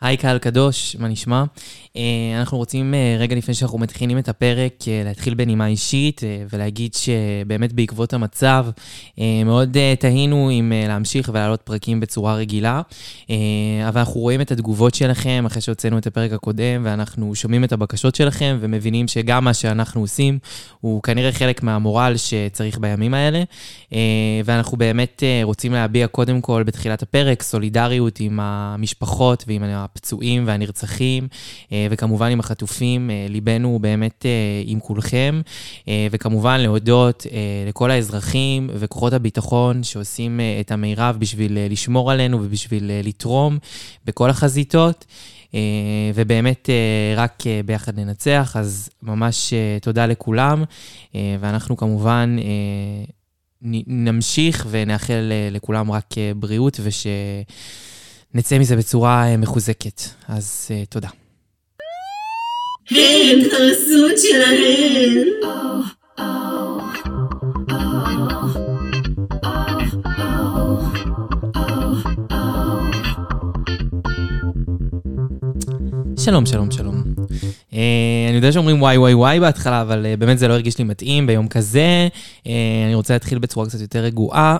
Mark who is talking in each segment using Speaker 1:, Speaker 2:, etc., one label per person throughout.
Speaker 1: היי קהל קדוש, מה נשמע? אה, אנחנו רוצים, אה, רגע לפני שאנחנו מתחילים את הפרק, אה, להתחיל בנימה אישית אה, ולהגיד שבאמת בעקבות המצב, אה, מאוד אה, תהינו אם אה, להמשיך ולהעלות פרקים בצורה רגילה, אה, אבל אנחנו רואים את התגובות שלכם אחרי שהוצאנו את הפרק הקודם, ואנחנו שומעים את הבקשות שלכם ומבינים שגם מה שאנחנו עושים הוא כנראה חלק מהמורל שצריך בימים האלה, אה, ואנחנו באמת אה, רוצים להביע קודם כל בתחילת הפרק סולידריות עם המשפחות ועם הפצועים והנרצחים, אה, וכמובן עם החטופים. אה, ליבנו הוא באמת אה, עם כולכם, אה, וכמובן להודות אה, לכל האזרחים וכוחות הביטחון שעושים אה, את המרב בשביל אה, לשמור עלינו ובשביל אה, לתרום בכל החזיתות. אה, ובאמת אה, רק אה, ביחד ננצח, אז ממש אה, תודה לכולם, אה, ואנחנו כמובן אה, נ- נמשיך ונאחל אה, לכולם רק אה, בריאות ושנצא מזה בצורה אה, מחוזקת. אז אה, תודה.
Speaker 2: הם חרסות שלהם.
Speaker 1: שלום, שלום, שלום. אה, אני יודע שאומרים וואי וואי וואי בהתחלה, אבל אה, באמת זה לא הרגיש לי מתאים ביום כזה. אה, אני רוצה להתחיל בצורה קצת יותר רגועה.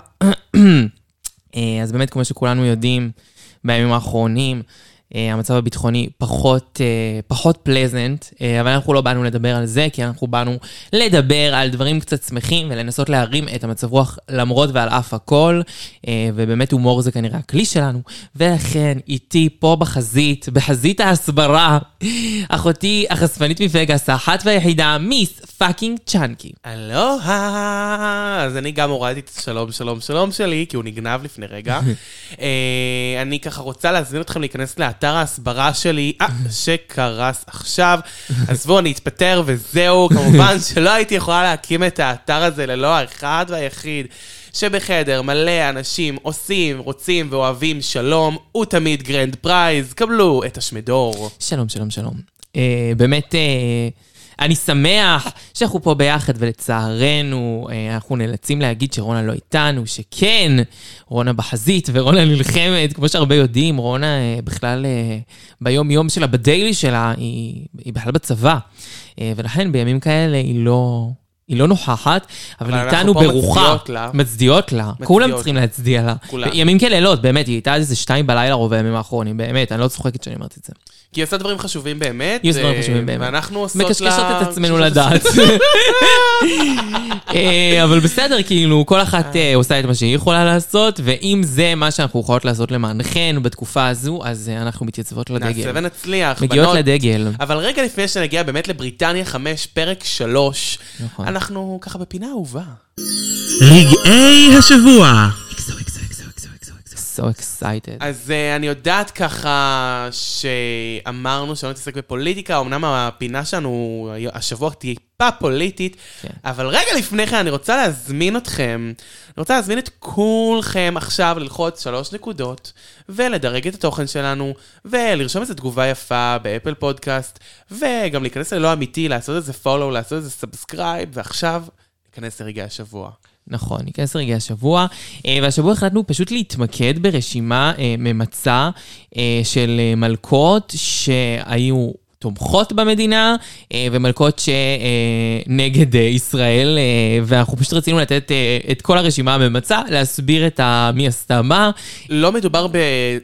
Speaker 1: אה, אז באמת, כמו שכולנו יודעים, בימים האחרונים, אה, המצב הביטחוני פחות, אה, פחות פלזנט, אה, אבל אנחנו לא באנו לדבר על זה, כי אנחנו באנו לדבר על דברים קצת שמחים ולנסות להרים את המצב רוח למרות ועל אף הכל, אה, ובאמת הומור זה כנראה הכלי שלנו. ולכן איתי פה בחזית, בחזית ההסברה, אחותי החשפנית מפגאס, האחת והיחידה, מיס פאקינג צ'אנקי.
Speaker 3: אלוהה! אז אני גם הורדתי את השלום, שלום, שלום שלי, כי הוא נגנב לפני רגע. אה, אני ככה רוצה להזמין אתכם להיכנס לאתר ההסברה שלי, אה, שקרס עכשיו. עזבו, אני אתפטר וזהו. כמובן שלא הייתי יכולה להקים את האתר הזה ללא האחד והיחיד. שבחדר מלא אנשים עושים, רוצים ואוהבים שלום, הוא תמיד גרנד פרייז, קבלו את השמדור.
Speaker 1: שלום, שלום, שלום. אה, באמת, אה, אני שמח שאנחנו פה ביחד, ולצערנו, אה, אנחנו נאלצים להגיד שרונה לא איתנו, שכן, רונה בחזית ורונה נלחמת, כמו שהרבה יודעים, רונה אה, בכלל, אה, ביום-יום שלה, בדיילי שלה, היא, היא בכלל בצבא. אה, ולכן בימים כאלה היא לא... היא לא נוכחת, אבל,
Speaker 3: אבל
Speaker 1: אבל
Speaker 3: אנחנו
Speaker 1: איתנו
Speaker 3: פה
Speaker 1: ברוחה,
Speaker 3: מצדיעות לה.
Speaker 1: מצדיעות לה, כולם
Speaker 3: מצדיעות.
Speaker 1: צריכים להצדיע לה.
Speaker 3: כולם.
Speaker 1: ימים כלילות, באמת, היא הייתה עד איזה שתיים בלילה רוב הימים האחרונים, באמת, אני לא צוחקת כשאני אומרת את זה.
Speaker 3: כי היא עושה דברים חשובים באמת.
Speaker 1: היא עושה דברים
Speaker 3: אה,
Speaker 1: חשובים באמת.
Speaker 3: ואנחנו עושות לה...
Speaker 1: מקשקשות את עצמנו לדעת. אה, אבל בסדר, כאילו, כל אחת אה, עושה את מה שהיא יכולה לעשות, ואם זה מה שאנחנו יכולות לעשות למענכן בתקופה הזו, אז אה, אנחנו מתייצבות
Speaker 3: נעשה
Speaker 1: לדגל.
Speaker 3: ונצליח.
Speaker 1: מגיעות
Speaker 3: בנות.
Speaker 1: לדגל.
Speaker 3: אבל רגע לפני שנגיע באמת לבריטניה 5, פרק 3,
Speaker 1: נכון.
Speaker 3: אנחנו ככה בפינה אהובה.
Speaker 4: רגעי השבוע.
Speaker 1: So excited.
Speaker 3: אז אה, אני יודעת ככה שאמרנו שלא נתעסק בפוליטיקה, אמנם הפינה שלנו היו- השבוע טיפה פוליטית,
Speaker 1: כן.
Speaker 3: אבל רגע לפני כן אני רוצה להזמין אתכם, אני רוצה להזמין את כולכם עכשיו ללחוץ שלוש נקודות, ולדרג את התוכן שלנו, ולרשום איזה תגובה יפה באפל פודקאסט, וגם להיכנס ללא אמיתי, לעשות איזה follow, לעשות איזה סאבסקרייב, ועכשיו ניכנס לרגעי השבוע.
Speaker 1: נכון, ניכנס רגע השבוע. אה, והשבוע החלטנו פשוט להתמקד ברשימה אה, ממצה אה, של אה, מלכות שהיו תומכות במדינה, אה, ומלכות שנגד ישראל, אה, ואנחנו פשוט רצינו לתת אה, את כל הרשימה הממצה, להסביר את ה... מי עשתה מה.
Speaker 3: לא מדובר ב...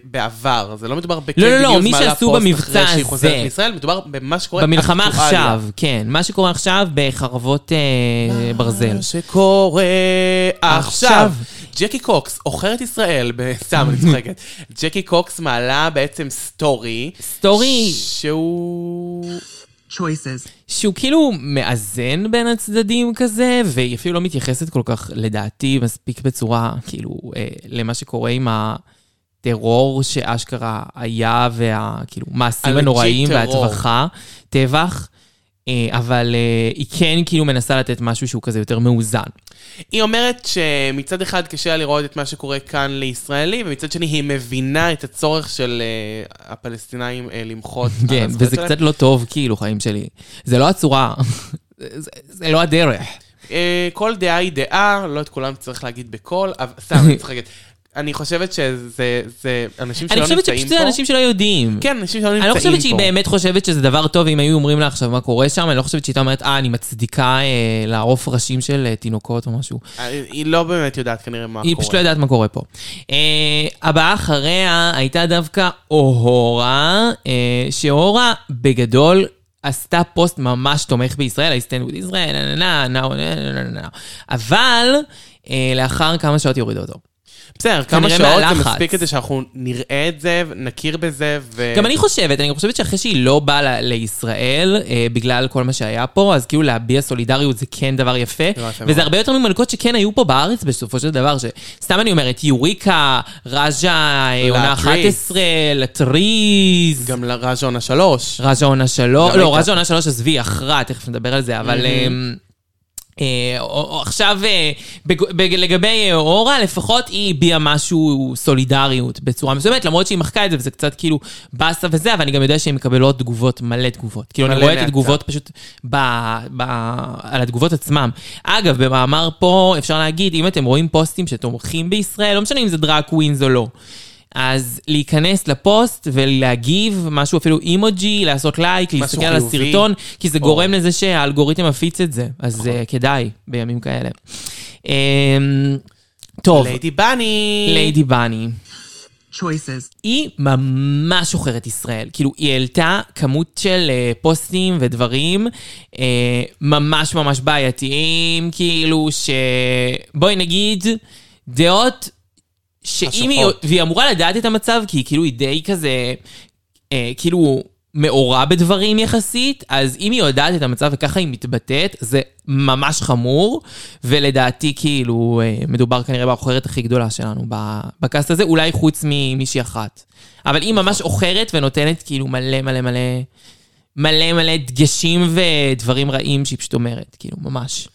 Speaker 3: בעבר, זה לא מדובר בקנדי
Speaker 1: לא, לא,
Speaker 3: ניוז
Speaker 1: מי
Speaker 3: מעלה
Speaker 1: שעשו
Speaker 3: פוסט
Speaker 1: במבצע
Speaker 3: אחרי שהיא חוזרת
Speaker 1: הזה.
Speaker 3: מישראל, מדובר במה שקורה
Speaker 1: במלחמה
Speaker 3: אקטואליה.
Speaker 1: עכשיו, כן. מה שקורה עכשיו בחרבות אה, ברזל.
Speaker 3: מה שקורה
Speaker 1: עכשיו.
Speaker 3: עכשיו. ג'קי קוקס, עוכרת ישראל, ב- סתם, אני צוחקת. ג'קי קוקס מעלה בעצם סטורי.
Speaker 1: סטורי
Speaker 3: שהוא...
Speaker 4: choices.
Speaker 1: שהוא כאילו מאזן בין הצדדים כזה, והיא אפילו לא מתייחסת כל כך, לדעתי, מספיק בצורה, כאילו, אה, למה שקורה עם הטרור שאשכרה היה, והכאילו, מעשים
Speaker 3: הלג'יט
Speaker 1: הנוראים
Speaker 3: טרור.
Speaker 1: והטבחה, טבח. אה, אבל אה, היא כן כאילו מנסה לתת משהו שהוא כזה יותר מאוזן.
Speaker 3: אה, היא אומרת שמצד אחד קשה לה לראות את מה שקורה כאן לישראלים, ומצד שני היא מבינה את הצורך של אה, הפלסטינאים אה, למחות. על
Speaker 1: כן,
Speaker 3: הזכויות
Speaker 1: וזה
Speaker 3: שלהם.
Speaker 1: קצת לא טוב, כאילו, חיים שלי. זה לא הצורה, זה- זה לא הדרך.
Speaker 3: אה, כל דעה היא דעה, לא את כולם צריך להגיד בקול, אבל סתם, אני צוחקת. אני חושבת שזה זה אנשים שלא
Speaker 1: אני
Speaker 3: נמצאים
Speaker 1: חושבת
Speaker 3: פה.
Speaker 1: שפשוט זה אנשים שלא יודעים.
Speaker 3: כן, אנשים שלא נמצאים
Speaker 1: אני
Speaker 3: פה.
Speaker 1: לא חושבת שהיא באמת חושבת שזה דבר טוב אם היו אומרים לה עכשיו מה קורה שם, אני לא חושבת שהיא הייתה אומרת, אה, אני מצדיקה אה, לערוף ראשים של אה, תינוקות או משהו.
Speaker 3: היא לא באמת יודעת כנראה מה
Speaker 1: היא
Speaker 3: קורה.
Speaker 1: פשוט לא יודעת מה קורה פה. אה, הבאה אחריה הייתה דווקא אוהורה, אה, שאוהורה בגדול עשתה פוסט ממש תומך בישראל, I stand with Israel, נה נה נה נה נה נה נה נה. אבל אה, לאחר כמה שעות יורידו אותו.
Speaker 3: בסדר, כמה
Speaker 1: כנראה
Speaker 3: שעות זה
Speaker 1: מהלחץ.
Speaker 3: מספיק כדי שאנחנו נראה את זה, נכיר בזה, ו...
Speaker 1: גם אני חושבת, אני גם חושבת שאחרי שהיא לא באה ל- לישראל, אה, בגלל כל מה שהיה פה, אז כאילו להביע סולידריות זה כן דבר יפה,
Speaker 3: ממש ממש.
Speaker 1: וזה הרבה יותר ממלכות שכן היו פה בארץ בסופו של דבר, שסתם אני אומרת, יוריקה, רג'ה, אה, עונה
Speaker 3: לטריז.
Speaker 1: 11, לטריז.
Speaker 3: גם לראז' עונה שלוש.
Speaker 1: רג'ה עונה שלוש,
Speaker 3: גם
Speaker 1: לא,
Speaker 3: הייתה-
Speaker 1: רג'ה עונה שלוש, עזבי, אחרה, תכף נדבר על זה, אבל... אמ, אה, או- או- עכשיו, אה, בג- בג- לגבי אה, אורה, לפחות היא הביעה משהו, סולידריות בצורה מסוימת, למרות שהיא מחקה את זה, וזה קצת כאילו באסה וזה, אבל אני גם יודע שהן מקבלות תגובות, מלא תגובות. כאילו, אני
Speaker 3: מלא
Speaker 1: רואה את
Speaker 3: נאצה.
Speaker 1: התגובות פשוט ב, ב, על התגובות עצמם. אגב, במאמר פה אפשר להגיד, אם אתם רואים פוסטים שתומכים בישראל, לא משנה אם זה דראג קווינס או לא. אז להיכנס לפוסט ולהגיב, משהו אפילו אימוג'י, לעשות לייק, להסתכל על
Speaker 3: חיובי. נכון.
Speaker 1: הסרטון, כי זה גורם לזה שהאלגוריתם מפיץ את זה. אז אה, כדאי בימים כאלה. אמ, טוב,
Speaker 3: ליידי בני!
Speaker 1: ליידי בני.
Speaker 4: Choices.
Speaker 1: היא ממש עוכרת ישראל. כאילו, היא העלתה כמות של אה, פוסטים ודברים אה, ממש ממש בעייתיים, כאילו, ש... בואי נגיד, דעות שאם היא...
Speaker 3: חשוכות.
Speaker 1: והיא אמורה לדעת את המצב, כי כאילו היא די כזה... אה, כאילו... מעורה בדברים יחסית, אז אם היא יודעת את המצב וככה היא מתבטאת, זה ממש חמור, ולדעתי כאילו אה, מדובר כנראה בעוכרת הכי גדולה שלנו ב- בקאסט הזה, אולי חוץ ממישהי אחת. אבל היא ממש עוכרת ונותנת כאילו מלא מלא מלא מלא מלא דגשים ודברים רעים שהיא פשוט אומרת, כאילו, ממש.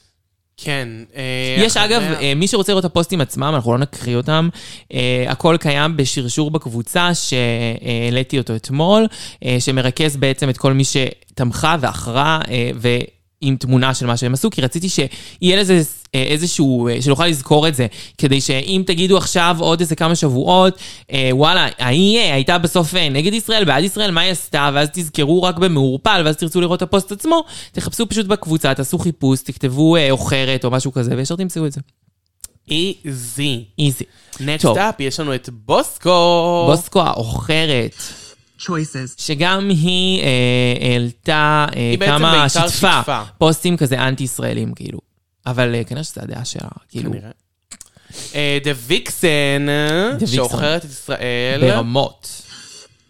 Speaker 3: כן. אה,
Speaker 1: יש
Speaker 3: אחריה-
Speaker 1: אגב, אה, מי שרוצה לראות את הפוסטים עצמם, אנחנו לא נקריא אותם, אה, הכל קיים בשרשור בקבוצה שהעליתי אותו אתמול, אה, שמרכז בעצם את כל מי שתמכה ואחרה, אה, ו... עם תמונה של מה שהם עשו, כי רציתי שיהיה לזה אה, איזשהו, אה, שנוכל לזכור את זה, כדי שאם תגידו עכשיו עוד איזה כמה שבועות, אה, וואלה, ההיא אה, הייתה בסוף אה, נגד ישראל, בעד ישראל, מה היא עשתה, ואז תזכרו רק במעורפל, ואז תרצו לראות את הפוסט עצמו, תחפשו פשוט בקבוצה, תעשו חיפוש, תכתבו אה, עוכרת או משהו כזה, וישר תמצאו את זה.
Speaker 3: איזי.
Speaker 1: איזי.
Speaker 3: נקסט
Speaker 1: טוב.
Speaker 3: אפ, יש לנו את בוסקו.
Speaker 1: בוסקו העוכרת,
Speaker 4: Choices.
Speaker 1: שגם היא אה, העלתה אה,
Speaker 3: היא בעצם
Speaker 1: כמה
Speaker 3: בעיקר
Speaker 1: שיתפה,
Speaker 3: שיתפה.
Speaker 1: פוסטים כזה אנטי-ישראלים, כאילו. אבל אה, כנראה שזו הדעה שלה, כאילו,
Speaker 3: כנראה. אה, דה ויקסן,
Speaker 1: ויקסן.
Speaker 3: שעוכרת את ישראל.
Speaker 1: ברמות.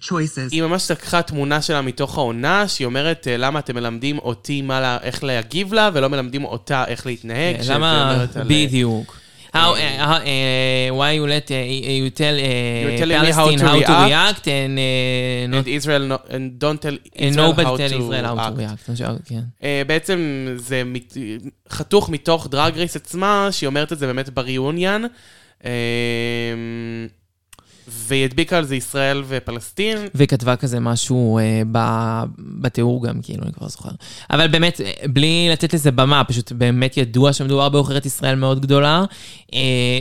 Speaker 4: Choices.
Speaker 3: היא ממש לקחה תמונה שלה מתוך העונה, שהיא אומרת, אה, למה אתם מלמדים אותי מה לה, איך להגיב לה, ולא מלמדים אותה איך להתנהג.
Speaker 1: אה,
Speaker 3: שזה
Speaker 1: למה...
Speaker 3: אומרת כן, על- אה,
Speaker 1: בדיוק. How, uh, how, uh, why you let, uh, you tell, uh,
Speaker 3: You're telling me how
Speaker 1: Palestine
Speaker 3: to
Speaker 1: how to
Speaker 3: react.
Speaker 1: react and, uh,
Speaker 3: אה, And
Speaker 1: not,
Speaker 3: Israel, no, and don't tell
Speaker 1: and
Speaker 3: Israel
Speaker 1: אה, nobody
Speaker 3: how
Speaker 1: tell
Speaker 3: to
Speaker 1: Israel how to
Speaker 3: act.
Speaker 1: react. כן.
Speaker 3: אה, בעצם זה מת... חתוך מתוך דרג רייס עצמה, שהיא אומרת את זה באמת בריאוניאן. אה, והיא הדביקה על זה ישראל ופלסטין.
Speaker 1: וכתבה כזה משהו אה, ב- בתיאור גם, כאילו, אני כבר זוכר. אבל באמת, אה, בלי לתת לזה במה, פשוט באמת ידוע שמדובר בעוכרת ישראל מאוד גדולה. אה,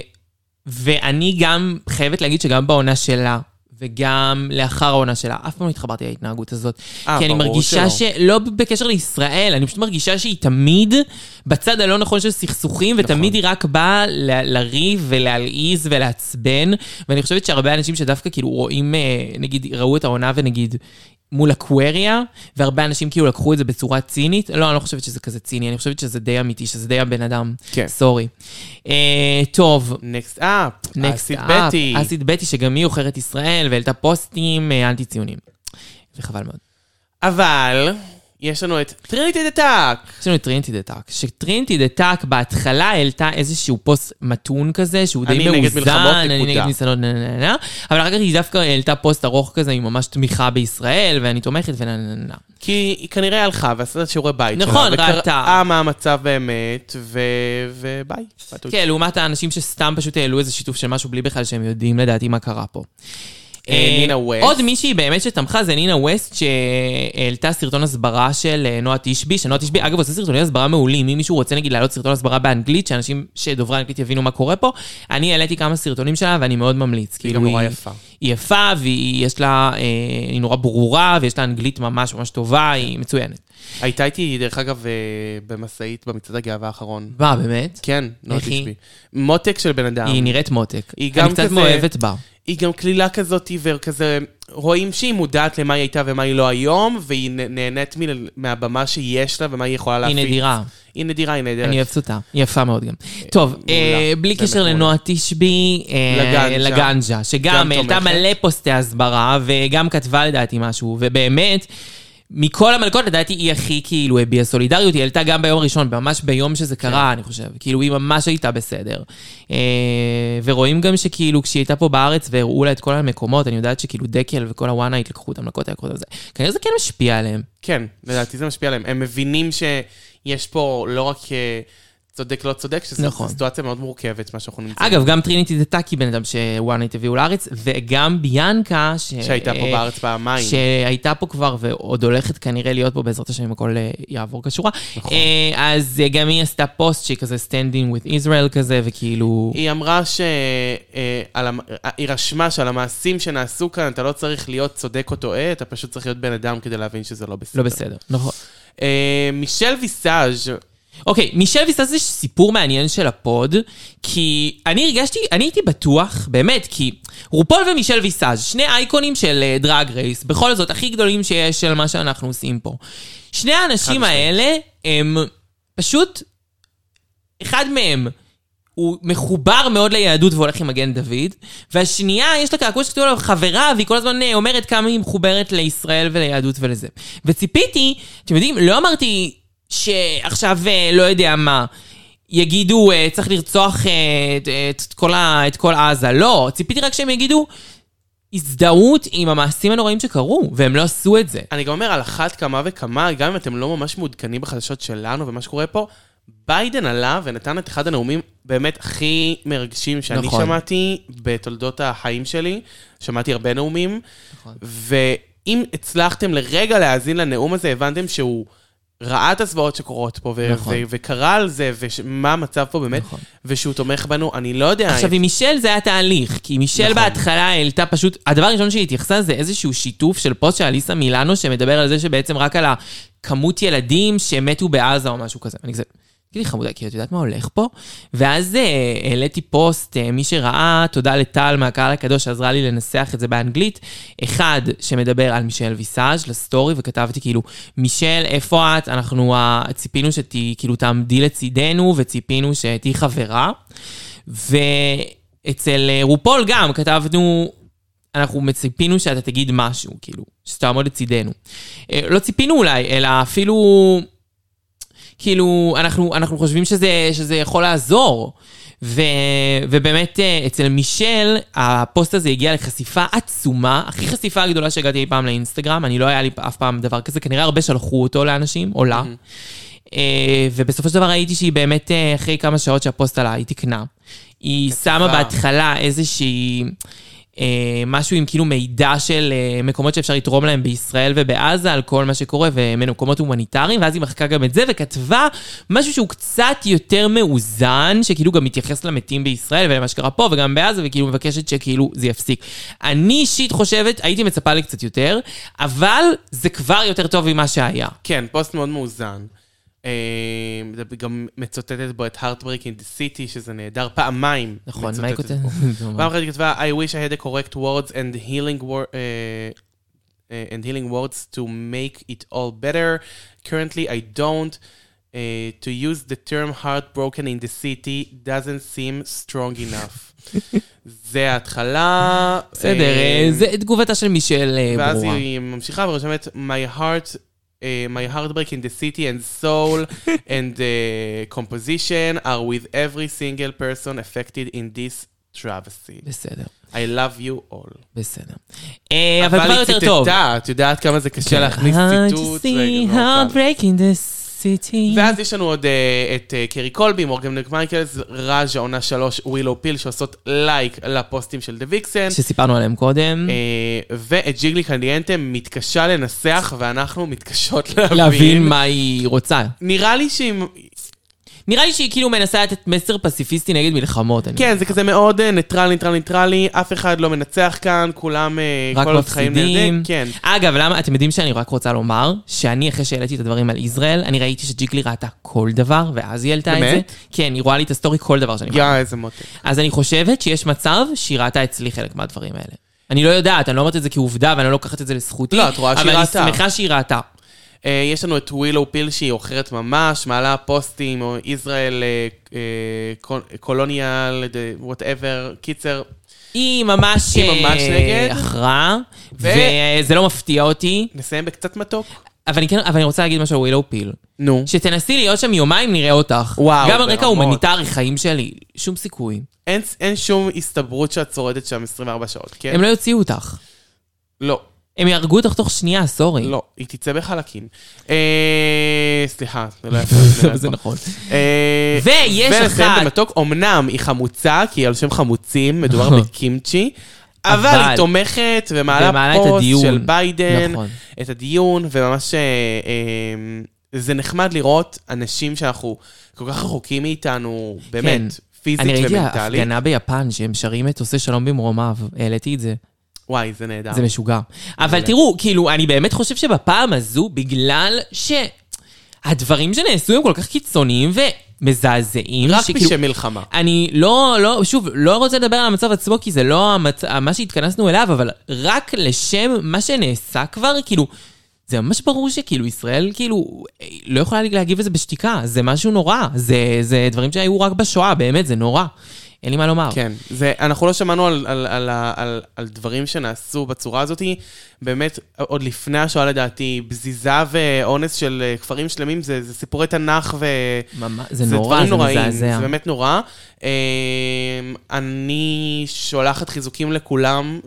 Speaker 1: ואני גם חייבת להגיד שגם בעונה שלה, וגם לאחר העונה שלה, אף פעם לא התחברתי להתנהגות הזאת.
Speaker 3: אה,
Speaker 1: כי אני
Speaker 3: ברור
Speaker 1: מרגישה
Speaker 3: שלא.
Speaker 1: ש... לא בקשר לישראל, אני פשוט מרגישה שהיא תמיד בצד הלא נכון של סכסוכים, ותמיד היא רק באה ל- לריב ולהלעיז ולעצבן, ואני חושבת שהרבה אנשים שדווקא כאילו רואים, אה, נגיד, ראו את העונה ונגיד... מול אקווריה, והרבה אנשים כאילו לקחו את זה בצורה צינית. לא, אני לא חושבת שזה כזה ציני, אני חושבת שזה די אמיתי, שזה די הבן אדם.
Speaker 3: כן.
Speaker 1: סורי. אה, טוב,
Speaker 3: נקסט אפ,
Speaker 1: נקסט
Speaker 3: אסיד
Speaker 1: אפ,
Speaker 3: בטי.
Speaker 1: אסיד בטי, שגם היא עוכרת ישראל, והעלתה פוסטים אה, אנטי-ציונים. וחבל מאוד.
Speaker 3: אבל יש לנו את טריניטי דטאק.
Speaker 1: יש לנו את טרינטי דה טאק. שטרינטי דה טאק בהתחלה העלתה איזשהו פוסט מתון כזה, שהוא די
Speaker 3: אני
Speaker 1: מאוזן.
Speaker 3: נגד מלחמות,
Speaker 1: אני
Speaker 3: נקודה.
Speaker 1: נגד מלחמות, נה נה נה נה. אבל אחר כך היא דווקא העלתה פוסט ארוך כזה עם ממש תמיכה בישראל, ואני תומכת ונה נה נה נה.
Speaker 3: כי היא כנראה הלכה ועשתה את שיעורי בית
Speaker 1: נכון,
Speaker 3: שלה.
Speaker 1: ראתה.
Speaker 3: וקראה מה המצב באמת, ו... וביי.
Speaker 1: כן, לעומת האנשים שסתם פשוט העלו איזה שיתוף של משהו בלי בכלל שהם יודעים לדעתי מה קרה פה. אה,
Speaker 3: נינה ווסט.
Speaker 1: עוד מישהי באמת שתמכה זה נינה ווסט, שהעלתה סרטון הסברה של אה, נועה תשבי, שנועה תשבי, אגב, עושה סרטוני הסברה מעולים. אם מישהו רוצה, נגיד, להעלות סרטון הסברה באנגלית, שאנשים שדוברי אנגלית יבינו מה קורה פה, אני העליתי כמה סרטונים שלה ואני מאוד ממליץ.
Speaker 3: היא
Speaker 1: כאילו,
Speaker 3: גם נורא יפה.
Speaker 1: היא יפה, ויש לה, אה, היא נורא ברורה, ויש לה אנגלית ממש ממש טובה, היא מצוינת.
Speaker 3: הייתה איתי, דרך אגב, אה, במשאית במצעד הגאווה האחרון.
Speaker 1: מה, באמת?
Speaker 3: כן, נועה
Speaker 1: איך היא?
Speaker 3: תשבי. מותק של בן אדם.
Speaker 1: היא נראית מותק.
Speaker 3: כן. היא גם
Speaker 1: אני קצת
Speaker 3: כזה-
Speaker 1: מאוהבת בה.
Speaker 3: היא גם קלילה כזאת, וכזה, רואים שהיא מודעת למה היא הייתה ומה היא לא היום, והיא נ- נהנית מ- מהבמה שיש לה ומה היא יכולה
Speaker 1: היא
Speaker 3: להפיץ.
Speaker 1: נדירה.
Speaker 3: היא נדירה, היא נהדרת.
Speaker 1: אני אוהבת אותה, היא יפה מאוד גם. טוב, אה, בלי
Speaker 3: באמת
Speaker 1: קשר
Speaker 3: מעולה.
Speaker 1: לנועה תשבי, אה,
Speaker 3: לגנג'ה.
Speaker 1: לגנג'ה, שגם
Speaker 3: גם
Speaker 1: העלתה
Speaker 3: תומכת.
Speaker 1: מלא פוסטי הסברה, וגם כתבה לדעתי משהו, ובאמת... מכל המלכות, לדעתי, היא הכי כאילו הביעה סולידריות. היא העלתה גם ביום הראשון, ממש ביום שזה
Speaker 3: כן.
Speaker 1: קרה, אני חושב. כאילו, היא ממש הייתה בסדר. אה, ורואים גם שכאילו, כשהיא הייתה פה בארץ והראו לה את כל המקומות, אני יודעת שכאילו דקל וכל הוואנה לקחו את המלכות, היה קודם זה. כנראה זה כן משפיע עליהם.
Speaker 3: כן, לדעתי זה משפיע עליהם. הם מבינים שיש פה לא רק אה, צודק, לא צודק, שזו
Speaker 1: נכון.
Speaker 3: סיטואציה מאוד מורכבת, מה שאנחנו נמצאים.
Speaker 1: אגב, גם טריניטי דטאקי בן אדם שוואנט הביאו לארץ, וגם ביאנקה, ש...
Speaker 3: שהייתה פה
Speaker 1: אה,
Speaker 3: בארץ פעמיים.
Speaker 1: שהייתה פה כבר ועוד הולכת כנראה להיות פה, בעזרת השם, אם הכל אה, יעבור כשורה.
Speaker 3: נכון.
Speaker 1: אה, אז אה, גם היא עשתה פוסט שהיא כזה standing with Israel כזה, וכאילו...
Speaker 3: היא אמרה ש... אה, על המ- אה, היא רשמה שעל המעשים שנעשו כאן, אתה לא צריך להיות צודק או טועה, אתה פשוט צריך להיות בן אדם כדי להבין שזה לא בסדר.
Speaker 1: לא בסדר, נכון.
Speaker 3: אה, מישל ויסאז'
Speaker 1: אוקיי, מישל ויסס זה סיפור מעניין של הפוד, כי אני הרגשתי, אני הייתי בטוח, באמת, כי רופול ומישל ויסאז', שני אייקונים של אה, דרג רייס, בכל זאת, הכי גדולים שיש של מה שאנחנו עושים פה. שני האנשים
Speaker 3: משמעית.
Speaker 1: האלה, הם פשוט, אחד מהם הוא מחובר מאוד ליהדות והולך עם מגן דוד, והשנייה, יש לה קעקוע שכתוב עליו חברה, והיא כל הזמן אה, אומרת כמה היא מחוברת לישראל וליהדות ולזה. וציפיתי, אתם יודעים, לא אמרתי שעכשיו אה, לא יודע מה. יגידו, אה, צריך לרצוח אה, את, את, כל ה, את כל עזה. לא, ציפיתי רק שהם יגידו הזדהות עם המעשים הנוראים שקרו, והם לא עשו את זה.
Speaker 3: אני גם אומר, על אחת כמה וכמה, גם אם אתם לא ממש מעודכנים בחדשות שלנו ומה שקורה פה, ביידן עלה ונתן את אחד הנאומים באמת הכי מרגשים שאני
Speaker 1: נכון.
Speaker 3: נכון. שמעתי בתולדות החיים שלי. שמעתי הרבה נאומים,
Speaker 1: נכון.
Speaker 3: נכון. ואם הצלחתם לרגע להאזין לנאום הזה, הבנתם שהוא ראה את הזוועות שקורות פה, ו-
Speaker 1: נכון.
Speaker 3: נכון. ו- וקרא על זה, ומה המצב פה באמת,
Speaker 1: נכון.
Speaker 3: נכון. ושהוא תומך בנו, אני לא יודע.
Speaker 1: עכשיו, עם מישל זה היה תהליך, כי מישל נכון.
Speaker 3: נכון.
Speaker 1: בהתחלה העלתה פשוט, הדבר הראשון שהיא התייחסה זה איזשהו שיתוף של פוסט של אליסה מילאנו, שמדבר על זה שבעצם רק על הכמות ילדים שמתו בעזה או משהו כזה. אני כזה... תגידי חמודה, כי את יודעת מה הולך פה? ואז אה, העליתי פוסט, אה, מי שראה, תודה לטל מהקהל הקדוש שעזרה לי לנסח את זה באנגלית. אחד שמדבר על מישל ויסאז' לסטורי, וכתבתי כאילו, מישל, איפה את? אנחנו אה, ציפינו שתהיי, כאילו, תעמדי לצידנו, וציפינו שתהיי חברה. ואצל אה, רופול גם כתבנו, אנחנו ציפינו שאתה תגיד משהו, כאילו, שתעמוד לצידנו. אה, לא ציפינו אולי, אלא אפילו, כאילו, אנחנו, אנחנו חושבים שזה, שזה יכול לעזור. ו, ובאמת, אה, אצל מישל, הפוסט הזה הגיע לחשיפה עצומה, הכי חשיפה הגדולה שהגעתי אי פעם לאינסטגרם, אני לא היה לי אף פעם דבר כזה, כנראה הרבה שלחו אותו לאנשים, או לה. אה, ובסופו של דבר ראיתי שהיא באמת, אה, אחרי כמה שעות שהפוסט עלה, היא תיקנה. היא שמה בהתחלה איזושהי... אה, משהו עם כאילו מידע של אה, מקומות שאפשר לתרום להם בישראל ובעזה על כל מה שקורה ומקומות הומניטריים, ואז היא מחקה גם את זה וכתבה משהו שהוא קצת יותר מאוזן, שכאילו גם מתייחס למתים בישראל ולמה שקרה פה וגם בעזה, וכאילו מבקשת שכאילו זה יפסיק. אני אישית חושבת, הייתי מצפה לקצת יותר, אבל זה כבר יותר טוב ממה שהיה.
Speaker 3: כן, פוסט מאוד מאוזן. אה, גם מצוטטת בו את Heartbreak in the City, שזה נהדר פעמיים.
Speaker 1: נכון, מה
Speaker 3: מצוטטת
Speaker 1: היא כותבת?
Speaker 3: בו. פעם אחת היא כתבה, I wish I had the correct words and healing, wor- uh, uh, and healing words to make it all better. Currently I don't. Uh, to use the term heartbroken in the city doesn't seem strong enough. זה ההתחלה.
Speaker 1: בסדר, אה,
Speaker 3: אה,
Speaker 1: זה תגובתה של מישל אה,
Speaker 3: ואז
Speaker 1: ברורה.
Speaker 3: היא ממשיכה ורושמת, My heart... Uh, my heartbreak in the city and soul and uh, composition are with every single person affected in this travesty.
Speaker 1: בסדר,
Speaker 3: I love you all.
Speaker 1: בסדר. אה, אבל כבר יותר
Speaker 3: אבל
Speaker 1: טוב.
Speaker 3: היא ציטטה, את יודעת כמה זה קשה להכניס
Speaker 1: Hard to
Speaker 3: ציטוט.
Speaker 1: see
Speaker 3: רגע, זה לא
Speaker 1: how
Speaker 3: הוצא.
Speaker 1: breaking this סיטי.
Speaker 3: ואז יש לנו עוד אה, את אה, קרי קולבי, מורגן דק מייקלס, ראז'ה עונה שלוש, ווילו פיל, שעושות לייק לפוסטים של דה ויקסן.
Speaker 1: שסיפרנו עליהם קודם.
Speaker 3: אה, ואת ג'יגלי קנדיאנטה מתקשה לנסח, ואנחנו מתקשות להבין.
Speaker 1: להבין מה היא רוצה.
Speaker 3: נראה לי שהיא...
Speaker 1: נראה לי שהיא כאילו מנסה לתת מסר פציפיסטי נגד מלחמות. אני
Speaker 3: כן, זה כזה מאוד אה, ניטרל, ניטרל, ניטרלי, אף אחד לא מנצח כאן, כולם... אה,
Speaker 1: רק
Speaker 3: כל עוד חיים
Speaker 1: מפסידים.
Speaker 3: נהנים. כן.
Speaker 1: אגב, למה, אתם יודעים שאני רק רוצה לומר, שאני אחרי שהעליתי את הדברים על יזרעאל, אני ראיתי שג'יקלי ראתה כל דבר, ואז היא העלתה את זה.
Speaker 3: באמת?
Speaker 1: כן, היא רואה לי את הסטורי כל דבר שאני רואה.
Speaker 3: יא, איזה מותק.
Speaker 1: אז אני חושבת שיש מצב שהיא ראתה אצלי חלק מהדברים האלה. אני לא יודעת, אני לא אומרת את זה כעובדה, ואני לא לוקחת את זה לזכותי.
Speaker 3: לא, את רואה שהיא ראתה.
Speaker 1: אבל אני שמחה שהיא ראתה.
Speaker 3: אה, יש לנו את ווילו פיל שהיא עוכרת ממש, מעלה פוסטים, או ישראל, אה, אה, קול- קולוניאל, וואטאבר, קיצר.
Speaker 1: היא ממש...
Speaker 3: היא ממש
Speaker 1: אה,
Speaker 3: נגד.
Speaker 1: אחרה,
Speaker 3: ו-
Speaker 1: וזה לא מפתיע אותי.
Speaker 3: נסיים בקצת מתוק.
Speaker 1: אבל אני כן, אבל אני רוצה להגיד משהו על ווילאו פיל.
Speaker 3: נו.
Speaker 1: שתנסי להיות שם יומיים, נראה אותך.
Speaker 3: וואו,
Speaker 1: גם על רקע
Speaker 3: ברמות.
Speaker 1: הומניטרי, חיים שלי, שום סיכוי.
Speaker 3: אין, אין שום הסתברות שאת שורדת שם 24 שעות, כן?
Speaker 1: הם לא יוציאו אותך.
Speaker 3: לא.
Speaker 1: הם יהרגו אותך תוך שנייה, סורי.
Speaker 3: לא, היא תצא בחלקים. אה... סליחה, זה לא יפה. זה לא
Speaker 1: זה
Speaker 3: יפה.
Speaker 1: נכון.
Speaker 3: אה,
Speaker 1: ויש
Speaker 3: ולסיים
Speaker 1: אחת-
Speaker 3: במתוק, אמנם היא חמוצה, כי היא על שם חמוצים, מדובר
Speaker 1: נכון.
Speaker 3: בקימצ'י, אבל
Speaker 1: אבל-
Speaker 3: היא תומכת
Speaker 1: ומעלה
Speaker 3: ומעלה
Speaker 1: את
Speaker 3: פוסט
Speaker 1: הדיון.
Speaker 3: של ביידן,
Speaker 1: נכון.
Speaker 3: את הדיון, וממש... אה, אה, זה נחמד לראות אנשים שאנחנו כל כך רחוקים מאיתנו, באמת, פיזית
Speaker 1: כן. אני ראיתי
Speaker 3: ומנטלית.
Speaker 1: הפגנה ביפן שהם שרים את עושה שלום במרומיו, העליתי את זה,
Speaker 3: וואי, זה נהדר.
Speaker 1: זה משוגע. אבל תראו, כאילו, אני באמת חושב שבפעם הזו, בגלל שהדברים שנעשו הם כל כך קיצוניים ומזעזעים,
Speaker 3: רק
Speaker 1: שכאילו-
Speaker 3: בשם מלחמה.
Speaker 1: אני לא, לא, שוב, לא רוצה לדבר על המצב עצמו, כי זה לא המצ... מה שהתכנסנו אליו, אבל רק לשם מה שנעשה כבר, כאילו, זה ממש ברור שכאילו ישראל, כאילו, אה, לא יכולה להגיב לזה בשתיקה, זה משהו נורא, זה, זה דברים שהיו רק בשואה, באמת, זה נורא. אין לי מה לומר.
Speaker 3: כן, זה, אנחנו לא שמענו על, על, על, ה- על, על דברים שנעשו בצורה הזאת. באמת, עוד לפני השואה לדעתי, בזיזה ואונס של אה, כפרים שלמים זה, זה סיפורי תנ"ך ו...
Speaker 1: ממש, זה נורא,
Speaker 3: דברים
Speaker 1: זה
Speaker 3: נוראים,
Speaker 1: מזעזע.
Speaker 3: זה באמת נורא. אה, אני שולחת חיזוקים לכולם,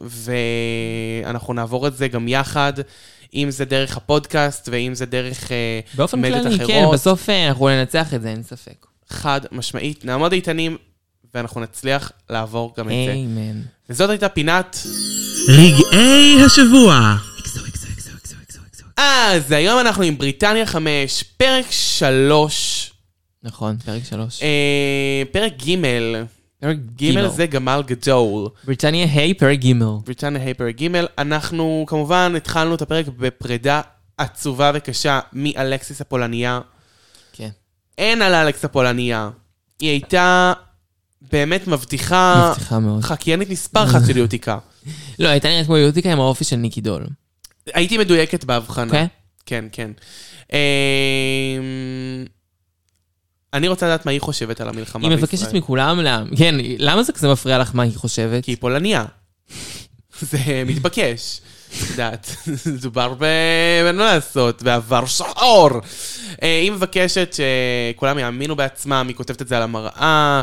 Speaker 3: ואנחנו נעבור את זה גם יחד, אם זה דרך הפודקאסט ואם זה דרך אה,
Speaker 1: באופן
Speaker 3: מדיות
Speaker 1: כללי, כן,
Speaker 3: אחרות.
Speaker 1: בסוף אה, אנחנו ננצח את זה, אין ספק.
Speaker 3: חד משמעית, נעמוד איתנים, ואנחנו נצליח לעבור גם את זה.
Speaker 1: איימן.
Speaker 3: וזאת הייתה פינת...
Speaker 5: רגעי השבוע.
Speaker 3: אז היום אנחנו עם בריטניה 5, פרק 3,
Speaker 1: נכון, פרק שלוש.
Speaker 3: אה, פרק ג',
Speaker 1: פרק
Speaker 3: ג'
Speaker 1: ג'
Speaker 3: זה גמל גדול.
Speaker 1: בריטניה ה' פרק ג'.
Speaker 3: בריטניה היי פרק ג', אנחנו כמובן התחלנו את הפרק בפרידה עצובה וקשה מאלקסיס הפולניה.
Speaker 1: כן.
Speaker 3: אין על אלכס הפולניה. היא הייתה באמת מבטיחה,
Speaker 1: מבטיחה מאוד.
Speaker 3: חקיינית מספר אחת של יוטיקה.
Speaker 1: לא, הייתה נראית כמו יהודיקה עם האופי של ניקי דול.
Speaker 3: הייתי מדויקת בהבחנה.
Speaker 1: אוקיי?
Speaker 3: כן, כן. אמ, אני רוצה לדעת מה היא חושבת על המלחמה
Speaker 1: היא
Speaker 3: בישראל.
Speaker 1: מבקשת מכולם, לה- כן, למה זה כזה מפריע לך מה היא חושבת?
Speaker 3: כי היא פולניה. זה מתבקש. את יודעת, מדובר ב... אין מה לעשות, בעבר שחור. אה, היא מבקשת שכולם יאמינו בעצמם, היא כותבת את זה על המראה.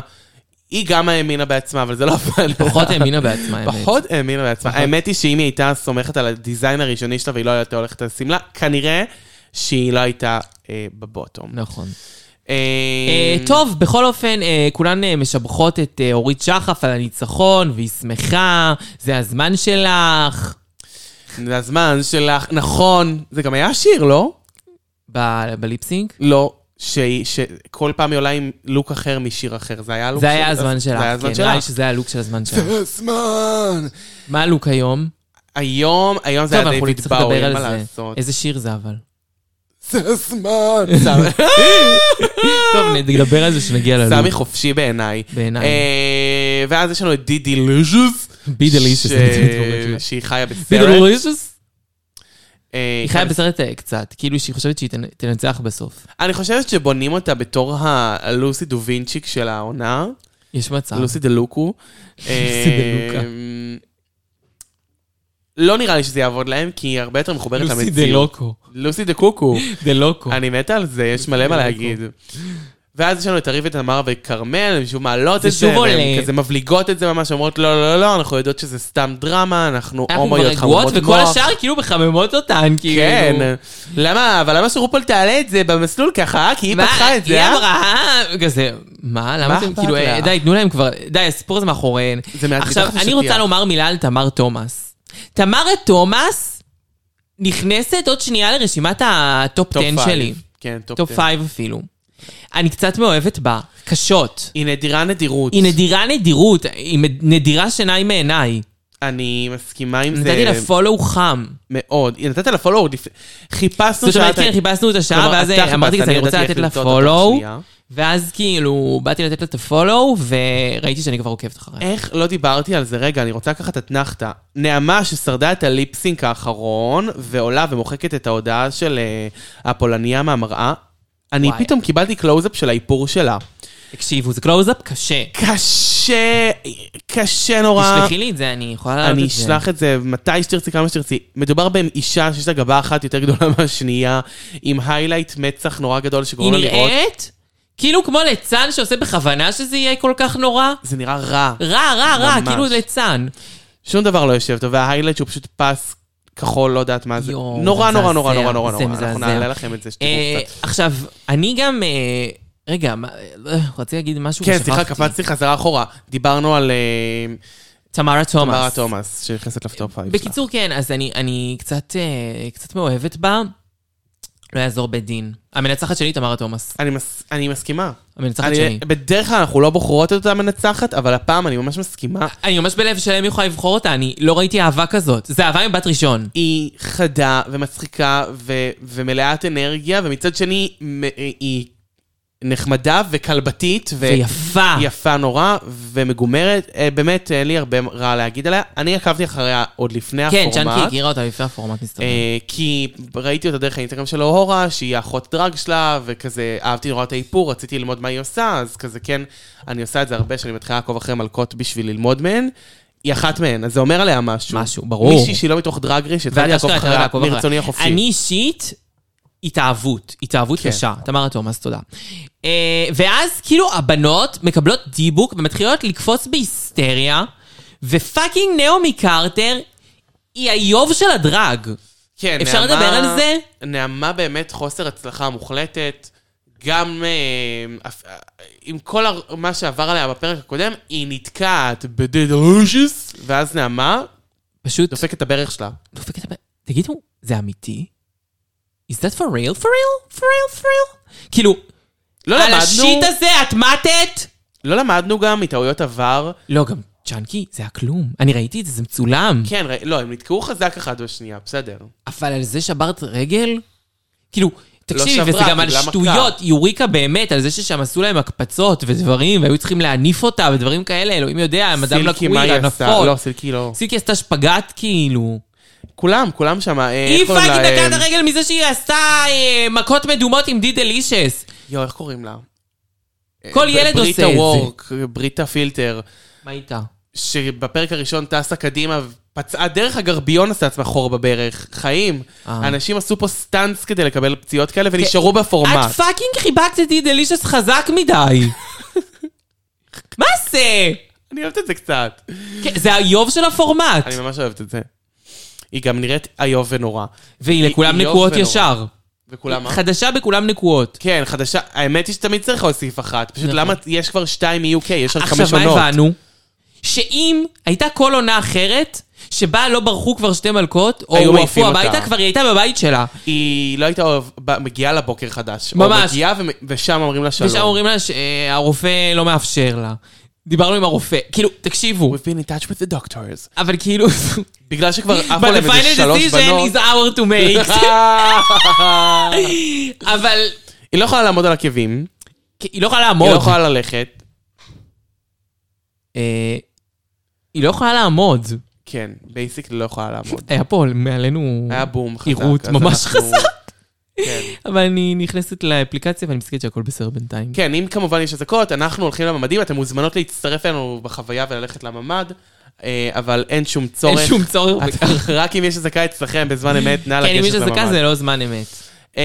Speaker 3: היא גם האמינה בעצמה, אבל זה לא הפעם.
Speaker 1: פחות האמינה בעצמה, האמת.
Speaker 3: פחות האמינה בעצמה.
Speaker 1: פחות.
Speaker 3: האמת היא שאם היא הייתה סומכת על הדיזיין הראשוני שלה והיא לא הייתה הולכת על שמלה, כנראה שהיא לא הייתה אה, בבוטום.
Speaker 1: נכון.
Speaker 3: אה,
Speaker 1: אה, טוב, בכל אופן, אה, כולן אה, משבחות את אה, אורית שחף על הניצחון, והיא שמחה, זה הזמן שלך.
Speaker 3: זה הזמן שלך, נכון, זה גם היה שיר, לא?
Speaker 1: ב- בליפסינק?
Speaker 3: לא, שהיא- שכל פעם היא עולה עם לוק אחר משיר אחר, זה היה לוק
Speaker 1: זה היה הזמן שלך,
Speaker 3: לא זה היה
Speaker 1: כן,
Speaker 3: הזמן
Speaker 1: נראה לי
Speaker 3: שלך.
Speaker 1: שזה היה הלוק של הזמן שלך.
Speaker 3: הזמן!
Speaker 1: מה הלוק היום?
Speaker 3: היום, היום זה
Speaker 1: טוב,
Speaker 3: היה
Speaker 1: אנחנו
Speaker 3: דיוויד
Speaker 1: נצטרך
Speaker 3: באו,
Speaker 1: לדבר
Speaker 3: אין מה
Speaker 1: על זה. אה,
Speaker 3: לעשות.
Speaker 1: איזה שיר זה אבל?
Speaker 3: זה הזמן!
Speaker 1: טוב, נדבר על זה כשנגיע ללוק.
Speaker 3: סמי חופשי בעיניי.
Speaker 1: בעיניי.
Speaker 3: אה, ואז יש לנו את דידי לוז'וס.
Speaker 1: בי דלישוס.
Speaker 3: שהיא חיה
Speaker 1: בי
Speaker 3: בסרט.
Speaker 1: דלישוס?
Speaker 3: אה,
Speaker 1: היא חיה בסרט אה, קצת, כאילו שהיא חושבת שהיא תנ- תנצח בסוף.
Speaker 3: אני חושבת שבונים אותה בתור הלוסי דו וינצ'יק של העונה.
Speaker 1: יש מצב.
Speaker 3: לוסי דה לוקו.
Speaker 1: דלוקה.
Speaker 3: אמ, לא נראה לי שזה יעבוד להם, כי היא הרבה יותר מחוברת למציאות.
Speaker 1: לוסי דה לוקו.
Speaker 3: לוסי דה קוקו.
Speaker 1: דה לוקו.
Speaker 3: אני מתה על זה, יש מלא
Speaker 1: דה
Speaker 3: מה
Speaker 1: לוקו.
Speaker 3: להגיד. ואז יש לנו את ארי ותמר וכרמל, הן שוב מעלות
Speaker 1: זה
Speaker 3: את
Speaker 1: שוב
Speaker 3: זה, והן
Speaker 1: עולה.
Speaker 3: כזה מבליגות את זה ממש, אומרות לא, לא, לא, לא, אנחנו יודעות שזה סתם דרמה, אנחנו
Speaker 1: אנחנו כבר
Speaker 3: הומואיות
Speaker 1: רגועות,
Speaker 3: חמומות
Speaker 1: וכל
Speaker 3: מוח."
Speaker 1: השאר כאילו מחממות אותן, כאילו.
Speaker 3: כן, למה, אבל למה שרופול תעלה את זה במסלול ככה? כי היא
Speaker 1: מה?
Speaker 3: פתחה את זה,
Speaker 1: היא
Speaker 3: אה?
Speaker 1: אמרה, "אה", כזה, מה, למה
Speaker 3: מה
Speaker 1: אתם
Speaker 3: אכפת
Speaker 1: כאילו, אה,
Speaker 3: לך?
Speaker 1: די, תנו להם כבר, די, הסיפור הזה מאחוריהן.
Speaker 3: זה מעט
Speaker 1: עכשיו,
Speaker 3: מתחת
Speaker 1: אני
Speaker 3: לשטיח.
Speaker 1: רוצה לומר מילה על תמר תומאס. תמרה תומאס נכנסת עוד שנייה לרשימת הטופ 10
Speaker 3: טופ פייב.
Speaker 1: שלי.
Speaker 3: כן, טופ
Speaker 1: טופ
Speaker 3: 5.
Speaker 1: 5 אפילו. אני קצת מאוהבת בה, קשות.
Speaker 3: היא נדירה נדירות.
Speaker 1: היא נדירה נדירות, היא נדירה שיניים מעיניי.
Speaker 3: אני מסכימה עם
Speaker 1: נתתי
Speaker 3: זה
Speaker 1: לה פולו חם.
Speaker 3: מאוד. היא נתת לה פולו, חיפשנו
Speaker 1: זאת אומרת,
Speaker 3: שאת-
Speaker 1: כן, חיפשנו את השעה,
Speaker 3: כלומר,
Speaker 1: ואז אה,
Speaker 3: אתה
Speaker 1: אמרתי
Speaker 3: חיפשת,
Speaker 1: כזה, אני
Speaker 3: אני
Speaker 1: רוצה לתת
Speaker 3: ידעתי איך
Speaker 1: לה
Speaker 3: למצוא אותה תוך
Speaker 1: פולו,
Speaker 3: שנייה.
Speaker 1: ואז כאילו, באתי לתת לה את הפולו, וראיתי שאני כבר עוקבת אחריה.
Speaker 3: איך לא דיברתי על זה? רגע, אני רוצה לקחת אתנחתא. נעמה ששרדה את הליפסינק האחרון, ועולה ומוחקת את ההודעה של אה, הפולניה מהמראה, אני
Speaker 1: וואי.
Speaker 3: פתאום קיבלתי קלוז-אפ של האיפור שלה.
Speaker 1: תקשיבו, זה קלוז-אפ קשה.
Speaker 3: קשה, קשה נורא.
Speaker 1: תשלחי לי את זה, אני יכולה לעלות את זה.
Speaker 3: אני אשלח את זה מתי שתרצי, כמה שתרצי. מדובר באישה שיש לה גבה אחת יותר גדולה מהשנייה, עם היילייט מצח נורא גדול
Speaker 1: היא
Speaker 3: שגורם לה לראות.
Speaker 1: נראית כאילו כמו ליצן שעושה בכוונה שזה יהיה כל כך נורא.
Speaker 3: זה נראה רע.
Speaker 1: רע, רע, רע,
Speaker 3: ממש.
Speaker 1: כאילו ליצן.
Speaker 3: שום דבר לא יושב טוב, וההיילייט שהוא פשוט פס כחול, לא יודעת מה זה.
Speaker 1: יואו,
Speaker 3: נורא
Speaker 1: זה
Speaker 3: נורא נורא
Speaker 1: מזעזע,
Speaker 3: נורא נורא
Speaker 1: זה
Speaker 3: נורא.
Speaker 1: מזעזע.
Speaker 3: אנחנו נעלה לכם את זה
Speaker 1: אה,
Speaker 3: שתראו קצת.
Speaker 1: עכשיו, אני גם... אה, רגע, מה- אה, רציתי להגיד משהו
Speaker 3: כן,
Speaker 1: ושכחתי.
Speaker 3: סליחה, קפצתי חזרה אחורה. דיברנו על אה,
Speaker 1: תמרה תומאס.
Speaker 3: מרה תומאס, שנכנסת לפטופ פייב שלה.
Speaker 1: בקיצור, כן, אז אני, אני קצת, אה, קצת מאוהבת בה. לא יעזור בית דין. המנצחת שלי היא תמרה תומאס.
Speaker 3: אני מס- אני מסכימה.
Speaker 1: המנצחת
Speaker 3: אני-
Speaker 1: שלי.
Speaker 3: בדרך כלל אנחנו לא בוחרות את אותה מנצחת, אבל הפעם אני ממש מסכימה.
Speaker 1: אני ממש בלב שלם יכולה לבחור אותה, אני לא ראיתי אהבה כזאת. זה אהבה מבת ראשון.
Speaker 3: היא חדה ומצחיקה ו- ומלאת אנרגיה, ומצד שני מ- אה, היא נחמדה וכלבתית. ו-
Speaker 1: ויפה.
Speaker 3: יפה נורא ומגומרת. אה, באמת, אין לי הרבה רע להגיד עליה. אני עקבתי אחריה עוד לפני
Speaker 1: כן,
Speaker 3: הפורמט.
Speaker 1: צ'אנקי הכירה אותה לפני הפורמט, מסתבר.
Speaker 3: אה, כי ראיתי אותה דרך האינסטגרם של אוהורה, שהיא האחות דרג שלה, וכזה אהבתי נורא את האיפור, רציתי ללמוד מה היא עושה, אז כזה כן, אני עושה את זה הרבה, שאני מתחילה לעקוב אחרי מלכות בשביל ללמוד מהן. היא אחת מהן, אז זה אומר עליה משהו.
Speaker 1: משהו, ברור.
Speaker 3: מישהי שהיא לא מתוך דרג ריש, התחלתי
Speaker 1: ואת
Speaker 3: לעקוב
Speaker 1: אשכרה
Speaker 3: אחריה
Speaker 1: לעקוב אחריה.
Speaker 3: מרצוני החופשי.
Speaker 1: אני אישית, התאהבות. התאהבות
Speaker 3: כן.
Speaker 1: קשה. תמרה תומאס, תודה. אה, ואז כאילו הבנות מקבלות דיבוק ומתחילות לקפוץ בהיסטריה, ופאקינג נעמי קרטר היא היוב של הדרג.
Speaker 3: כן,
Speaker 1: אפשר לדבר על זה?
Speaker 3: נעמה באמת חוסר הצלחה מוחלטת. גם אה, אפ- אה, עם כל הר- מה שעבר עליה בפרק הקודם, היא נתקעת בדדרושוס, ואז נעמה
Speaker 1: פשוט
Speaker 3: דופקת את הברך שלה.
Speaker 1: דופקת הבן. תגידו, זה אמיתי? Is that for real? for real? for real? for real? כאילו,
Speaker 3: לא
Speaker 1: על
Speaker 3: למדנו,
Speaker 1: השיט הזה את מתת?
Speaker 3: לא למדנו גם מטעויות עבר.
Speaker 1: לא, גם צ'אנקי, זה היה כלום. אני ראיתי את זה, זה מצולם.
Speaker 3: כן, ר- לא, הם נתקעו חזק אחת בשנייה, בסדר.
Speaker 1: אבל על זה שברת רגל? כאילו, תקשיבי,
Speaker 3: לא שברה,
Speaker 1: וזה גם על
Speaker 3: קיבלה מכה.
Speaker 1: שטויות, יוריקה באמת, על זה ששם עשו להם הקפצות ודברים, והיו צריכים להניף אותה ודברים כאלה, אלוהים יודע, מדאם
Speaker 3: סילקי, מה
Speaker 1: לקוויר,
Speaker 3: היא עשתה?
Speaker 1: הנפות.
Speaker 3: לא, סילקי לא.
Speaker 1: סילקי עשתה שפגאט כאילו.
Speaker 3: כולם, כולם שם. אה,
Speaker 1: היא פאקינג דקה את הרגל מזה שהיא עשתה אה, מכות מדומות עם די דלישס.
Speaker 3: יואו, איך קוראים לה?
Speaker 1: כל ילד עושה את זה.
Speaker 3: בריטה אה, וורק, בריטה פילטר.
Speaker 1: מה איתה?
Speaker 3: שבפרק הראשון טסה קדימה, פצעה דרך הגרביון עשה עצמה חור בברך. חיים.
Speaker 1: אה. כן.
Speaker 3: אנשים עשו פה סטאנס כדי לקבל פציעות כאלה ונשארו בפורמט.
Speaker 1: את פאקינג חיבקת את די דלישס חזק מדי. מה זה?
Speaker 3: אני אוהבת את זה קצת.
Speaker 1: כן, זה היוב של הפורמט.
Speaker 3: אני ממש אוהבת את זה. היא גם נראית איוב ונורא.
Speaker 1: והיא
Speaker 3: היא-
Speaker 1: לכולם
Speaker 3: היא יוב
Speaker 1: נקועות
Speaker 3: ונורא.
Speaker 1: ישר.
Speaker 3: וכולם אה? מה?
Speaker 1: חדשה בכולם נקועות.
Speaker 3: כן, חדשה. האמת היא שתמיד צריך להוסיף אחת. פשוט
Speaker 1: נכון.
Speaker 3: למה יש כבר שתיים מ-UK, יש רק חמש
Speaker 1: עכשיו,
Speaker 3: עונות.
Speaker 1: מה הבנו? שאם הייתה כל עונה אחרת, שבה לא ברחו כבר שתי מלכות, או
Speaker 3: היו
Speaker 1: הועפו
Speaker 3: מעיפים אותה.
Speaker 1: הביתה, כבר היא הייתה בבית שלה.
Speaker 3: היא לא הייתה אוהב- ב- מגיעה לבוקר חדש. או
Speaker 1: ממש.
Speaker 3: מגיעה ו- ושם אומרים לה שלום.
Speaker 1: ושם אומרים לה שהרופא לא מאפשר לה. דיברנו עם הרופא. כאילו, תקשיבו,
Speaker 3: We've been in touch with the doctors.
Speaker 1: אבל כאילו...
Speaker 3: בגלל שכבר עפו
Speaker 1: But
Speaker 3: להם
Speaker 1: the
Speaker 3: איזה
Speaker 1: final
Speaker 3: לא שלוש
Speaker 1: decision
Speaker 3: בנות.
Speaker 1: is our to make. אבל
Speaker 3: היא לא יכולה לעמוד על עקבים.
Speaker 1: היא לא יכולה לעמוד.
Speaker 3: היא לא יכולה ללכת.
Speaker 1: אה, היא לא יכולה לעמוד.
Speaker 3: כן, בייסיק לא יכולה לעמוד.
Speaker 1: היה פה מעלינו
Speaker 3: היה בום חזק.
Speaker 1: עירות
Speaker 3: אז
Speaker 1: אה, ממש
Speaker 3: אנחנו-
Speaker 1: חזק.
Speaker 3: כן.
Speaker 1: אבל אני נכנסת לאפליקציה ואני מסתכלת שהכל בסדר בינתיים.
Speaker 3: כן, אם כמובן יש אזעקות, אנחנו הולכים לממדים, אתם מוזמנות להצטרף אלינו בחוויה וללכת לממ"ד, אה, אבל אין שום צורך.
Speaker 1: אין שום צורך
Speaker 3: את-
Speaker 1: בכך.
Speaker 3: רק אם יש אזעקה אצלכם בזמן אמת, נא
Speaker 1: כן, אם כן, יש
Speaker 3: לגשת לממ"ד.
Speaker 1: אזעקה זה לא זמן אמת.
Speaker 3: אמ,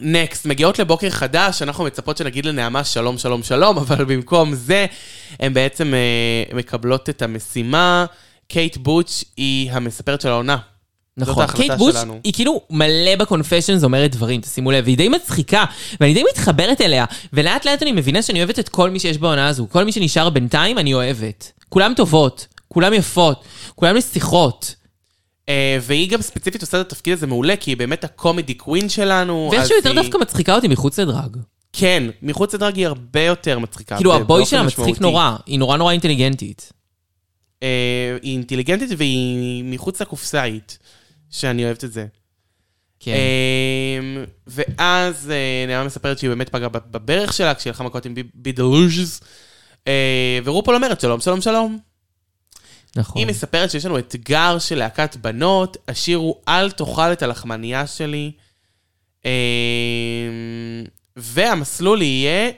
Speaker 3: נקסט, מגיעות לבוקר חדש, אנחנו מצפות שנגיד לנעמה שלום, שלום, שלום, אבל במקום זה, הן בעצם אה, מקבלות את המשימה. קייט בוטש היא המספרת של העונה.
Speaker 1: נכון,
Speaker 3: ההחלטה
Speaker 1: קייט בוש
Speaker 3: שלנו.
Speaker 1: היא כאילו מלא בקונפשיונס אומרת דברים, תשימו לב, והיא די מצחיקה, ואני די מתחברת אליה, ולאט לאט אני מבינה שאני אוהבת את כל מי שיש בעונה הזו, כל מי שנשאר בינתיים אני אוהבת. כולם טובות, כולם יפות, כולם נסיכות.
Speaker 3: אה, והיא גם ספציפית עושה את התפקיד הזה מעולה, כי היא באמת הקומדי קווין שלנו.
Speaker 1: ואיכשהו
Speaker 3: אז
Speaker 1: יותר
Speaker 3: היא-
Speaker 1: דווקא מצחיקה אותי מחוץ לדרג.
Speaker 3: כן, מחוץ לדרג היא הרבה יותר מצחיקה.
Speaker 1: כאילו הבוי
Speaker 3: אה, באופן
Speaker 1: שלה מצחיק
Speaker 3: משמעותי.
Speaker 1: נורא, היא נורא נורא אינטליגנטית.
Speaker 3: אה, היא אינטליגנטית והיא מחוץ לקופסאית, שאני אוהבת את זה.
Speaker 1: כן.
Speaker 3: אמ, ואז אה, נעמה מספרת שהיא באמת פגעה בב- בברך שלה, כשהיא הלכה מכות עם בי- בידלוז' אה, ורופול אומרת שלום, שלום, שלום.
Speaker 1: נכון.
Speaker 3: היא מספרת שיש לנו אתגר של להקת בנות, השיר הוא "אל תאכל את הלחמנייה שלי", אמ, והמסלול יהיה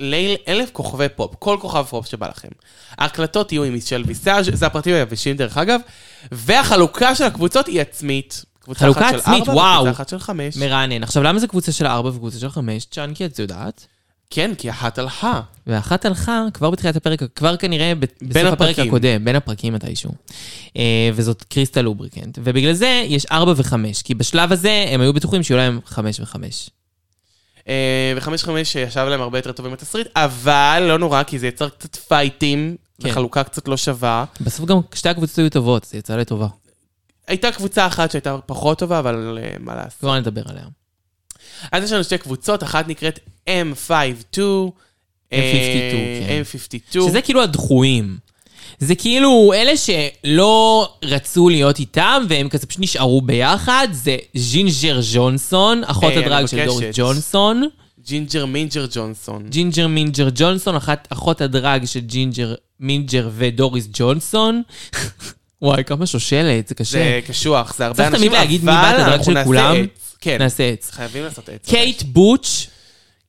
Speaker 3: ליל אלף כוכבי פופ, כל כוכב פופ שבא לכם. ההקלטות יהיו עם מישל ויסאז', זה הפרטים היבשים דרך אגב, והחלוקה של הקבוצות היא עצמית. קבוצה אחת
Speaker 1: חלוקה
Speaker 3: של
Speaker 1: עצמית,
Speaker 3: ארבע
Speaker 1: וואו.
Speaker 3: וקבוצה אחת של חמש.
Speaker 1: מרענן. עכשיו, למה זה קבוצה של ארבע וקבוצה של חמש? צ'אנקי, את יודעת?
Speaker 3: כן, כי אחת הלכה.
Speaker 1: ואחת הלכה כבר בתחילת הפרק, כבר כנראה ב- בסוף הפרק
Speaker 3: הפרקים.
Speaker 1: הקודם, בין הפרקים מתישהו. אה, וזאת קריסטה לובריקנט. ובגלל זה יש ארבע וחמש, כי בשלב הזה הם היו בטוחים שיהיו להם חמש וחמש.
Speaker 3: אה, וחמש חמש ישב להם הרבה יותר טוב עם התסריט, אבל לא נורא, כי זה יצר קצת פייטים,
Speaker 1: כן.
Speaker 3: וחלוקה קצת לא שווה.
Speaker 1: בסוף גם שתי הקבוצות היו טובות, זה יצא לטובה.
Speaker 3: הייתה קבוצה אחת שהייתה פחות טובה, אבל אה, מה לעשות.
Speaker 1: כבר נדבר עליה.
Speaker 3: אז יש לנו שתי קבוצות, אחת נקראת M52.
Speaker 1: M52,
Speaker 3: אה,
Speaker 1: כן.
Speaker 3: M52.
Speaker 1: שזה כאילו הדחויים. זה כאילו אלה שלא רצו להיות איתם, והם כזה פשוט נשארו ביחד, זה ז'ינג'ר ג'ונסון, אחות
Speaker 3: היי, אני
Speaker 1: הדרג של דורית
Speaker 3: מבקשת.
Speaker 1: ג'ונסון.
Speaker 3: ג'ינג'ר מינג'ר ג'ונסון.
Speaker 1: ג'ינג'ר מינג'ר ג'ונסון, אחת, אחות הדרג של ג'ינג'ר מינג'ר ודוריס ג'ונסון. וואי, כמה שושלת, זה קשה.
Speaker 3: זה קשוח, זה הרבה
Speaker 1: כן. צריך
Speaker 3: אנשים,
Speaker 1: תמיד להגיד מי
Speaker 3: אבל
Speaker 1: בת הדרג
Speaker 3: אנחנו
Speaker 1: של
Speaker 3: נעשה
Speaker 1: כולם.
Speaker 3: עץ. כן,
Speaker 1: נעשה עץ.
Speaker 3: חייבים לעשות עץ.
Speaker 1: קייט בוטש,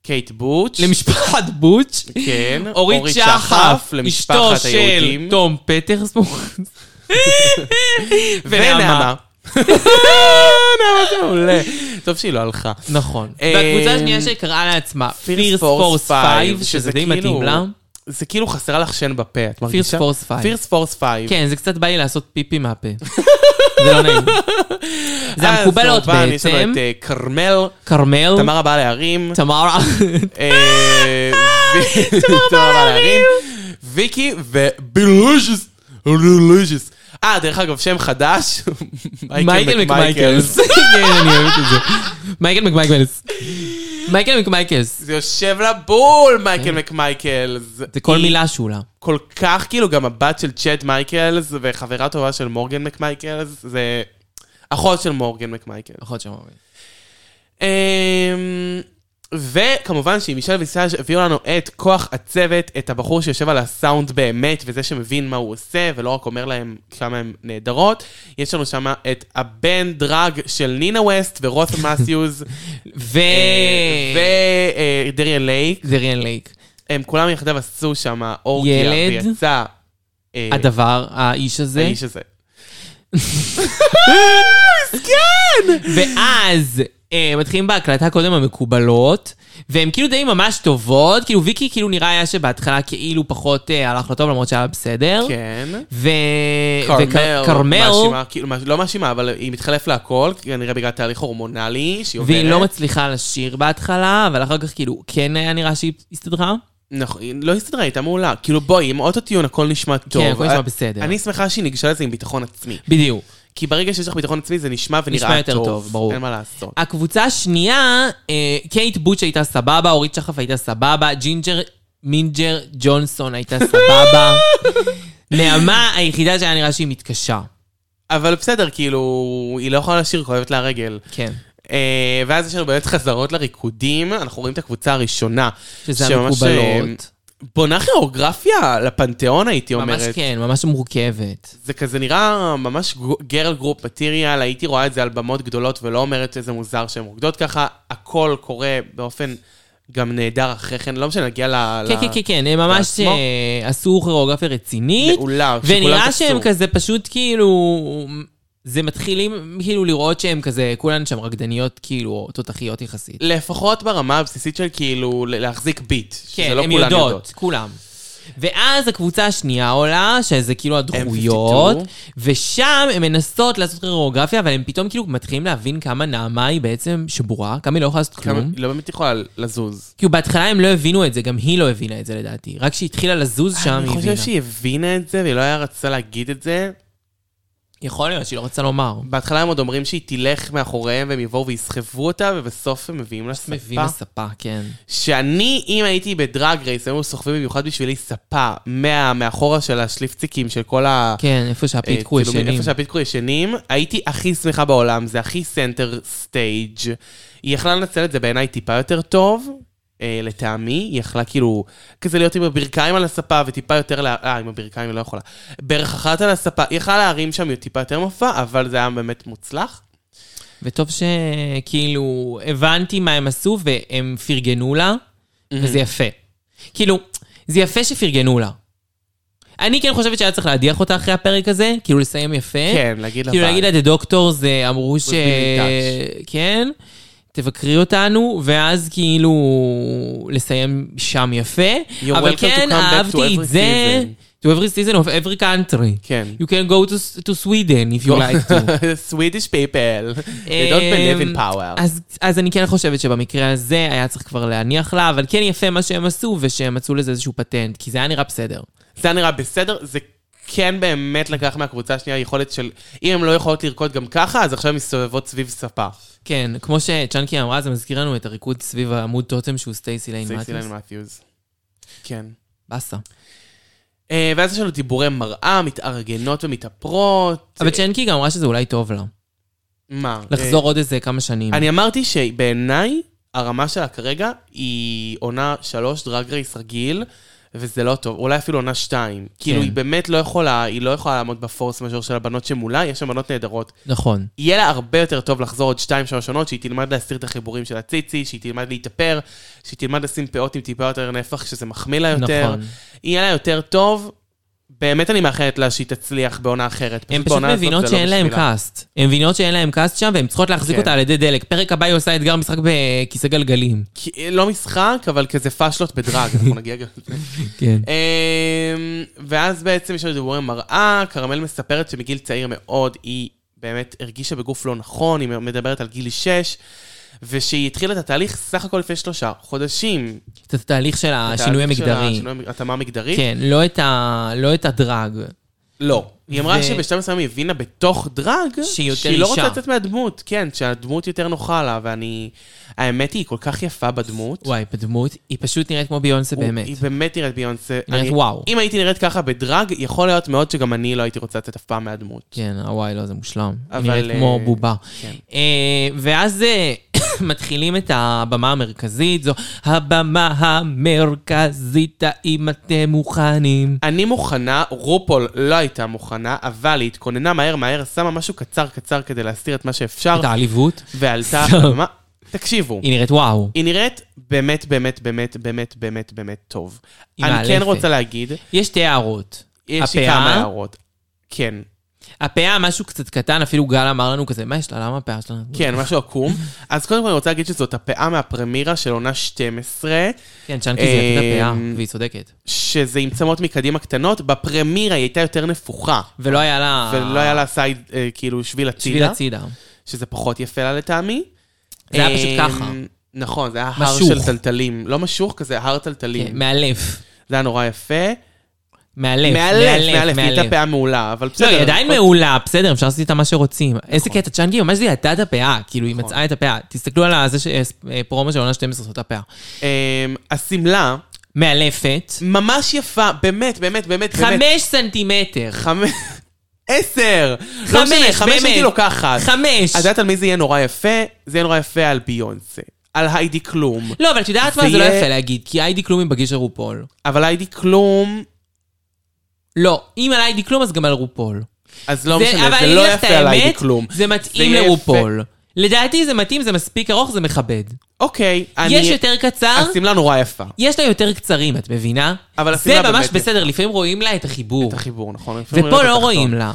Speaker 3: קייט בוטש.
Speaker 1: למשפחת בוטש.
Speaker 3: כן.
Speaker 1: אורית שחף, אשתו
Speaker 3: למשפחת
Speaker 1: של
Speaker 3: היהודים.
Speaker 1: תום פטרסבורג.
Speaker 3: ונעמה.
Speaker 1: ונעמה.
Speaker 3: נעמה זה מעולה. טוב שהיא לא הלכה.
Speaker 1: נכון.
Speaker 3: אה,
Speaker 1: והקבוצה השנייה שקראה לעצמה, פירס פורס 5, שזה די
Speaker 3: כאילו-
Speaker 1: מתאים לה.
Speaker 3: זה כאילו חסר לך שן בפה, את מרגישה?
Speaker 1: Force Five.
Speaker 3: פירס פורס 5.
Speaker 1: כן, זה קצת בא לי לעשות פיפי מהפה. זה לא נעים. זה המקובלות
Speaker 3: יש לנו
Speaker 1: בעצם.
Speaker 3: את אה, כרמל,
Speaker 1: כרמל,
Speaker 3: תמרה בעל הערים.
Speaker 1: תמרה.
Speaker 3: אה, ו- תמרה בעל הערים. ויקי ובילוז'ס. בילוז'ס. אה, דרך אגב, שם חדש.
Speaker 1: מייקל מקמייקלס. כן, אני אוהבת את זה. מייקל מקמייקלס. מייקל מקמייקלס.
Speaker 3: זה יושב לה בול, מייקל
Speaker 1: כן.
Speaker 3: מקמייקלס.
Speaker 1: זה כל
Speaker 3: היא-
Speaker 1: מילה שולה.
Speaker 3: כל כך, כאילו, גם הבת של צ'אט מייקלס וחברה טובה של מורגן מקמייקלס, זה אחות של מורגן מקמייקלס.
Speaker 1: נכון שם. אורי.
Speaker 3: אמ, וכמובן שעם מישל ויסאז' הביאו לנו את כוח הצוות, את הבחור שיושב על הסאונד באמת, וזה שמבין מה הוא עושה, ולא רק אומר להם כמה הן נהדרות. יש לנו שם את הבן דרג של נינה ווסט ורות מתיוז,
Speaker 1: ו...
Speaker 3: אה, ודריאן לייק.
Speaker 1: דריאן לייק.
Speaker 3: הם כולם יחדיו עשו שם אורגיה,
Speaker 1: ילד.
Speaker 3: ויצא... אה,
Speaker 1: הדבר, האיש הזה.
Speaker 3: האיש הזה.
Speaker 1: ואז אה, מתחילים בהקלטה קודם המקובלות, והן כאילו די ממש טובות, כאילו ויקי כאילו נראה היה שבהתחלה כאילו פחות אה, הלך לו טוב, למרות שהיה בסדר.
Speaker 3: כן.
Speaker 1: ו...
Speaker 3: כרמל, לא
Speaker 1: וכ- כרמל,
Speaker 3: מאשימה, כאילו, מאש- לא מאשימה, אבל היא מתחלף לה הכל, כנראה בגלל תהליך הורמונלי שהיא עוברת.
Speaker 1: והיא לא מצליחה לשיר בהתחלה, אבל אחר כך כאילו כן היה נראה שהיא הסתדרה.
Speaker 3: נכון, היא לא הסתדרה, היא הייתה מעולה. כאילו, בואי, עם אוטוטיון הכל נשמע טוב.
Speaker 1: כן, הכל נשמע
Speaker 3: אה,
Speaker 1: בסדר.
Speaker 3: אני שמחה שהיא ניגשה לזה עם ביטחון עצמי.
Speaker 1: בדיוק.
Speaker 3: כי ברגע שיש לך ביטחון עצמי, זה נשמע ונראה טוב.
Speaker 1: נשמע יותר טוב, ברור.
Speaker 3: אין מה לעשות.
Speaker 1: הקבוצה השנייה, אה, קייט בוטש הייתה סבבה, אורית שחף הייתה סבבה, ג'ינג'ר מינג'ר ג'ונסון הייתה סבבה. נעמה היחידה שהיה נראה שהיא מתקשה.
Speaker 3: אבל בסדר, כאילו, היא לא יכולה לשיר, כואבת לה הרגל.
Speaker 1: כן.
Speaker 3: אה, ואז יש לנו באמת חזרות לריקודים, אנחנו רואים את הקבוצה הראשונה.
Speaker 1: שזה
Speaker 3: שממש, אה,
Speaker 1: המקובלות.
Speaker 3: בונה כיאוגרפיה לפנתיאון, הייתי
Speaker 1: ממש
Speaker 3: אומרת.
Speaker 1: כן, ממש מורכבת.
Speaker 3: זה כזה נראה ממש גרל גרופ מטריאל, הייתי רואה את זה על במות גדולות ולא אומרת איזה מוזר שהן רוקדות ככה, הכל קורה באופן גם נהדר אחרי כן, לא משנה, נגיע ל...
Speaker 1: כן,
Speaker 3: ל-
Speaker 1: כן, כן, כן, הם ממש
Speaker 3: לעצמו.
Speaker 1: אה, עשו כוריאוגרפיה רצינית.
Speaker 3: מעולה, שכולם
Speaker 1: ונראה
Speaker 3: קפצו.
Speaker 1: שהם כזה פשוט כאילו זה מתחילים כאילו לראות שהם כזה, כולן שם רקדניות כאילו, או תותחיות יחסית.
Speaker 3: לפחות ברמה הבסיסית של כאילו ל- להחזיק ביט. שזה
Speaker 1: כן,
Speaker 3: לא
Speaker 1: הן
Speaker 3: כולן
Speaker 1: יודעות, כולם. ואז הקבוצה השנייה עולה, שזה כאילו הדחויות,
Speaker 3: 52.
Speaker 1: ושם הן מנסות לעשות כוריאוגרפיה, אבל הן פתאום כאילו מתחילים להבין כמה נעמה היא בעצם שבורה, כמה היא לא יכולה לעשות
Speaker 3: כמה-
Speaker 1: כלום.
Speaker 3: לא באמת יכולה לזוז.
Speaker 1: כאילו בהתחלה הם לא הבינו את זה, גם היא לא הבינה את זה לדעתי. רק כשהיא התחילה לזוז שם,
Speaker 3: אה, אני
Speaker 1: היא הבינה.
Speaker 3: חושב שהיא הבינה את זה, והיא לא היה רצה להגיד את זה.
Speaker 1: יכול להיות שהיא לא רצתה לומר.
Speaker 3: בהתחלה הם עוד אומרים שהיא תלך מאחוריהם, והם יבואו ויסחבו אותה, ובסוף הם מביאים לה
Speaker 1: מביאים
Speaker 3: ספה.
Speaker 1: לספה, כן.
Speaker 3: שאני, אם הייתי בדרג רייס, היו סוחבים במיוחד בשבילי ספה מה, מאחורה של השליפציקים, של כל ה...
Speaker 1: כן, איפה שהפיתקו
Speaker 3: אה, צילומים,
Speaker 1: ישנים.
Speaker 3: איפה שהפיתקו ישנים, הייתי הכי שמחה בעולם, זה הכי סנטר סטייג'. היא יכלה לנצל את זה בעיניי טיפה יותר טוב, אה, לטעמי. היא יכלה כאילו, כזה להיות עם הברכיים על הספה וטיפה יותר, לה- אה, עם הברכיים היא לא יכולה. ברך אחת על הספה, היא יכלה להרים שם טיפה יותר מופע, אבל זה היה באמת מוצלח.
Speaker 1: וטוב שכאילו הבנתי מה הם עשו והם פרגנו לה, וזה יפה. כאילו, זה יפה שפרגנו לה. אני כן חושבת שהיה צריך להדיח אותה אחרי הפרק הזה, כאילו לסיים יפה.
Speaker 3: כן, להגיד לה
Speaker 1: כאילו
Speaker 3: ביי.
Speaker 1: להגיד לה, דה דוקטורס אה, אמרו ש...
Speaker 3: been in
Speaker 1: כן, תבקרי אותנו, ואז כאילו לסיים שם יפה.
Speaker 3: You're
Speaker 1: אבל
Speaker 3: welcome to
Speaker 1: כן,
Speaker 3: come back to
Speaker 1: אהבתי
Speaker 3: every
Speaker 1: את זה. To every season of every country.
Speaker 3: כן.
Speaker 1: You can go to, to Sweden if you like to.
Speaker 3: Swedish people, they don't believe in power.
Speaker 1: כן. אמ, אז, אז אני כן חושבת שבמקרה הזה היה צריך כבר להניח לה, אבל כן יפה מה שהם עשו, ושהם מצאו לזה איזשהו פטנט, כי זה היה נראה בסדר.
Speaker 3: זה היה נראה בסדר, זה כן באמת לקח מהקבוצה השנייה יכולת של, אם הן לא יכולות לרקוד גם ככה, אז עכשיו הן מסתובבות סביב ספה.
Speaker 1: כן, כמו שצ'אנקי אמרה, זה מזכיר לנו את הריקוד סביב העמוד טוטם שהוא סטייסי ליין
Speaker 3: סייסי
Speaker 1: מאטיוס.
Speaker 3: לן מתיוס. כן.
Speaker 1: באסה.
Speaker 3: אה, ואז יש לנו דיבורי מראה, מתארגנות ומתאפרות.
Speaker 1: אבל צ'אנקי גם אמרה שזה אולי טוב לה.
Speaker 3: מה?
Speaker 1: לחזור עוד איזה כמה שנים.
Speaker 3: אה, אני אמרתי שבעיניי, הרמה שלה כרגע היא עונה שלוש דרג רייס רגיל, וזה לא טוב, אולי אפילו עונה שתיים. כאילו,
Speaker 1: כן.
Speaker 3: היא באמת לא יכולה, היא לא יכולה לעמוד בפורס מז'ור של הבנות שמולה, יש שם בנות נהדרות.
Speaker 1: נכון.
Speaker 3: יהיה לה הרבה יותר טוב לחזור עוד 2-3 עונות, שהיא תלמד להסיר את החיבורים של הציצי, שהיא תלמד להתאפר, שהיא תלמד לשים פאות עם טיפה יותר נפח, שזה מחמיא לה יותר.
Speaker 1: נכון.
Speaker 3: יהיה לה יותר טוב. באמת אני מאחלת לה שהיא תצליח בעונה אחרת.
Speaker 1: הן פשוט
Speaker 3: בעונה הזאת
Speaker 1: מבינות
Speaker 3: זה לא
Speaker 1: שאין להן
Speaker 3: בשבילה.
Speaker 1: קאסט. הן מבינות שאין להן קאסט שם, והן צריכות להחזיק
Speaker 3: כן.
Speaker 1: אותה על ידי דלק. פרק הבא היא עושה אתגר משחק בכיסא גלגלים.
Speaker 3: כי- לא משחק, אבל כזה פאשלות בדרג, אנחנו נגיע גם לזה.
Speaker 1: כן.
Speaker 3: אמ, ואז בעצם יש לנו דיבורי מראה, כרמל מספרת שמגיל צעיר מאוד היא באמת הרגישה בגוף לא נכון, היא מדברת על גיל 6, ושהיא התחילה את התהליך סך הכל לפני שלושה חודשים.
Speaker 1: את התהליך של השינוי
Speaker 3: התהליך של
Speaker 1: המגדרי.
Speaker 3: השינוי- התאמה מגדרית?
Speaker 1: כן, לא את, ה... לא את הדרג.
Speaker 3: לא. היא אמרה
Speaker 1: ו-
Speaker 3: שבשלב מסוים היא הבינה בתוך דרג,
Speaker 1: שהיא יותר
Speaker 3: שהיא לא
Speaker 1: אישה.
Speaker 3: רוצה לצאת מהדמות, כן, שהדמות יותר נוחה לה, ואני... האמת היא, היא כל כך יפה בדמות.
Speaker 1: וואי, בדמות, היא פשוט נראית כמו ביונסה
Speaker 3: הוא-
Speaker 1: באמת.
Speaker 3: היא באמת נראית ביונסה.
Speaker 1: נראית
Speaker 3: אני-
Speaker 1: וואו.
Speaker 3: אם הייתי נראית ככה בדרג, יכול להיות מאוד שגם אני לא הייתי רוצה לצאת אף פעם מהדמות.
Speaker 1: כן, אה, וואי, לא, זה מושלם. היא
Speaker 3: אבל,
Speaker 1: נראית כמו
Speaker 3: אה,
Speaker 1: בובה.
Speaker 3: כן.
Speaker 1: אה, ואז אה, מתחילים את הבמה המרכזית, זו הבמה המרכזית, האם אתם מוכנים?
Speaker 3: אני מוכנה, רופול לא הייתה מוכנה, אבל היא התכוננה מהר מהר, שמה משהו קצר קצר כדי להסתיר את מה שאפשר,
Speaker 1: את העליבות?
Speaker 3: ועלתה...
Speaker 1: סתם.
Speaker 3: מה? תקשיבו.
Speaker 1: היא נראית וואו.
Speaker 3: היא נראית באמת, באמת, באמת, באמת, באמת, באמת טוב.
Speaker 1: היא
Speaker 3: אני כן
Speaker 1: מאלפת.
Speaker 3: רוצה להגיד,
Speaker 1: יש שתי הערות.
Speaker 3: יש לי
Speaker 1: הפאה?
Speaker 3: כמה הערות. כן,
Speaker 1: הפאה, משהו קצת קטן, אפילו גל אמר לנו כזה, מה יש לה? למה הפאה שלה?
Speaker 3: כן, משהו עקום. אז קודם כל אני רוצה להגיד שזאת הפאה מהפרמירה של עונה 12,
Speaker 1: כן, צ'אנקי זה יחיד הפאה,
Speaker 3: אמ,
Speaker 1: והיא צודקת.
Speaker 3: שזה עם צמות מקדימה קטנות, בפרמירה היא הייתה יותר נפוחה.
Speaker 1: ולא היה לה...
Speaker 3: ולא היה לה סייד, אה, כאילו,
Speaker 1: שביל
Speaker 3: שביל הצידה,
Speaker 1: הצידה.
Speaker 3: שזה פחות יפה לה לטעמי.
Speaker 1: זה היה פשוט
Speaker 3: אה,
Speaker 1: ככה.
Speaker 3: נכון, זה היה הר
Speaker 1: משוך.
Speaker 3: של טלטלים. לא משוך כזה, הר
Speaker 1: כן,
Speaker 3: טלטלים.
Speaker 1: מאלף.
Speaker 3: זה היה נורא יפה.
Speaker 1: מאלף,
Speaker 3: מאלף, מאלף,
Speaker 1: מאלף,
Speaker 3: היא הייתה פאה מעולה, אבל
Speaker 1: לא,
Speaker 3: בסדר. אוקיי. נכון.
Speaker 1: היא עדיין
Speaker 3: לפחות-
Speaker 1: מעולה, בסדר, אפשר לעשות איתה מה שרוצים. איזה קטע, צ'אנקי ממש זיהתה את הפאה, כאילו,
Speaker 3: נכון.
Speaker 1: היא מצאה את הפאה. תסתכלו על הזה ש- אה, פרומו של עונה 12 זאת הפאה.
Speaker 3: אמ, השמלה,
Speaker 1: מאלפת,
Speaker 3: ממש יפה, באמת, באמת, באמת, באמת.
Speaker 1: חמש סנטימטר.
Speaker 3: חמש... עשר! לא
Speaker 1: חמש,
Speaker 3: משנה, חמש
Speaker 1: באמת.
Speaker 3: הייתי לוקחת.
Speaker 1: חמש.
Speaker 3: את יודעת על מי זה יהיה נורא יפה? זה יהיה נורא יפה על ביונסה. על היידי כלום.
Speaker 1: לא, אבל את יודעת מה?
Speaker 3: זה
Speaker 1: זה לא
Speaker 3: יהיה-
Speaker 1: יפה להגיד, כי היידי כלום היא בגיל של רופול.
Speaker 3: אבל היידי כלום,
Speaker 1: לא, אם על היידי כלום, אז גם על רופול.
Speaker 3: אז לא
Speaker 1: זה-
Speaker 3: משנה,
Speaker 1: אבל
Speaker 3: זה
Speaker 1: אני
Speaker 3: לא
Speaker 1: אגיד לך את
Speaker 3: יפה על היידי
Speaker 1: האמת,
Speaker 3: כלום.
Speaker 1: זה מתאים
Speaker 3: יהיה
Speaker 1: לרופול. לדעתי זה מתאים, זה מספיק ארוך, זה מכבד.
Speaker 3: אוקיי, אני...
Speaker 1: יש יותר קצר,
Speaker 3: השמלה נורא יפה.
Speaker 1: יש לה יותר קצרים, את מבינה?
Speaker 3: אבל
Speaker 1: זה
Speaker 3: השמלה
Speaker 1: ממש
Speaker 3: באמת-
Speaker 1: בסדר, לפעמים רואים לה את החיבור.
Speaker 3: את החיבור, נכון? לפעמים
Speaker 1: ופה
Speaker 3: רואים את
Speaker 1: לא
Speaker 3: התחתון.
Speaker 1: רואים לה.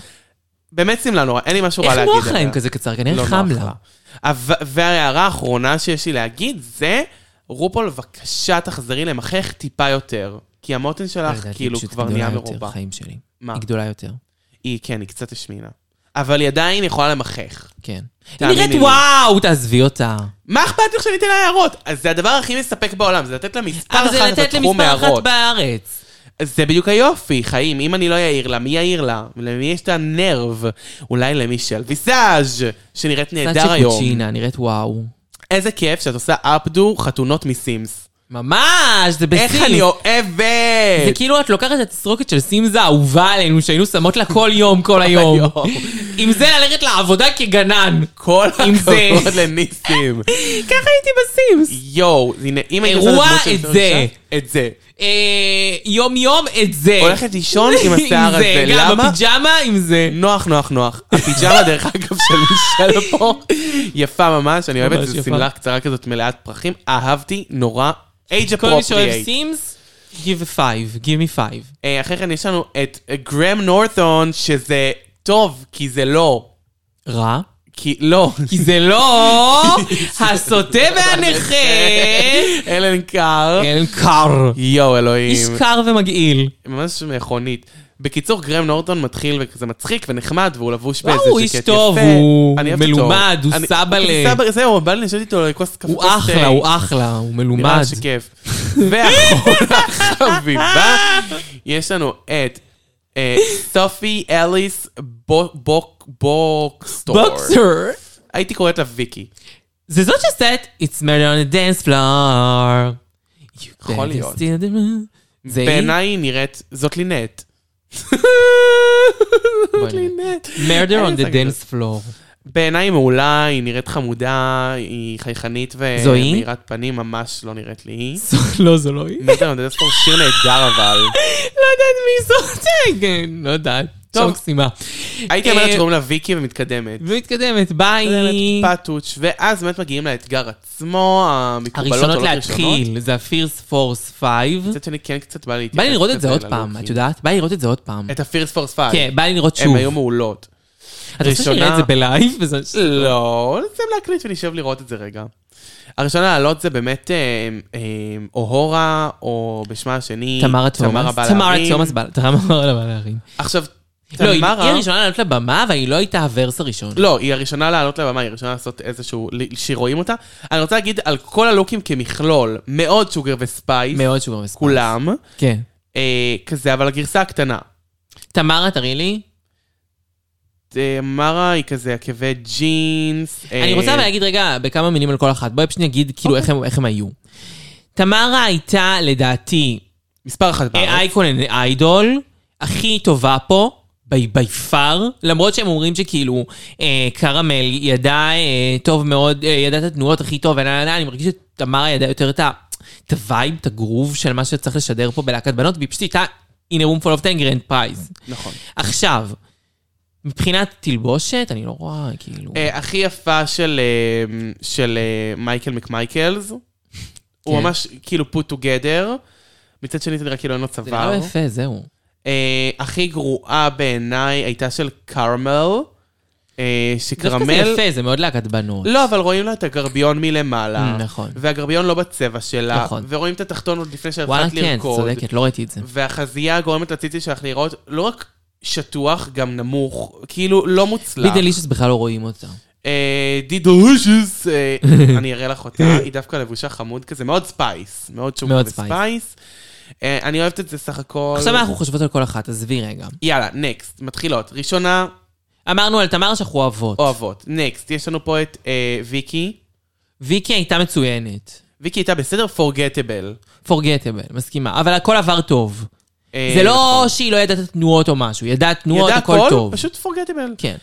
Speaker 3: באמת שמלה נורא, אין לי משהו רע
Speaker 1: איך
Speaker 3: להגיד
Speaker 1: נוח
Speaker 3: עליה.
Speaker 1: להם כזה קצר? כנראה
Speaker 3: לא
Speaker 1: חם
Speaker 3: נוח
Speaker 1: לה.
Speaker 3: אבל- וההערה האחרונה שיש לי להגיד זה, רופול, בבקשה תחזרי למחך טיפה יותר. כי המותן שלך
Speaker 1: לא, לדעתי
Speaker 3: כאילו
Speaker 1: פשוט
Speaker 3: כבר
Speaker 1: גדולה
Speaker 3: נהיה
Speaker 1: יותר,
Speaker 3: מרובע.
Speaker 1: חיים שלי.
Speaker 3: מה?
Speaker 1: היא גדולה יותר,
Speaker 3: היא, כן, היא קצת השמינה. אבל היא עדיין יכולה למחך.
Speaker 1: כן. היא
Speaker 3: תאמיני
Speaker 1: נראית
Speaker 3: לי.
Speaker 1: וואו, תעזבי אותה.
Speaker 3: מה אכפת לך שאני אתן לה הערות? אז זה הדבר הכי מספק בעולם, זה לתת לה מספר
Speaker 1: אבל זה
Speaker 3: אחת
Speaker 1: לתת
Speaker 3: ותחום
Speaker 1: למספר
Speaker 3: הערות.
Speaker 1: אחת בארץ.
Speaker 3: זה בדיוק היופי, חיים. אם אני לא אעיר לה, מי יעיר לה? למי יש את הנרב? אולי למישל ויסאז' שנראית נהדר היום.
Speaker 1: צ'ינה, נראית וואו.
Speaker 3: איזה כיף שאת עושה אפדו חתונות מסימס.
Speaker 1: ממש, זה בסיס.
Speaker 3: איך אני
Speaker 1: זה
Speaker 3: אוהבת!
Speaker 1: כאילו את לוקחת את התסרוקת של סימס האהובה עלינו, שהיינו שמות לה כל יום, כל היום.
Speaker 3: היום.
Speaker 1: עם זה ללכת לעבודה כגנן.
Speaker 3: כל
Speaker 1: כאילו עם זה.
Speaker 3: הכבוד לניסים.
Speaker 1: ככה הייתי בסימס.
Speaker 3: יואו, הנה, אם הייתי
Speaker 1: אירוע
Speaker 3: עושה דמות של
Speaker 1: את זה.
Speaker 3: שלושה, את זה.
Speaker 1: אה, יום יום את זה.
Speaker 3: הולכת לישון עם השיער הזה,
Speaker 1: גם
Speaker 3: למה? Mm,
Speaker 1: בפיג'מה עם זה.
Speaker 3: נוח, נוח, נוח. הפיג'מה, דרך אגב, של מישל פה, יפה ממש, אני אוהב את
Speaker 1: ממש
Speaker 3: זה,
Speaker 1: יפה.
Speaker 3: שמלה קצרה כזאת מלאת פרחים. אהבתי, נורא. אייג'
Speaker 1: כל מי שאוהב
Speaker 3: אפרופריאט.
Speaker 1: סימס, give a five, give me five.
Speaker 3: אה, אחרי כן יש לנו את גרם נורת'ון, שזה טוב, כי זה לא.
Speaker 1: רע.
Speaker 3: כי לא.
Speaker 1: כי זה לא הסוטה והנכה.
Speaker 3: אלן קאר.
Speaker 1: אין קר.
Speaker 3: יואו,
Speaker 1: כן. איש
Speaker 3: אלוהים.
Speaker 1: קר ומגעיל.
Speaker 3: ממש מכונית. בקיצור, גרם נורטון מתחיל וכזה מצחיק ונחמד, והוא לבוש
Speaker 1: וואו,
Speaker 3: באיזה
Speaker 1: לא, הוא איש
Speaker 3: ז'קט
Speaker 1: טוב,
Speaker 3: יפה.
Speaker 1: הוא
Speaker 3: אני אוהבת אותו.
Speaker 1: מלומד, הוא
Speaker 3: אני-
Speaker 1: סבא ל-
Speaker 3: הוא סבא, זהו, בא לי לשבת איתו לכוס קפה.
Speaker 1: הוא אחלה, הוא אחלה, הוא
Speaker 3: נראה
Speaker 1: מלומד.
Speaker 3: לי שכיף. ואחרונה חביבה, יש לנו את אה, סופי אליס בו- בוק- בוקסטור.
Speaker 1: בוקסר.
Speaker 3: הייתי קוראת לה ויקי.
Speaker 1: זה זאת שעשתה את It's Murder on the Dance Floor. You
Speaker 3: יכול
Speaker 1: better
Speaker 3: להיות.
Speaker 1: steal the moon. זה היא?
Speaker 3: בעיניי היא נראית, זאת לינט. זאת לינט.
Speaker 1: Murder on
Speaker 3: אין
Speaker 1: the
Speaker 3: לי את
Speaker 1: Dance Floor.
Speaker 3: בעיניי היא מעולה, היא נראית חמודה, היא חייכנית
Speaker 1: זו היא?
Speaker 3: ומאירת פנים, ממש לא נראית לי היא.
Speaker 1: לא, זו לא היא.
Speaker 3: מטר נדס פה שיר נהדר אבל.
Speaker 1: לא יודעת מי זאת. כן, לא יודעת.
Speaker 3: טוב.
Speaker 1: טוב, מקסימה.
Speaker 3: הייתי אומרת
Speaker 1: אה,
Speaker 3: שקוראים לה ויקי ומתקדמת.
Speaker 1: ומתקדמת, ביי.
Speaker 3: פטוץ', ואז באמת מגיעים לאתגר עצמו, המקובלות עולות
Speaker 1: הראשונות
Speaker 3: ראשונות.
Speaker 1: להתחיל, זה הפירס פורס 5.
Speaker 3: מצד שני כן קצת בא להתייחס.
Speaker 1: בא לי לראות את זה
Speaker 3: כזה
Speaker 1: עוד
Speaker 3: ללוקים.
Speaker 1: פעם, את יודעת? בא לי לראות את זה עוד פעם.
Speaker 3: את הפירס פורס פייב.
Speaker 1: כן, בא לי לראות שוב.
Speaker 3: הם היו מעולות.
Speaker 1: את רוצה שנראה את
Speaker 3: ראשונה-
Speaker 1: זה בלייב? וזה-
Speaker 3: לא, נצא להקליט ונשב לראות את זה רגע. הראשונה לעלות זה באמת אה, אה, אוהורה, או בשמה השני,
Speaker 1: תמרה תומאס.
Speaker 3: בעל
Speaker 1: תמרה
Speaker 3: הערים.
Speaker 1: תומאס בעל- תמרה בעל הערים.
Speaker 3: עכשיו,
Speaker 1: לא, היא היא
Speaker 3: תמרה...
Speaker 1: הראשונה לעלות לבמה, אבל היא לא הייתה הוורס הראשון.
Speaker 3: לא, היא הראשונה לעלות לבמה, היא הראשונה לעשות איזשהו... שרואים אותה. אני רוצה להגיד על כל הלוקים כמכלול, מאוד שוגר וספייס,
Speaker 1: מאוד שוגר וספייס.
Speaker 3: כולם,
Speaker 1: כן.
Speaker 3: אה, כזה, אבל הגרסה הקטנה.
Speaker 1: תמרה, תראי לי.
Speaker 3: אה, מרה היא כזה עקבי ג'ינס. אה,
Speaker 1: אני רוצה אבל להגיד רגע בכמה מילים על כל אחת. בואי פשוט נגיד כאילו איך הם- איך הם היו. תמרה הייתה, לדעתי,
Speaker 3: מספר
Speaker 1: אה,
Speaker 3: אחת בארץ.
Speaker 1: אייקון אנד איידול, הכי טובה פה. בי בי פאר, למרות שהם אומרים שכאילו אה, קרמל ידע אה, טוב מאוד, אה, ידע את התנועות הכי טוב, ואני, אני, אני מרגיש שתמרה ידעה יותר את ה- את הווייב, את הגרוב של מה שצריך לשדר פה בלהקת בנות, והיא פשוט הייתה in a room full of 10 grand prize.
Speaker 3: נכון.
Speaker 1: עכשיו, מבחינת תלבושת, אני לא רואה, כאילו...
Speaker 3: אה, הכי יפה של, אה, של אה, מייקל מקמייקלס. הוא
Speaker 1: כן.
Speaker 3: ממש כאילו put together. מצד שני זה נראה כאילו אין לו
Speaker 1: זה לא
Speaker 3: צוואר.
Speaker 1: יפה, זהו.
Speaker 3: אה, הכי גרועה בעיניי הייתה של קרמל. אה,
Speaker 1: דווקא זה לא
Speaker 3: שקרמל...
Speaker 1: יפה, זה מאוד להקת בנות.
Speaker 3: לא, אבל רואים לה את הגרביון מלמעלה.
Speaker 1: Mm, נכון.
Speaker 3: והגרביון לא בצבע שלה.
Speaker 1: נכון.
Speaker 3: ורואים את התחתון עוד לפני שהתחלת
Speaker 1: וואלה,
Speaker 3: לרקוד.
Speaker 1: כן, צודקת, לא ראיתי את זה.
Speaker 3: והחזייה גורמת לציצי שלך להיראות לא רק שטוח, גם נמוך, כאילו לא מוצלח.
Speaker 1: ביט דלישוס בכלל לא רואים אותה.
Speaker 3: אה, די דרושוס, אה, אני אראה לך אותה, היא דווקא לבושה חמוד כזה, מאוד ספייס, מאוד שוק
Speaker 1: מאוד
Speaker 3: וספייס. אה, אני אוהבת את זה סך הכל.
Speaker 1: עכשיו אנחנו חושבות על כל אחת, עזבי רגע.
Speaker 3: יאללה, נקסט, מתחילות. ראשונה,
Speaker 1: אמרנו על תמר שאנחנו אוהבות.
Speaker 3: אוהבות. נקסט, יש לנו פה את אה, ויקי.
Speaker 1: ויקי הייתה מצוינת.
Speaker 3: ויקי הייתה בסדר פורגטבל.
Speaker 1: פורגטבל, מסכימה. אבל הכל עבר טוב.
Speaker 3: אה,
Speaker 1: זה לא שהיא לא ידעה את התנועות או משהו, היא ידעה תנועות, הכל טוב.
Speaker 3: נכון. פשוט פורגטבל.
Speaker 1: כן.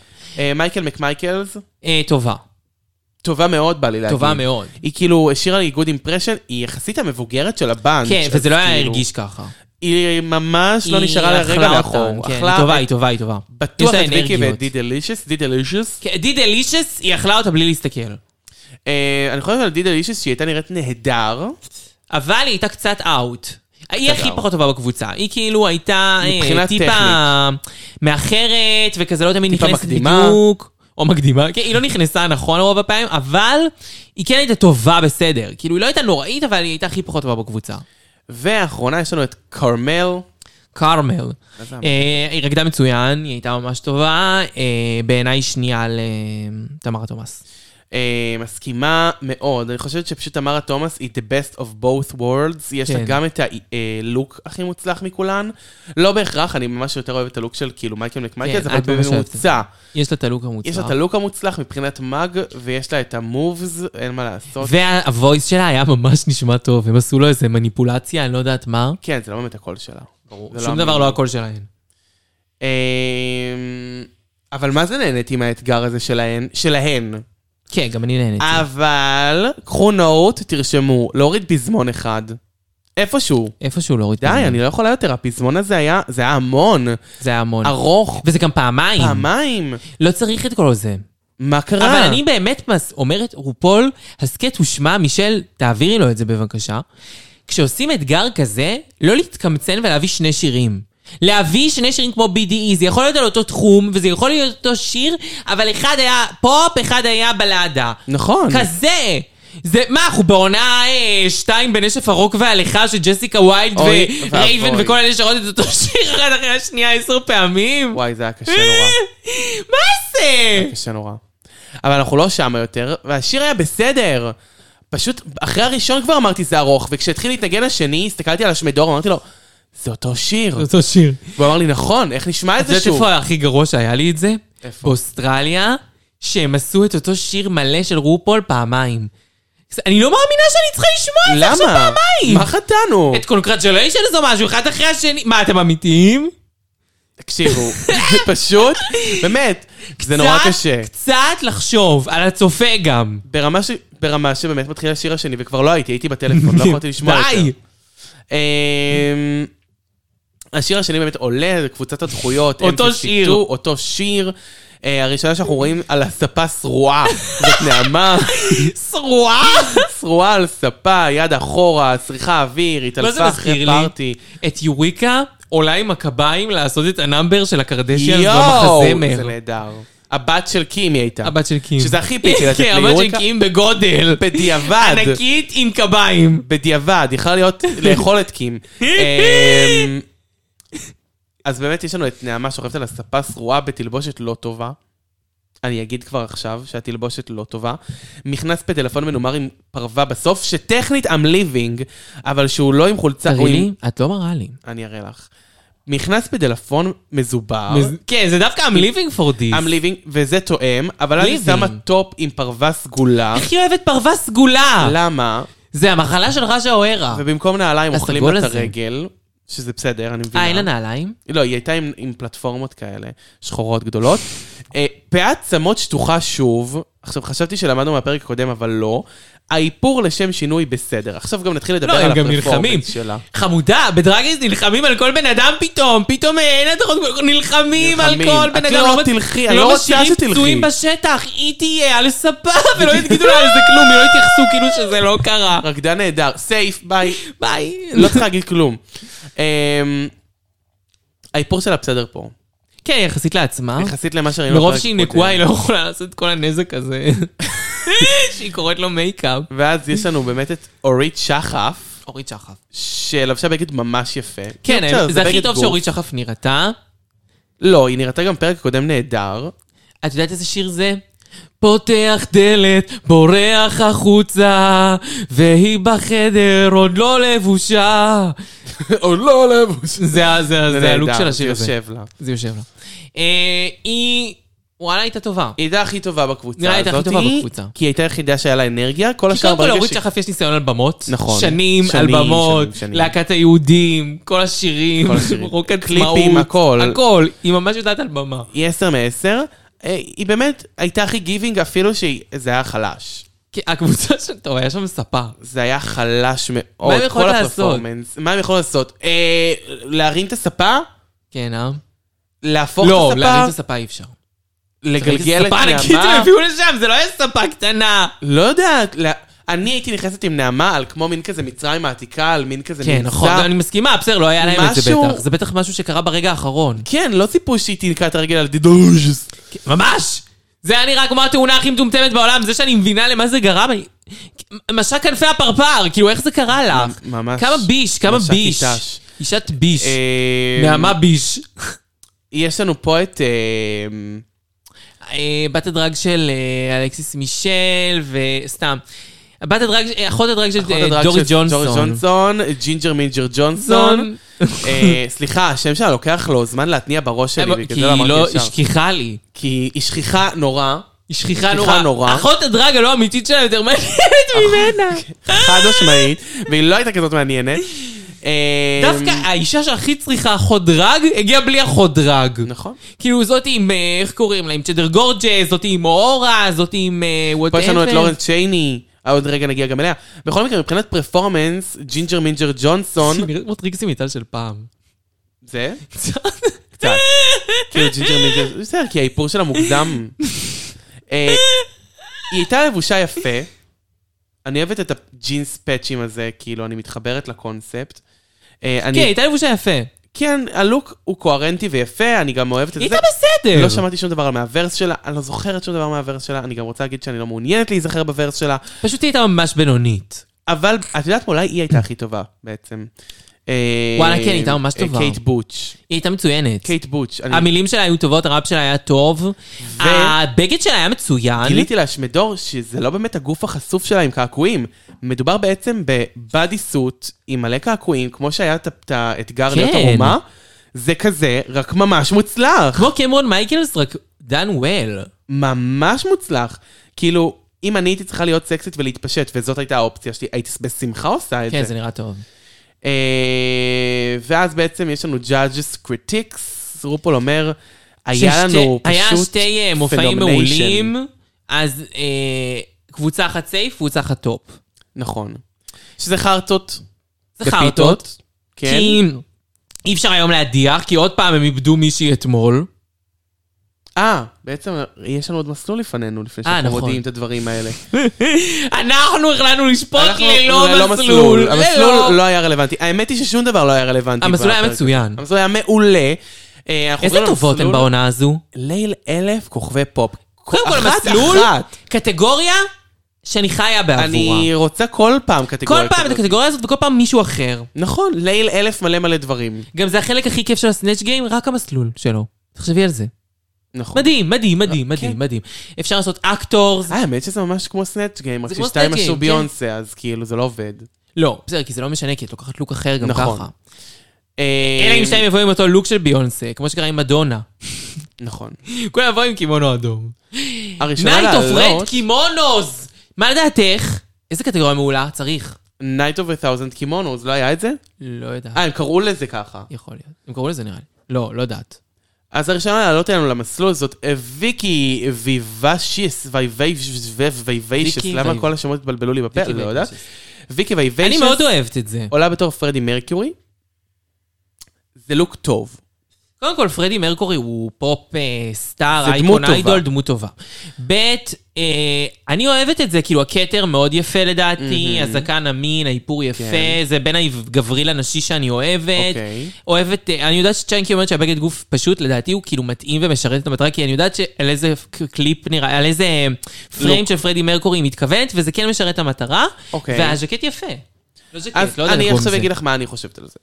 Speaker 3: מייקל מקמייקלס,
Speaker 1: אה, טובה.
Speaker 3: טובה מאוד בא לי להגיד.
Speaker 1: טובה מאוד.
Speaker 3: היא כאילו השאירה לי גוד אימפרשן, היא יחסית המבוגרת של הבנץ'.
Speaker 1: כן,
Speaker 3: אז
Speaker 1: וזה לא היה
Speaker 3: כאילו,
Speaker 1: הרגיש ככה.
Speaker 3: היא ממש לא
Speaker 1: היא
Speaker 3: נשארה לרגע
Speaker 1: אכלה
Speaker 3: לאחור.
Speaker 1: אותם, כן,
Speaker 3: אכלה
Speaker 1: היא טובה,
Speaker 3: את-
Speaker 1: היא טובה, היא טובה.
Speaker 3: בטוח
Speaker 1: יש לה
Speaker 3: את ויקי
Speaker 1: אנרגיות.
Speaker 3: ואת די דלישס, די דלישס.
Speaker 1: כן, די דלישס, היא אכלה אותה בלי להסתכל.
Speaker 3: אה, אני חושב על די דלישס שהיא הייתה נראית נהדר.
Speaker 1: אבל היא הייתה קצת אאוט. היא הכי פחות טובה בקבוצה. היא כאילו הייתה אה,
Speaker 3: מבחינה
Speaker 1: טיפה מאחרת, וכזה לא תמיד
Speaker 3: טיפה
Speaker 1: נכנסת
Speaker 3: מקדימה.
Speaker 1: בדיוק. או מקדימה, כן, היא לא נכנסה נכון רוב הפעמים, אבל היא כן הייתה טובה בסדר. כאילו, היא לא הייתה נוראית, אבל היא הייתה הכי פחות טובה בקבוצה.
Speaker 3: והאחרונה יש לנו את כרמל.
Speaker 1: כרמל.
Speaker 3: אז למה?
Speaker 1: אה, היא רקדה מצוין, היא הייתה ממש טובה. אה, בעיניי שנייה לתמרה תומאס.
Speaker 3: אה, מסכימה מאוד. אני חושבת שפשוט תמרה תומאס היא the best of both worlds. יש לה
Speaker 1: כן.
Speaker 3: גם את הלוק הכי מוצלח מכולן. לא בהכרח, אני ממש יותר אוהב את הלוק של כאילו מייקל מקמייקלס,
Speaker 1: כן,
Speaker 3: אבל
Speaker 1: את ממש אוהבת את
Speaker 3: בממוצע.
Speaker 1: יש לה את הלוק המוצלח.
Speaker 3: יש לה את הלוק המוצלח מבחינת מאג, ויש לה את המובס, אין מה לעשות.
Speaker 1: והוויס שלה היה ממש נשמע טוב, הם עשו לו איזה מניפולציה, אני לא יודעת מה.
Speaker 3: כן, זה לא באמת הקול שלה. זה
Speaker 1: שום
Speaker 3: אמיתי.
Speaker 1: דבר לא הקול שלהן.
Speaker 3: אמ, אבל מה זה נהניתי מהאתגר הזה שלהן? שלהן.
Speaker 1: כן, גם אני נהניתי.
Speaker 3: אבל, קחו נוט, תרשמו, להוריד פזמון אחד. איפשהו.
Speaker 1: איפשהו לא הוריד
Speaker 3: די,
Speaker 1: פזמון.
Speaker 3: אני לא יכולה יותר, הפזמון הזה היה, זה היה המון,
Speaker 1: זה היה המון.
Speaker 3: ארוך,
Speaker 1: וזה גם פעמיים.
Speaker 3: פעמיים. אה.
Speaker 1: לא צריך את כל זה.
Speaker 3: מה קרה?
Speaker 1: אבל אני באמת מס... אומרת, רופול, הסכת הושמע, מישל, תעבירי לו את זה בבקשה. כשעושים אתגר כזה, לא להתקמצן ולהביא שני שירים. להביא שני שירים כמו BDE, זה יכול להיות על אותו תחום, וזה יכול להיות אותו שיר, אבל אחד היה פופ, אחד היה בלאדה.
Speaker 3: נכון.
Speaker 1: כזה! זה, מה, אנחנו בעונה אה, שתיים בנשף הרוק וההליכה של ג'סיקה ויילד
Speaker 3: אוי
Speaker 1: ורייבן
Speaker 3: ואבוי.
Speaker 1: וכל אלה שרואות את אותו שיר אחד אחרי השנייה עשר פעמים? אה,
Speaker 3: וואי, זה היה קשה נורא,
Speaker 1: מה זה?
Speaker 3: קשה נורא. אבל אנחנו לא שם יותר, והשיר היה בסדר. פשוט, אחרי הראשון כבר אמרתי זה ארוך, וכשהתחיל להתנגן השני, הסתכלתי על השמדור, אמרתי לו, זה אותו שיר.
Speaker 1: אותו שיר.
Speaker 3: והוא אמר לי, נכון, איך נשמע את
Speaker 1: את
Speaker 3: זה
Speaker 1: יודעת
Speaker 3: שוב?
Speaker 1: איפה הכי גרוע שהיה לי את זה?
Speaker 3: איפה?
Speaker 1: באוסטרליה, שהם עשו את אותו שיר מלא של רופול פעמיים. אני לא מאמינה שאני צריכה לשמוע את זה עכשיו
Speaker 3: למה?
Speaker 1: פעמיים!
Speaker 3: מה חטאנו?
Speaker 1: את קונקרטוליישנס או משהו, אחד אחרי השני. מה, אתם אמיתיים?
Speaker 3: תקשיבו, זה פשוט, באמת, זה נורא
Speaker 1: קצת-
Speaker 3: קשה.
Speaker 1: קצת לחשוב, על הצופה גם.
Speaker 3: ברמה, ש... ברמה שבאמת מתחיל השיר השני, וכבר לא הייתי, הייתי בטלפון, לא יכולתי לשמוע את
Speaker 1: די!
Speaker 3: זה. השיר השני באמת עולה, זה קבוצת הדחויות.
Speaker 1: אותו
Speaker 3: MTV2,
Speaker 1: שיר.
Speaker 3: אותו שיר. אה, הראשונה שאנחנו רואים על הספה שרועה, זאת נעמה,
Speaker 1: שרועה!
Speaker 3: שרועה על ספה, יד אחורה, צריכה אוויר,
Speaker 1: מה זה
Speaker 3: התעלפה אחרי
Speaker 1: מזכיר לי?
Speaker 3: פארטי.
Speaker 1: את יוריקה עולה עם הקביים לעשות את הנאמבר של הקרדשיאנס
Speaker 3: יואו, זה
Speaker 1: במחזמר.
Speaker 3: נהדר. הבת של קים היא הייתה.
Speaker 1: הבת של קים.
Speaker 3: שזה הכי פיצי לתת
Speaker 1: כן, הבת של
Speaker 3: ליוריקה.
Speaker 1: קים בגודל.
Speaker 3: בדיעבד.
Speaker 1: ענקית עם קביים.
Speaker 3: בדיעבד, יכלה להיות לאכול את קים. אמ, אז באמת יש לנו את נעמה שוכבת על הספה שרועה בתלבושת לא טובה. אני אגיד כבר עכשיו שהתלבושת לא טובה. נכנס בטלפון מנומר עם פרווה בסוף, שטכנית I'm living, אבל שהוא לא עם חולצה... הוא עם-
Speaker 1: תראי לי, את לא מראה לי.
Speaker 3: אני אראה לך. נכנס בטלפון מזובר.
Speaker 1: כן, זה דווקא I'm living for this.
Speaker 3: I'm living, וזה תואם, אבל אני
Speaker 1: Living.
Speaker 3: שמה טופ עם פרווה סגולה.
Speaker 1: הכי אוהבת פרווה סגולה.
Speaker 3: למה?
Speaker 1: זה המחלה של רג'ה אוהרה.
Speaker 3: ובמקום נעליים אוכלים
Speaker 1: הסגול
Speaker 3: לה את
Speaker 1: אה. הזה.
Speaker 3: הרגל, שזה בסדר, אני מבינה.
Speaker 1: אה, אין לה נעליים?
Speaker 3: לא, היא הייתה עם, עם פלטפורמות כאלה, שחורות גדולות. אה, פאת צמות שטוחה שוב, עכשיו חשבתי שלמדנו מהפרק הקודם, אבל לא. האיפור לשם שינוי בסדר. עכשיו גם נתחיל לדבר
Speaker 1: לא,
Speaker 3: על
Speaker 1: הם גם נלחמים.
Speaker 3: הפלטפורמנס שלה.
Speaker 1: חמודה, בדרגייז נלחמים על כל בן אדם פתאום, פתאום אה, אין הדרכות, נלחמים על
Speaker 3: נלחמים.
Speaker 1: כל
Speaker 3: את
Speaker 1: בן אדם.
Speaker 3: לא תלכי, אני לא רוצה
Speaker 1: משאירים
Speaker 3: שתלכי.
Speaker 1: פצועים בשטח, היא תהיה על הספה, ולא יגידו לה על זה כלום, היא לא יתייחסו כאילו שזה לא קרה.
Speaker 3: רקדן נהדר, סייף, ביי.
Speaker 1: ביי.
Speaker 3: לא צריך להגיד כלום. אמ, האיפור שלה בסדר פה.
Speaker 1: כן, יחסית לעצמה.
Speaker 3: יחסית למה שראינו
Speaker 1: מרוב
Speaker 3: בפרק
Speaker 1: שהיא
Speaker 3: הקודם.
Speaker 1: נקועה, היא לא יכולה לעשות את כל הנזק הזה. שהיא קוראת לו מייקאפ.
Speaker 3: ואז יש לנו באמת את אורית שחף,
Speaker 1: אורית שחף.
Speaker 3: שלבשה בגד ממש יפה.
Speaker 1: כן,
Speaker 3: בסדר,
Speaker 1: זה הכי
Speaker 3: בגד
Speaker 1: טוב
Speaker 3: גוף.
Speaker 1: שאורית שחף נראתה.
Speaker 3: לא, היא נראתה גם פרק קודם נהדר.
Speaker 1: את יודעת איזה שיר זה? פותח דלת, בורח החוצה, והיא בחדר עוד לא לבושה.
Speaker 3: עוד לא לבוש.
Speaker 1: זה ה- זה ה- זה הלוק של השיר
Speaker 3: זה
Speaker 1: הזה.
Speaker 3: יושב לה.
Speaker 1: זה יושב לה. אה, היא, וואלה, הייתה טובה.
Speaker 3: היא הייתה הכי טובה בקבוצה
Speaker 1: נראה לי הייתה הכי
Speaker 3: הזאתי,
Speaker 1: טובה בקבוצה.
Speaker 3: כי היא הייתה היחידה שהיה לה אנרגיה, כל
Speaker 1: כי
Speaker 3: השאר
Speaker 1: קודם כל
Speaker 3: ברגע
Speaker 1: לאורית
Speaker 3: ש-
Speaker 1: שחף יש ניסיון על במות.
Speaker 3: נכון.
Speaker 1: שנים על
Speaker 3: שנים,
Speaker 1: במות,
Speaker 3: שנים, שנים.
Speaker 1: להקת היהודים, כל השירים,
Speaker 3: כל השירים.
Speaker 1: רוק
Speaker 3: קליפים,
Speaker 1: עצמאות.
Speaker 3: הכל.
Speaker 1: הכל. היא ממש יודעת על במה.
Speaker 3: היא 10 מ-10, היא באמת הייתה הכי גיבינג אפילו שזה היה חלש.
Speaker 1: כי הקבוצה של... טוב, היה שם ספה.
Speaker 3: זה היה חלש מאוד,
Speaker 1: מה הם יכולות
Speaker 3: כל
Speaker 1: לעשות?
Speaker 3: הפרפורמנס. מה הם יכולים לעשות? אה, להרים את הספה?
Speaker 1: כן, אה?
Speaker 3: להפוך
Speaker 1: לא,
Speaker 3: את
Speaker 1: להרים את
Speaker 3: הספה?
Speaker 1: הספה אי אפשר.
Speaker 3: לגלגל את
Speaker 1: ספה ענקית הם
Speaker 3: נעמה?
Speaker 1: הביאו לשם, זה לא היה ספה קטנה.
Speaker 3: לא יודעת. לה- אני הייתי נכנסת עם נעמה על כמו מין כזה מצרים העתיקה, על מין כזה
Speaker 1: כן,
Speaker 3: מבצע.
Speaker 1: נכון, אני מסכימה, בסדר, לא היה להם את זה
Speaker 3: משהו-
Speaker 1: בטח. זה בטח משהו שקרה ברגע האחרון.
Speaker 3: כן, לא ציפו שהיא תנקע את הרגל על דידוז'.
Speaker 1: כן, ממש! זה היה נראה כמו התאונה הכי מטומטמת בעולם, זה שאני מבינה למה זה גרם, אני... משק כנפי הפרפר, כאילו, איך זה קרה לך?
Speaker 3: ממש.
Speaker 1: כמה ביש, כמה
Speaker 3: משק
Speaker 1: ביש.
Speaker 3: איתש.
Speaker 1: אישת ביש.
Speaker 3: אה,
Speaker 1: נעמה ביש.
Speaker 3: יש לנו פה את... אה,
Speaker 1: אה, בת הדרג של אה, אלכסיס מישל, וסתם. בת הדרג, אה, אחות הדרג של
Speaker 3: אחות
Speaker 1: אה,
Speaker 3: הדרג
Speaker 1: דורי
Speaker 3: של דורי
Speaker 1: ג'ונסון.
Speaker 3: ג'ונסון, ג'ינג'ר מינג'ר
Speaker 1: נכון.
Speaker 3: ג'ונסון. אה, סליחה, השם שלה לוקח לו זמן להתניע בראש שלי,
Speaker 1: כי
Speaker 3: בגלל זה לא
Speaker 1: היא לא,
Speaker 3: אמרתי
Speaker 1: היא
Speaker 3: ישר.
Speaker 1: שכיחה לי.
Speaker 3: כי היא שכיחה נורא,
Speaker 1: היא שכיחה
Speaker 3: שכיחה
Speaker 1: נורא.
Speaker 3: נורא.
Speaker 1: אחות הדרג הלא אמיתית שלה יותר מעניינת ממנה.
Speaker 3: חד משמעית, והיא לא הייתה כזאת מעניינת. אה,
Speaker 1: דווקא האישה שהכי צריכה אחות דרג, הגיעה בלי אחות דרג.
Speaker 3: נכון.
Speaker 1: כאילו זאתי עם, אה, איך קוראים לה? עם צ'דר גורג'ה, זאתי עם אורה, זאתי עם אה,
Speaker 3: פה
Speaker 1: וואטאבר.
Speaker 3: יש לנו את לורנס צ'ייני, אה, עוד רגע נגיע גם אליה. בכל מקרה, מבחינת פרפורמנס, ג'ינג'ר מינג'ר ג'ונסון,
Speaker 1: היא נראית כמו טריקסי מיטל של פעם.
Speaker 3: זה? קצת. כאילו ג'ינג'ר מינג'ר, בסדר, כי האיפור שלה מוקדם. אה, היא הייתה לבושה יפה. אני אוהבת את הג'ינס פאצ'ים הזה, כאילו, אני מתחברת לקונספט. אה, אני-
Speaker 1: כן, הייתה לבושה יפה. היא
Speaker 3: כן, הלוק הוא קוהרנטי ויפה, אני גם אוהבת את זה.
Speaker 1: הייתה בסדר.
Speaker 3: לא שמעתי שום דבר על מהוורס שלה, אני לא זוכרת שום דבר מהוורס שלה, אני גם רוצה להגיד שאני לא מעוניינת להיזכר בוורס שלה,
Speaker 1: פשוט היא הייתה ממש בינונית.
Speaker 3: אבל את יודעת מה, אולי היא הייתה הכי טובה בעצם. אה,
Speaker 1: וואלה, כן, היא הייתה ממש
Speaker 3: אה,
Speaker 1: טובה.
Speaker 3: קייט בוטש.
Speaker 1: היא הייתה מצוינת.
Speaker 3: קייט בוטש. אני
Speaker 1: המילים שלה היו טובות, הראפ שלה היה טוב. הבגד שלה היה מצוין.
Speaker 3: גיליתי להשמדור שזה לא באמת הגוף החשוף שלה עם קעקועים. מדובר בעצם בבאדי סוט עם מלא קעקועים, כמו שהיה את- את האתגר להיות
Speaker 1: כן.
Speaker 3: ערומה. זה כזה, רק ממש מוצלח.
Speaker 1: כמו קמרון מייקלס, רק דן וול.
Speaker 3: ממש מוצלח. כאילו, אם אני הייתי צריכה להיות סקסית ולהתפשט, וזאת הייתה האופציה שלי, הייתי בשמחה עושה את
Speaker 1: כן,
Speaker 3: זה.
Speaker 1: זה נראה טוב.
Speaker 3: אה, ואז בעצם יש לנו judges critics, רופול אומר, היה
Speaker 1: ששתי-
Speaker 3: לנו פשוט
Speaker 1: היה שתי אה, מופעים
Speaker 3: phenomenation.
Speaker 1: מעולים, אז אה, קבוצה אחת סייף, קבוצה אחת טופ.
Speaker 3: נכון. שזה חרטות.
Speaker 1: זה חרטות. כאילו.
Speaker 3: ופיתות, כן.
Speaker 1: כי אי אפשר היום להדיח, כי עוד פעם הם איבדו מישהי אתמול.
Speaker 3: אה, בעצם יש לנו עוד מסלול לפנינו, לפני
Speaker 1: אה,
Speaker 3: שאנחנו
Speaker 1: נכון.
Speaker 3: מודיעים את הדברים האלה.
Speaker 1: אנחנו החלטנו לשפוט
Speaker 3: אנחנו-
Speaker 1: ללא
Speaker 3: לא
Speaker 1: מסלול.
Speaker 3: המסלול לא היה רלוונטי. האמת היא ששום דבר לא היה רלוונטי.
Speaker 1: המסלול היה
Speaker 3: בפרק.
Speaker 1: מצוין.
Speaker 3: המסלול היה מעולה. אה, אנחנו
Speaker 1: איזה
Speaker 3: עוברים
Speaker 1: טובות
Speaker 3: למסלול
Speaker 1: הן בעונה הזו?
Speaker 3: ליל אלף כוכבי פופ.
Speaker 1: קודם כל,
Speaker 3: אחת,
Speaker 1: מסלול,
Speaker 3: אחת.
Speaker 1: קטגוריה שאני חיה בעבורה.
Speaker 3: אני רוצה כל פעם
Speaker 1: כל
Speaker 3: קטגוריה
Speaker 1: פעם את
Speaker 3: כזאת.
Speaker 1: הקטגוריה הזאת וכל פעם מישהו אחר.
Speaker 3: נכון, ליל אלף מלא מלא דברים.
Speaker 1: גם זה החלק הכי כיף של הסנאצ' גיים, רק המסלול שלו. תחשבי על זה.
Speaker 3: נכון. כן.
Speaker 1: מדהים, מדהים, מדהים, מדהים, מדהים. אפשר לעשות אקטורס.
Speaker 3: אה, האמת שזה ממש כמו סנאצ' גיים, רק
Speaker 1: זה כמו
Speaker 3: ששתיים
Speaker 1: סנאצ'
Speaker 3: עשו
Speaker 1: גיים, כן.
Speaker 3: ביונסה, אז כאילו זה לא עובד.
Speaker 1: לא, בסדר, כי זה לא משנה, כי את לוקחת לוק אחר גם
Speaker 3: נכון.
Speaker 1: ככה.
Speaker 3: אה,
Speaker 1: אלא אם שתיים יבואו עם אותו לוק של ביונסה, כמו שקרה עם מדונה.
Speaker 3: נכון.
Speaker 1: כולם יבואו עם קימונו אדום.
Speaker 3: הראשונה
Speaker 1: נייט אוף
Speaker 3: לעלות...
Speaker 1: רד קימונוס! מה לדעתך? איזה קטגוריה מעולה? צריך.
Speaker 3: Night of a Thousand Kimonos, לא היה את זה?
Speaker 1: לא יודעת.
Speaker 3: אה, הם קראו לזה ככה.
Speaker 1: יכול להיות. הם קראו לזה נראה לי. לא, לא יודעת.
Speaker 3: אז הראשונה לעלות אלינו למסלול זאת אה, ויקי ויבשיס, וייביישס, וייביישס,
Speaker 1: ויקי
Speaker 3: למה
Speaker 1: וייב-
Speaker 3: כל השמות התבלבלו לי בפה?
Speaker 1: ויקי
Speaker 3: לא יודעת.
Speaker 1: וייביישס.
Speaker 3: ויקי וייביישס.
Speaker 1: אני מאוד אוהבת את זה.
Speaker 3: עולה בתור פרדי מרקיורי. זה לוק טוב.
Speaker 1: קודם כל, פרדי מרקורי הוא פופ אה, סטאר,
Speaker 3: זה
Speaker 1: אייקון
Speaker 3: דמות טובה.
Speaker 1: איידול, דמות טובה. ב', אה, אני אוהבת את זה, כאילו, הכתר מאוד יפה לדעתי, הזקן אמין, האיפור יפה,
Speaker 3: כן.
Speaker 1: זה בין הגברי לנשי שאני אוהבת.
Speaker 3: אוקיי.
Speaker 1: אוהבת, אה, אני יודעת שצ'יינקי אומרת שהבגד גוף פשוט, לדעתי הוא כאילו מתאים ומשרת את המטרה, כי אני יודעת שעל איזה ק- קליפ נראה, על איזה אה, פריים של פרדי מרקורי היא מתכוונת, וזה כן משרת את המטרה,
Speaker 3: אוקיי.
Speaker 1: והז'קט יפה. לא ז'קט,
Speaker 3: אז
Speaker 1: לא יודעת
Speaker 3: אני
Speaker 1: איך
Speaker 3: עכשיו
Speaker 1: קוראים
Speaker 3: אגיד
Speaker 1: לזה.
Speaker 3: לך מה אני חושבת על זה.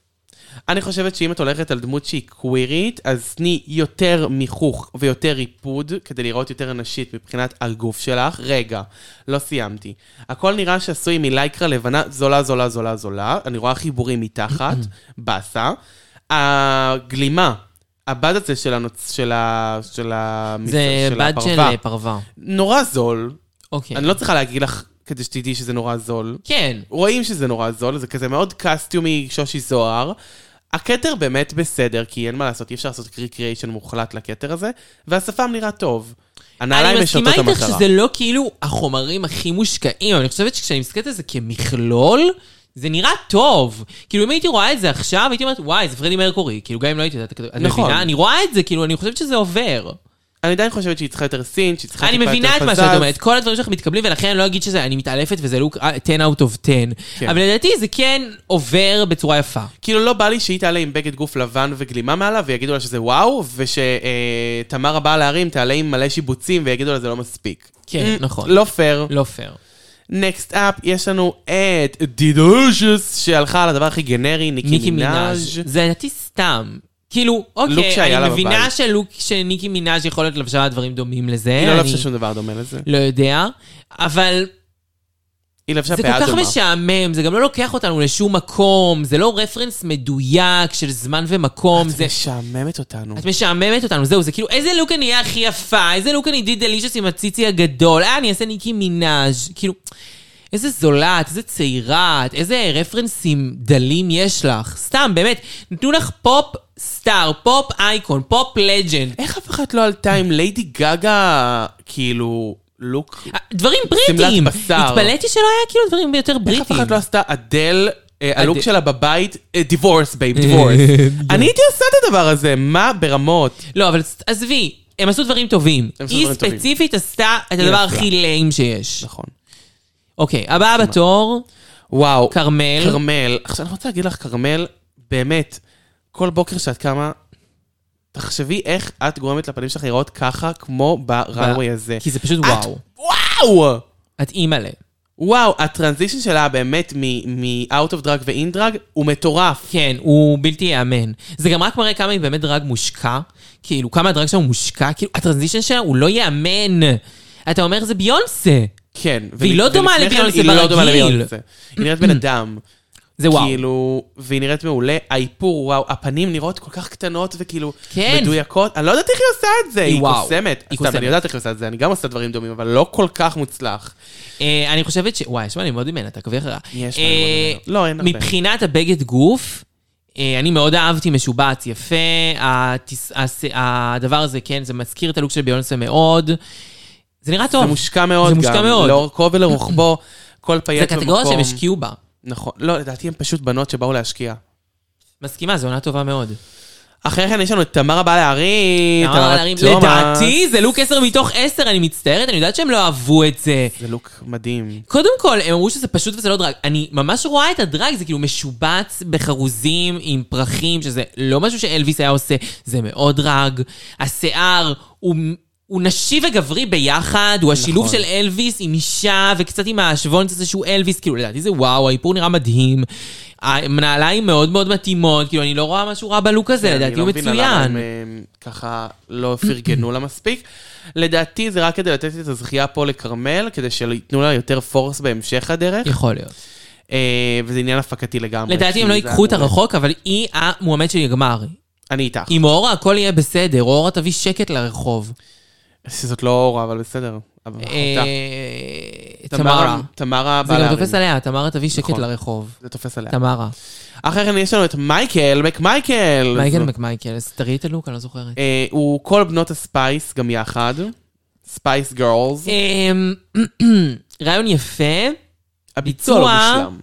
Speaker 3: אני חושבת שאם את הולכת על דמות שהיא קווירית, אז תני יותר מיכוך ויותר ריפוד כדי לראות יותר נשית מבחינת הגוף שלך. רגע, לא סיימתי. הכל נראה שעשוי מלייקרה לבנה זולה, זולה, זולה, זולה. אני רואה חיבורים מתחת, באסה. הגלימה, הבד הזה של, הנוצ... של, ה... של, ה...
Speaker 1: זה
Speaker 3: של
Speaker 1: בד של
Speaker 3: הפרווה,
Speaker 1: אה, פרווה.
Speaker 3: נורא זול.
Speaker 1: אוקיי.
Speaker 3: אני לא צריכה להגיד לך כדי שתדעי שזה נורא זול.
Speaker 1: כן.
Speaker 3: רואים שזה נורא זול, זה כזה מאוד קסטיומי שושי זוהר. הכתר באמת בסדר, כי אין מה לעשות, אי אפשר לעשות recreation מוחלט לכתר הזה, והשפם נראה טוב. הנעליים
Speaker 1: אני
Speaker 3: משרתות
Speaker 1: מסכימה
Speaker 3: את המטרה.
Speaker 1: איתך שזה לא כאילו החומרים הכי מושקעים, אבל אני חושבת שכשאני מסתכלת על זה כמכלול, זה נראה טוב. כאילו, אם הייתי רואה את זה עכשיו, הייתי אומרת, וואי, זה פרדי מרקורי. כאילו, גם אם לא הייתי יודעת, את
Speaker 3: נכון.
Speaker 1: מבינה? אני רואה את זה, כאילו, אני חושבת שזה עובר.
Speaker 3: אני עדיין חושבת שהיא צריכה יותר סין, שהיא צריכה
Speaker 1: אני
Speaker 3: טיפה
Speaker 1: מבינה את
Speaker 3: יותר
Speaker 1: מה
Speaker 3: פזז.
Speaker 1: שאת אומרת, כל הדברים שלך מתקבלים, ולכן אני לא אגיד שזה, אני מתעלפת וזה לוק אה, 10 out of 10.
Speaker 3: כן.
Speaker 1: אבל לדעתי זה כן עובר בצורה יפה.
Speaker 3: כאילו לא בא לי שהיא תעלה עם בגד גוף לבן וגלימה מעלה ויגידו לה שזה וואו, ושתמרה באה להרים תעלה עם מלא שיבוצים ויגידו לה זה לא מספיק.
Speaker 1: כן,
Speaker 3: Mm,
Speaker 1: נכון.
Speaker 3: לא פייר.
Speaker 1: לא פייר.
Speaker 3: נקסט אפ, יש לנו את דידושוס, שהלכה על הדבר הכי גנרי,
Speaker 1: ניקי
Speaker 3: ניקי
Speaker 1: מינאז'
Speaker 3: מינאז'.
Speaker 1: זה לדעתי סתם. כאילו,
Speaker 3: לוק
Speaker 1: אוקיי,
Speaker 3: שהיה
Speaker 1: אני
Speaker 3: לה
Speaker 1: מבינה
Speaker 3: בבית.
Speaker 1: שלוק של ניקי מינאז' יכול להיות לבשה דברים דומים לזה.
Speaker 3: היא לא
Speaker 1: אני
Speaker 3: לבשה שום דבר דומה לזה.
Speaker 1: לא יודע, אבל
Speaker 3: היא לבשה
Speaker 1: זה
Speaker 3: פאה
Speaker 1: כל כך
Speaker 3: דומה.
Speaker 1: משעמם, זה גם לא לוקח אותנו לשום מקום, זה לא רפרנס מדויק של זמן ומקום,
Speaker 3: זה
Speaker 1: זה...
Speaker 3: משעממת אותנו.
Speaker 1: את משעממת אותנו, זהו, זה כאילו, איזה לוק אני אהיה הכי יפה, איזה לוק אני די דלישוס עם הציצי הגדול, אה, אני אעשה ניקי מינאז', כאילו, איזה זולת, איזה צעירה, את, איזה רפרנסים דלים יש לך. סתם, באמת, נתנו לך פופ סטאר, פופ אייקון, פופ לג'נד.
Speaker 3: איך אף אחת לא עלתה עם ליידי גגה, כאילו, לוק?
Speaker 1: דברים
Speaker 3: שמלת
Speaker 1: בריטיים.
Speaker 3: בשר.
Speaker 1: התפלאתי שלא היה כאילו דברים יותר בריטיים.
Speaker 3: איך אף אחת לא עשתה אדל, אה,
Speaker 1: אד-
Speaker 3: הלוק שלה בבית, אה, דיבורס בייב, דיבורס. אני הייתי עושה את הדבר הזה, מה ברמות?
Speaker 1: לא, אבל ס- עזבי, הם עשו דברים טובים.
Speaker 3: הם עשו
Speaker 1: היא
Speaker 3: דברים טובים.
Speaker 1: ספציפית עשתה את הדבר
Speaker 3: נפלה.
Speaker 1: הכי ליים שיש.
Speaker 3: נכון.
Speaker 1: אוקיי, הבאה בתור,
Speaker 3: וואו.
Speaker 1: כרמל.
Speaker 3: כרמל. עכשיו אני רוצה להגיד לך, כרמל, באמת, כל בוקר שאת קמה, תחשבי איך את גורמת לפנים שלך להיראות ככה, כמו בראנווי הזה.
Speaker 1: כי זה פשוט
Speaker 3: את-
Speaker 1: וואו.
Speaker 3: וואו!
Speaker 1: את אימא'לה.
Speaker 3: וואו, הטרנזישן שלה באמת מ-out of drug ו-in drug הוא מטורף.
Speaker 1: כן, הוא בלתי ייאמן. זה גם רק מראה כמה היא באמת דרג מושקע. כאילו, כמה הדרג שלה הוא מושקע. כאילו, הטרנזישן שלה הוא לא ייאמן. אתה אומר, זה ביונסה.
Speaker 3: כן.
Speaker 1: והיא לא
Speaker 3: ולפני
Speaker 1: דומה
Speaker 3: כן
Speaker 1: לביונסה
Speaker 3: היא לא דומה
Speaker 1: ברגיל.
Speaker 3: לביונסה. היא נראית בן אדם.
Speaker 1: זה וואו.
Speaker 3: כאילו, והיא נראית מעולה, האיפור, וואו, הפנים נראות כל כך קטנות וכאילו
Speaker 1: כן.
Speaker 3: מדויקות. אני לא יודעת איך היא עושה את זה, היא
Speaker 1: וואו.
Speaker 3: קוסמת.
Speaker 1: היא
Speaker 3: סתם,
Speaker 1: קוסמת.
Speaker 3: אני יודעת איך היא עושה את זה, אני גם עושה דברים דומים, אבל לא כל כך מוצלח.
Speaker 1: אה, אני חושבת ש... וואי, יש מה ללמוד ממנה, תעקבי אחריה.
Speaker 3: יש
Speaker 1: אה,
Speaker 3: מה ללמוד ממנה. לא, אין הרבה.
Speaker 1: מבחינת הבגד גוף, אה, אני מאוד אהבתי משובץ יפה, התס- הס- הדבר הזה, כן, זה מזכיר את הלוק של ביונסה מאוד. זה נראה טוב.
Speaker 3: זה מושקע מאוד
Speaker 1: לא, זה
Speaker 3: גם.
Speaker 1: מושקע מאוד.
Speaker 3: לאורכו ולרוחבו, כל פייט
Speaker 1: זה
Speaker 3: במקום.
Speaker 1: קטגוריה שהם השקיעו בה.
Speaker 3: נכון. לא, לדעתי הם פשוט בנות שבאו להשקיע.
Speaker 1: מסכימה, זו עונה טובה מאוד.
Speaker 3: אחרי כן יש לנו את תמרה באה להרים,
Speaker 1: אמר לה להרים,
Speaker 3: תומאס.
Speaker 1: לדעתי זה לוק 10 מתוך 10, אני מצטערת, אני יודעת שהם לא אהבו את זה.
Speaker 3: זה לוק מדהים.
Speaker 1: קודם כל, הם אמרו שזה פשוט וזה לא דרג. אני ממש רואה את הדרג, זה כאילו משובץ בחרוזים עם פרחים, שזה לא משהו שאלוויס היה עושה, זה מאוד דרג. השיער הוא... הוא נשי וגברי ביחד, הוא השילוב
Speaker 3: נכון.
Speaker 1: של אלוויס עם אישה וקצת עם השוונץ הזה שהוא אלוויס, כאילו לדעתי זה וואו, האיפור נראה מדהים. הנעליים מאוד מאוד מתאימות, כאילו אני לא רואה משהו רע בלוק הזה, לדעתי
Speaker 3: אני לא
Speaker 1: הוא
Speaker 3: מבין למה הם,
Speaker 1: מצוין.
Speaker 3: הם, ככה לא פרגנו לה מספיק. לדעתי זה רק כדי לתת את הזכייה פה לכרמל, כדי שייתנו לה יותר פורס בהמשך הדרך,
Speaker 1: יכול להיות.
Speaker 3: אה, וזה עניין הפקתי לגמרי.
Speaker 1: לדעתי הם
Speaker 3: כי
Speaker 1: לא
Speaker 3: זה
Speaker 1: ייקחו אותה
Speaker 3: אמור-
Speaker 1: רחוק, אבל היא המועמד של יגמר.
Speaker 3: אני איתך.
Speaker 1: עם אורה הכל יהיה בסדר, אורה תביא שקט לרחוב.
Speaker 3: זאת לא אורה, אבל בסדר. אבל אחותה.
Speaker 1: אה, תמרה.
Speaker 3: תמרה, תמרה
Speaker 1: זה גם
Speaker 3: בלארי.
Speaker 1: תופס עליה, תמרה תביא שקט
Speaker 3: נכון.
Speaker 1: לרחוב.
Speaker 3: זה תופס עליה.
Speaker 1: תמרה.
Speaker 3: אחרי כן יש לנו את מייקל, מקמייקל.
Speaker 1: מייקל
Speaker 3: זו-
Speaker 1: מקמייקל, אז תראי את הלוק, אני לא זוכרת.
Speaker 3: אה, הוא כל בנות הספייס גם יחד. ספייס גרלס.
Speaker 1: אמ, רעיון יפה,
Speaker 3: הביצוע לא
Speaker 1: ביצוע.
Speaker 3: מושלם.